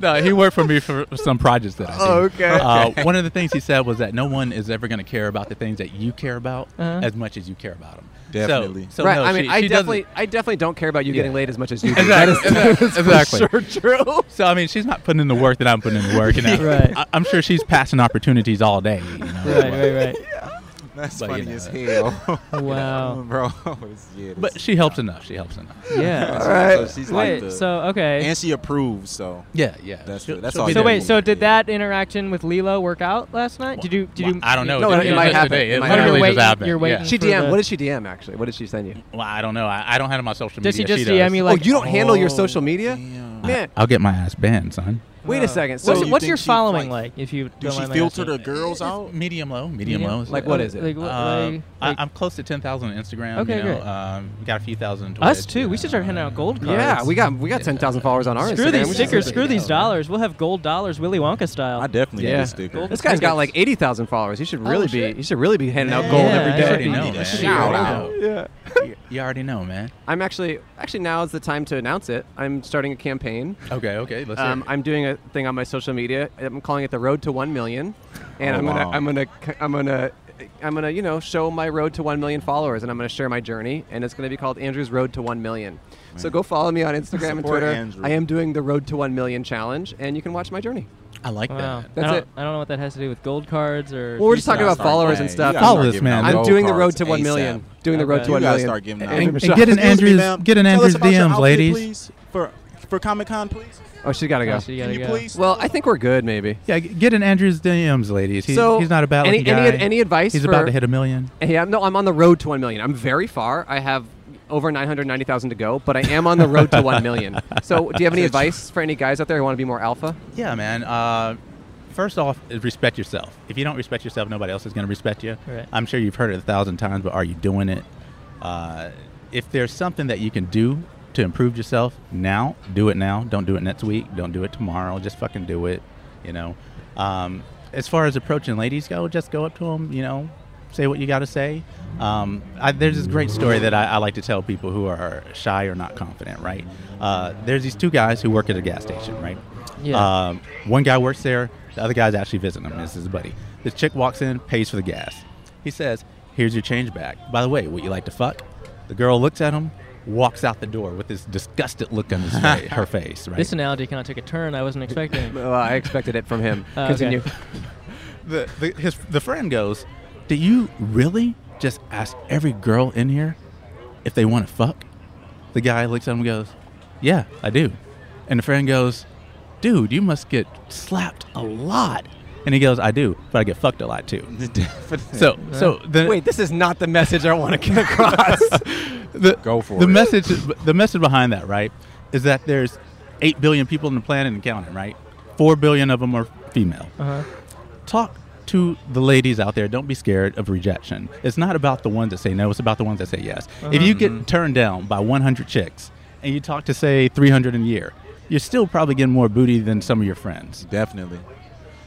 L: no, he worked for me for some projects that I did.
B: Oh, okay.
L: Uh,
B: Okay.
L: one of the things he said was that no one is ever going to care about the things that you care about
B: Uh-huh.
L: as much as you care about them.
B: Definitely.
L: So, so
B: right.
L: no,
B: I mean,
L: she-
B: I
L: she doesn't-
B: definitely, I definitely don't care about you
L: Yeah.
B: getting laid as much as you do.
L: Exactly.
B: That is, that's for
L: Exactly.
B: sure true.
L: So I mean, she's not putting in the work that I'm putting in the work. You know?
A: Right.
L: I, I'm sure she's passing opportunities all day. You know?
A: Right, right, right.
J: That's
L: But, you
J: funny
L: know,
J: as hell.
A: Wow.
J: bro. it's- yeah,
L: But she helps enough. She helps enough.
A: Yeah.
J: So-
A: Alright.
J: So she's
A: Wait,
J: like the,
A: so, okay.
J: and she approves. So
L: Yeah, yeah.
J: That's
L: She'll-
J: the, that's
L: she'll
J: all.
L: be
J: you
A: So
L: there.
J: need.
A: wait, so did that interaction with Lilo work out last night? Did you? Did
L: Well,
A: you?
L: I don't know.
B: No,
L: It
B: it,
L: just-
B: might
L: just
B: happen.
L: today.
B: It
L: It
B: might
L: literally
B: happen.
L: just happened.
A: you're waiting
L: Yeah.
B: She
A: for
B: DM.
A: the-
B: What did she DM actually? What did she send you?
L: Well, I don't know. I, I don't handle my social
A: Does she
L: media.
A: just DM you, like,
B: oh, you don't handle your
A: oh,
B: social media, man.
L: I'll get my ass banned, son.
B: Wait a second.
A: So
B: So
A: what's,
B: you
A: what's
B: think
A: your
B: she,
A: following
B: like-
A: like? If you
B: does
A: don't
B: she
A: mind my
B: filter
A: asking?
J: the girls out?
L: Medium low, medium
A: Medium?
L: low. is
A: Like, what is it? Like, what-
L: Uh,
A: like-
L: I, I'm close to ten thousand on Instagram.
A: Okay,
L: you know,
A: great.
L: um, got a few thousand. on
A: Us
L: Twitch.
A: too. We should start handing out gold cards.
B: Yeah, we got we got ten thousand followers on our
A: Screw
B: Instagram.
A: these
B: We should-
A: stickers. Screw these dollars. We'll have gold dollars, Willy Wonka style. I
J: definitely
B: Yeah. This guy's got like eighty thousand followers. He should
A: Oh,
B: really be.
A: shit.
B: He should really be handing out
A: Yeah,
B: gold
A: yeah,
B: every
A: I
B: day.
A: already know, man. Shout
B: Yeah.
L: You- You already know, man.
B: I'm actually actually now is the time to announce it. I'm starting a campaign.
L: Okay, okay, let's hear
B: um,
L: it.
B: I'm doing a thing on my social media. I'm calling it the Road to One Million, and
L: Oh,
B: I'm gonna
L: wow.
B: I'm gonna c- I'm gonna I'm gonna you know show my road to one million followers, and I'm gonna share my journey, and it's gonna be called Andrew's Road to One Million. So go follow me on Instagram and
A: Support
B: Twitter.
A: Andrew.
B: I am doing the Road to One Million challenge, and you can watch my journey.
L: I like
A: Wow.
B: That's
A: I don't,
B: it.
A: I don't know what that has to do with gold cards or.
B: Well, we're just talking about followers and stuff. I'm doing the Road to One Million. Doing the Road to One Million.
I: And- and get an
J: Excuse me,
I: Andrews-
J: ma'am.
I: get an
J: Tell us
I: Andrews
J: about your
I: DMs,
J: outfit,
I: ladies.
J: Please, for for Comic Con, please.
B: Oh, she gotta go.
J: Oh, she gotta Can you go. please
B: well, I think we're good, maybe.
L: Yeah, g- get in Andrew's DMs, ladies. He's, he's not a bad
B: any,
L: looking guy.
B: any, any advice?
L: He's
B: for,
L: about to hit a million.
B: Yeah, no, I'm on the road to one million. I'm very far. I have over nine hundred ninety thousand to go, but I am on the road to one million. So, do you have any
L: Good.
B: advice for any guys out there who want to be more alpha?
L: Yeah, man. Uh, first off, is respect yourself. If you don't respect yourself, nobody else is going to respect you.
A: Right.
L: I'm sure you've heard it a thousand times, but are you doing it? Uh, if there's something that you can do to improve yourself now, do it now. Don't do it next week. Don't do it tomorrow. Just fucking do it. You know. Um, as far as approaching ladies go, just go up to them. You know, say what you got to say. Um, I, there's this great story that I, I like to tell people who are shy or not confident. Right. Uh, there's these two guys who work at a gas station. Right.
A: Yeah.
L: Um, one guy works there. The other guy's actually visiting him. This is his buddy. This chick walks in, pays for the gas. He says, "Here's your change back. By the way, would you like to fuck?" The girl looks at him, walks out the door with this disgusted look on his fa- her face. Right.
A: This analogy kind of took a turn I wasn't expecting.
B: well, I expected it from him.
A: Uh,
B: Continue.
L: the, the, his, the friend goes, Do you really just ask every girl in here if they want to fuck? The guy looks at him and goes, Yeah, I do. And the friend goes, Dude, you must get slapped a lot. And he goes, I do, but I get fucked a lot too. so, so the,
B: wait, this is not the message I want to get across.
L: the,
B: Go for
L: the
B: it.
L: message the message behind that right is that there's 8 billion people on the planet and counting right 4 billion of them are female
A: Uh-huh.
L: talk to the ladies out there don't be scared of rejection it's not about the ones that say no it's about the ones that say yes if you
A: Uh-huh.
J: Mm-hmm.
A: Mhm.
L: get turned down by 100 chicks and you talk to say 300 in a year you're still probably getting more booty than some of your friends
J: definitely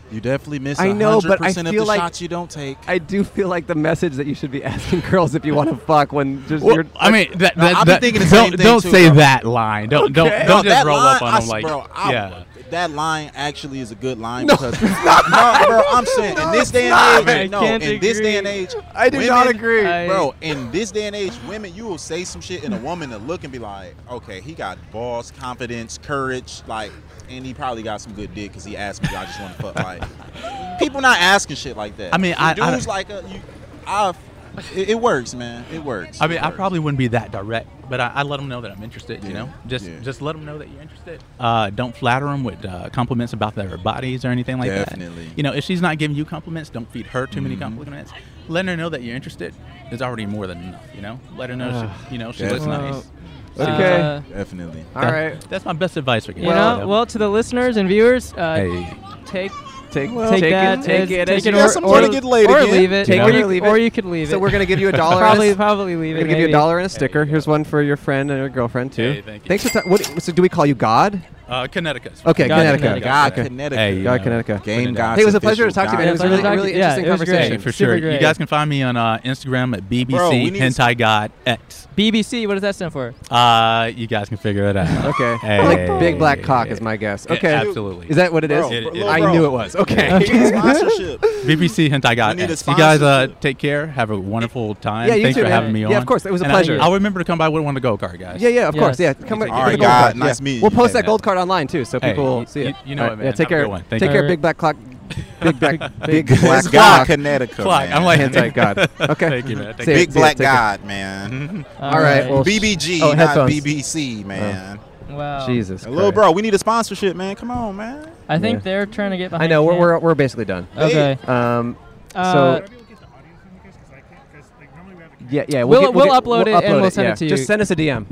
J: you definitely miss
B: I know, but I
J: 100% of
B: feel
J: the
B: like
J: shots you don't take.
B: I do feel like the message that you should be asking girls if you want to fuck when just
L: Well,
B: you're.
L: I mean, that,
J: No,
L: that,
J: I've been
L: that,
J: thinking the
L: don't,
J: same thing
L: don't
J: too,
L: say
J: bro.
L: that line. Don't don't
J: Okay.
L: don't
J: No,
L: just
J: that
L: roll up
J: line,
L: on
J: I
L: them like
J: bro, I-
L: yeah.
J: That line actually is a good line
B: No,
J: because no, bro, I'm saying in this day
B: stop
J: and
B: it. I
J: age, no, in
B: can't
J: this
B: agree.
J: day and age,
B: I do not agree. I-
J: bro. In this day and age, women, you will say some shit, and a woman to look and be like, okay, he got balls, confidence, courage, like, and he probably got some good dick because he asked me, I just want to fuck. Like, people not asking shit like that.
L: I mean,
J: You
L: I- I
J: dudes
L: don't-
J: like, a, you, I, it, it works, man. It works.
L: I mean,
J: It
L: I
J: works.
L: probably wouldn't be that direct, but I, I let them know that I'm interested. You
J: Yeah,
L: know, just
J: yeah.
L: just let them know that you're interested. Uh, don't flatter them with uh, compliments about their bodies or anything like
J: Definitely.
L: that. You know, if she's not giving you compliments, don't feed her too many
J: Mhm.
L: compliments. Letting her know that you're interested is already more than enough. You know, let her know she, you know she looks
J: Definitely.
L: nice.
A: Okay. Uh,
J: Definitely.
B: All
L: That-
B: right.
L: that's my best advice for guys.
A: You know, well, to the listeners and viewers, uh,
L: Hey.
A: take.
B: Take,
A: take,
B: take it-
A: that,
B: take
A: as-
B: it as
A: take
B: you
A: it,
B: got
A: or,
B: some
A: or,
B: money to get laid
A: or
B: again.
A: leave it,
B: Take
A: or,
B: it or
A: you,
B: leave
A: or
B: it.
A: you could leave it.
B: So we're gonna give you a dollar.
A: probably, probably leave
B: We're
A: it.
B: gonna give you a
A: maybe.
B: dollar and a sticker. Here's one for your friend and your girlfriend too.
L: Hey, thank you.
B: Thanks for ta- what. So do we call you God?
L: Uh, Connecticut.
B: Okay,
L: God,
B: Connecticut.
L: Connecticut.
B: God,
L: Okay.
B: Connecticut.
L: Hey, you
B: God,
L: know,
B: Connecticut.
L: Game
B: Hey,
L: God's
B: it was a pleasure to
L: official
B: talk to you. man. It was a
L: God.
B: really,
L: Yeah,
B: really
L: it
B: interesting
A: was great.
B: conversation.
L: Hey, for
A: Super
L: sure. You
A: great.
L: guys can find me on uh, Instagram at BBC
A: Bro, we need to-
L: Hentai God X.
A: BBC. What does that stand for?
L: Uh, you guys can figure it out.
B: Okay.
L: Hey.
B: Like big black cock is my guess.
L: Yeah,
B: Okay.
L: absolutely.
B: Is that what it is?
L: Bro, It- it-
B: I
L: bro.
B: knew it was. Okay.
L: Yeah.
J: Need a sponsorship.
L: BBC Hentai God
J: We need a
L: X. You guys uh,
J: sponsorship.
L: take care. Have a wonderful time.
B: Yeah, you
L: Thanks
B: too,
L: for
B: man.
L: having me
B: Yeah,
L: on.
B: of course. It was a
L: And I-
B: pleasure.
L: I'll remember to come by with one of the go kart guys.
B: Yeah, yeah, of course. Yeah.
L: Yes.
B: Come
L: You
B: on.
L: take
B: with
L: care.
B: the gold card. Yeah. We'll post that gold card online too, so
L: Hey,
B: people
L: you-
B: will see
L: you-
B: it.
L: you know
B: All
L: it,
B: right,
L: man.
B: Yeah, take
L: Have a
B: care.
L: good one. Thank
B: Take
L: you.
B: care, big black cock. Big black, big,
J: Big
B: black
J: God,
B: cock.
J: Connecticut, Clock. man.
L: I'm like-
B: anti god. Okay.
L: Thank you, man. Thank
B: See ya,
L: you.
J: Big
B: see ya,
J: Black
B: take care. Mm-hmm.
J: God, man.
B: All right. Well,
J: BBG,
B: oh,
J: not
B: headphones.
J: BBC, man.
A: Oh. Wow.
B: Jesus
J: Little
B: Christ.
J: bro, we need a sponsorship, man. Come on, man.
A: I think
B: Yeah.
A: they're trying to get
B: I
A: behind.
B: know. We're,
A: Cam.
B: we're, we're basically done.
A: Okay.
B: Um. So.
A: Uh,
B: yeah, yeah.
A: We'll-
B: get-
A: we'll
B: get-
A: upload it and we'll send
B: yeah.
A: it to you.
B: Just send us a DM.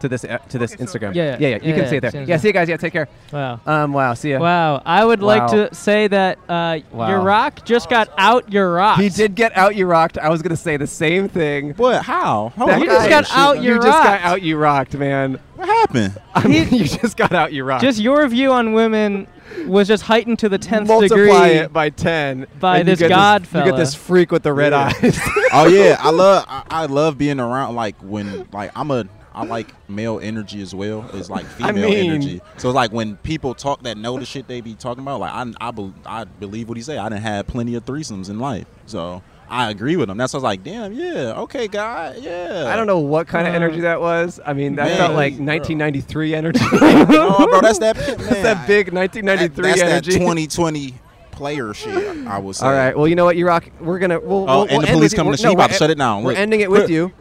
N: to this uh, to this Instagram.
I: Yeah, yeah,
N: yeah, You
I: yeah,
N: can
I: yeah,
N: see it
I: same
N: there. Yeah,
I: as
N: see you guys. Yeah, take care.
I: Wow.
N: Um. Wow. See ya.
I: Wow. I would like
N: Wow.
I: to say that uh,
N: Wow.
I: your rock just got out your rock.
N: He did get out. You rocked. I was gonna say the same thing.
J: What? How?
I: Hold on. You just got out
N: You
I: you
N: just got
I: rocked.
N: out. You rocked, man.
J: What happened?
N: I mean, you just got out. You rocked.
I: Just your view on women was just heightened to the tenth
N: multiply
I: degree.
N: it by ten.
I: by
N: and you
I: this
N: get
I: god
N: You
I: fella.
N: get this freak with the red
J: Yeah.
N: eyes.
J: oh yeah, I love I, I love being around like when like I'm a I like male energy as well as like
N: I
J: female
N: mean-
J: energy. So like when people talk that know the shit they be talking about, like I I, bel I believe what he say. I done had plenty of threesomes in life, so I agree with him. That's why I was like, damn, yeah, okay, God, yeah.
N: I don't know what kind of energy that was. I mean, that
J: Man,
N: felt like
J: bro.
N: 1993 energy.
J: no, bro, that's that man,
N: That's that big
J: that,
N: 1993
J: that's
N: energy.
J: that 2020 player shit. I would say.
N: All right. Well, you know what, you rock. We're gonna. We'll,
J: Oh,
N: we'll,
J: and
N: we'll
J: the
N: end
J: police
N: with you.
J: coming to
N: We're-
J: see you.
N: no,
J: About
N: we're
J: to shut
N: e-
J: it down.
N: We're
J: Look.
N: ending it with
J: Put-
N: you.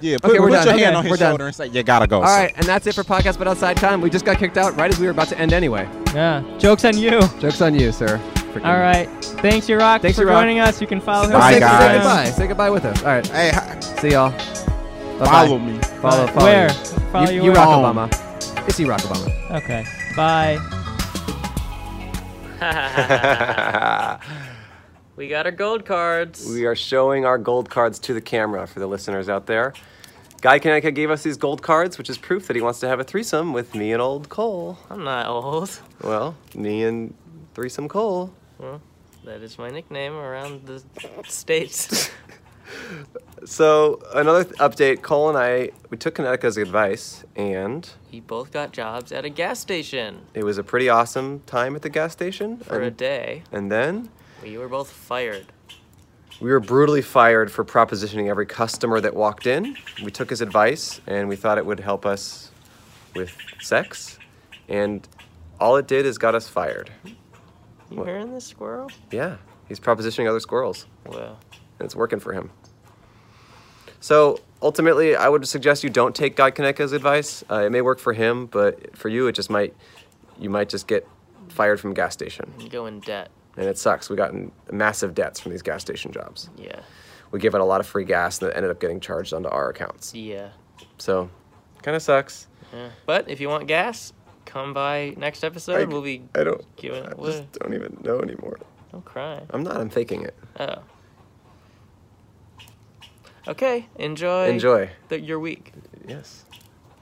J: Yeah, put,
N: okay, we're
J: put
N: done.
J: your hand
N: Okay,
J: on his
N: we're done.
J: shoulder and say, you gotta go.
N: All
J: sir."
N: right, and that's it for podcast. But outside time, we just got kicked out right as we were about to end anyway.
I: Yeah. Jokes on you.
N: Jokes on you, sir. Freaking-
I: All right. Thanks, your rock,
N: Thanks,
I: for
N: You Rock.
I: joining us. You can follow him.
N: No, say,
I: on Instagram.
N: say goodbye. Say goodbye with us. All right.
J: Hey,
N: see y'all. Bye-bye.
J: Follow me.
N: Follow.
I: Bye.
N: follow
I: Where?
N: You.
I: Follow
N: you,
I: you
N: you
I: where?
N: rock,
I: Home.
N: Obama. It's you, rock, Obama.
I: Okay. Bye.
A: we got our gold cards.
B: We are showing our gold cards to the camera for the listeners out there. Guy Connecticut gave us these gold cards, which is proof that he wants to have a threesome with me and old Cole.
A: I'm not oh, old.
B: Well, me and threesome Cole.
A: Well, that is my nickname around the states.
B: So another th- update: Cole and I we took Connecticut's advice, and
A: we both got jobs at a gas station
B: it was a pretty awesome time at the gas station.
A: for a
B: and,
A: day.
B: and then
A: We were both fired.
B: we were brutally fired for propositioning every customer that walked in. We took his advice, and we thought it would help us with sex, and all it did is got us fired.
A: You hearing this squirrel?
B: Yeah, he's propositioning other squirrels.
A: Wow.
B: And it's working for him. So ultimately, I would suggest you don't take Guy Kaneka's advice. Uh, it may work for him, but for you, it just might, you might just get fired from a gas station.
A: You go in debt.
B: And it sucks. We got in massive debts from these gas station jobs.
A: Yeah.
B: We gave out a lot of free gas that ended up getting charged onto our accounts.
A: Yeah.
B: So kind of sucks.
A: yeah. But if you want gas, come by next episode.
B: I-
A: we'll be
B: I don't-
A: giving
B: I just don't even know anymore.
A: Don't cry.
B: I'm not, I'm faking it.
A: Oh. Okay. Enjoy.
B: Enjoy.
A: The, your week.
B: Yes.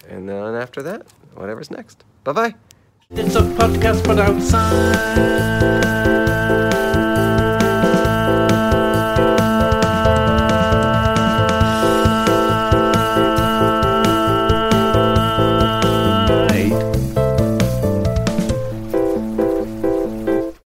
B: And then after that, whatever's next. Bye bye.
O: It's a podcast, but outside.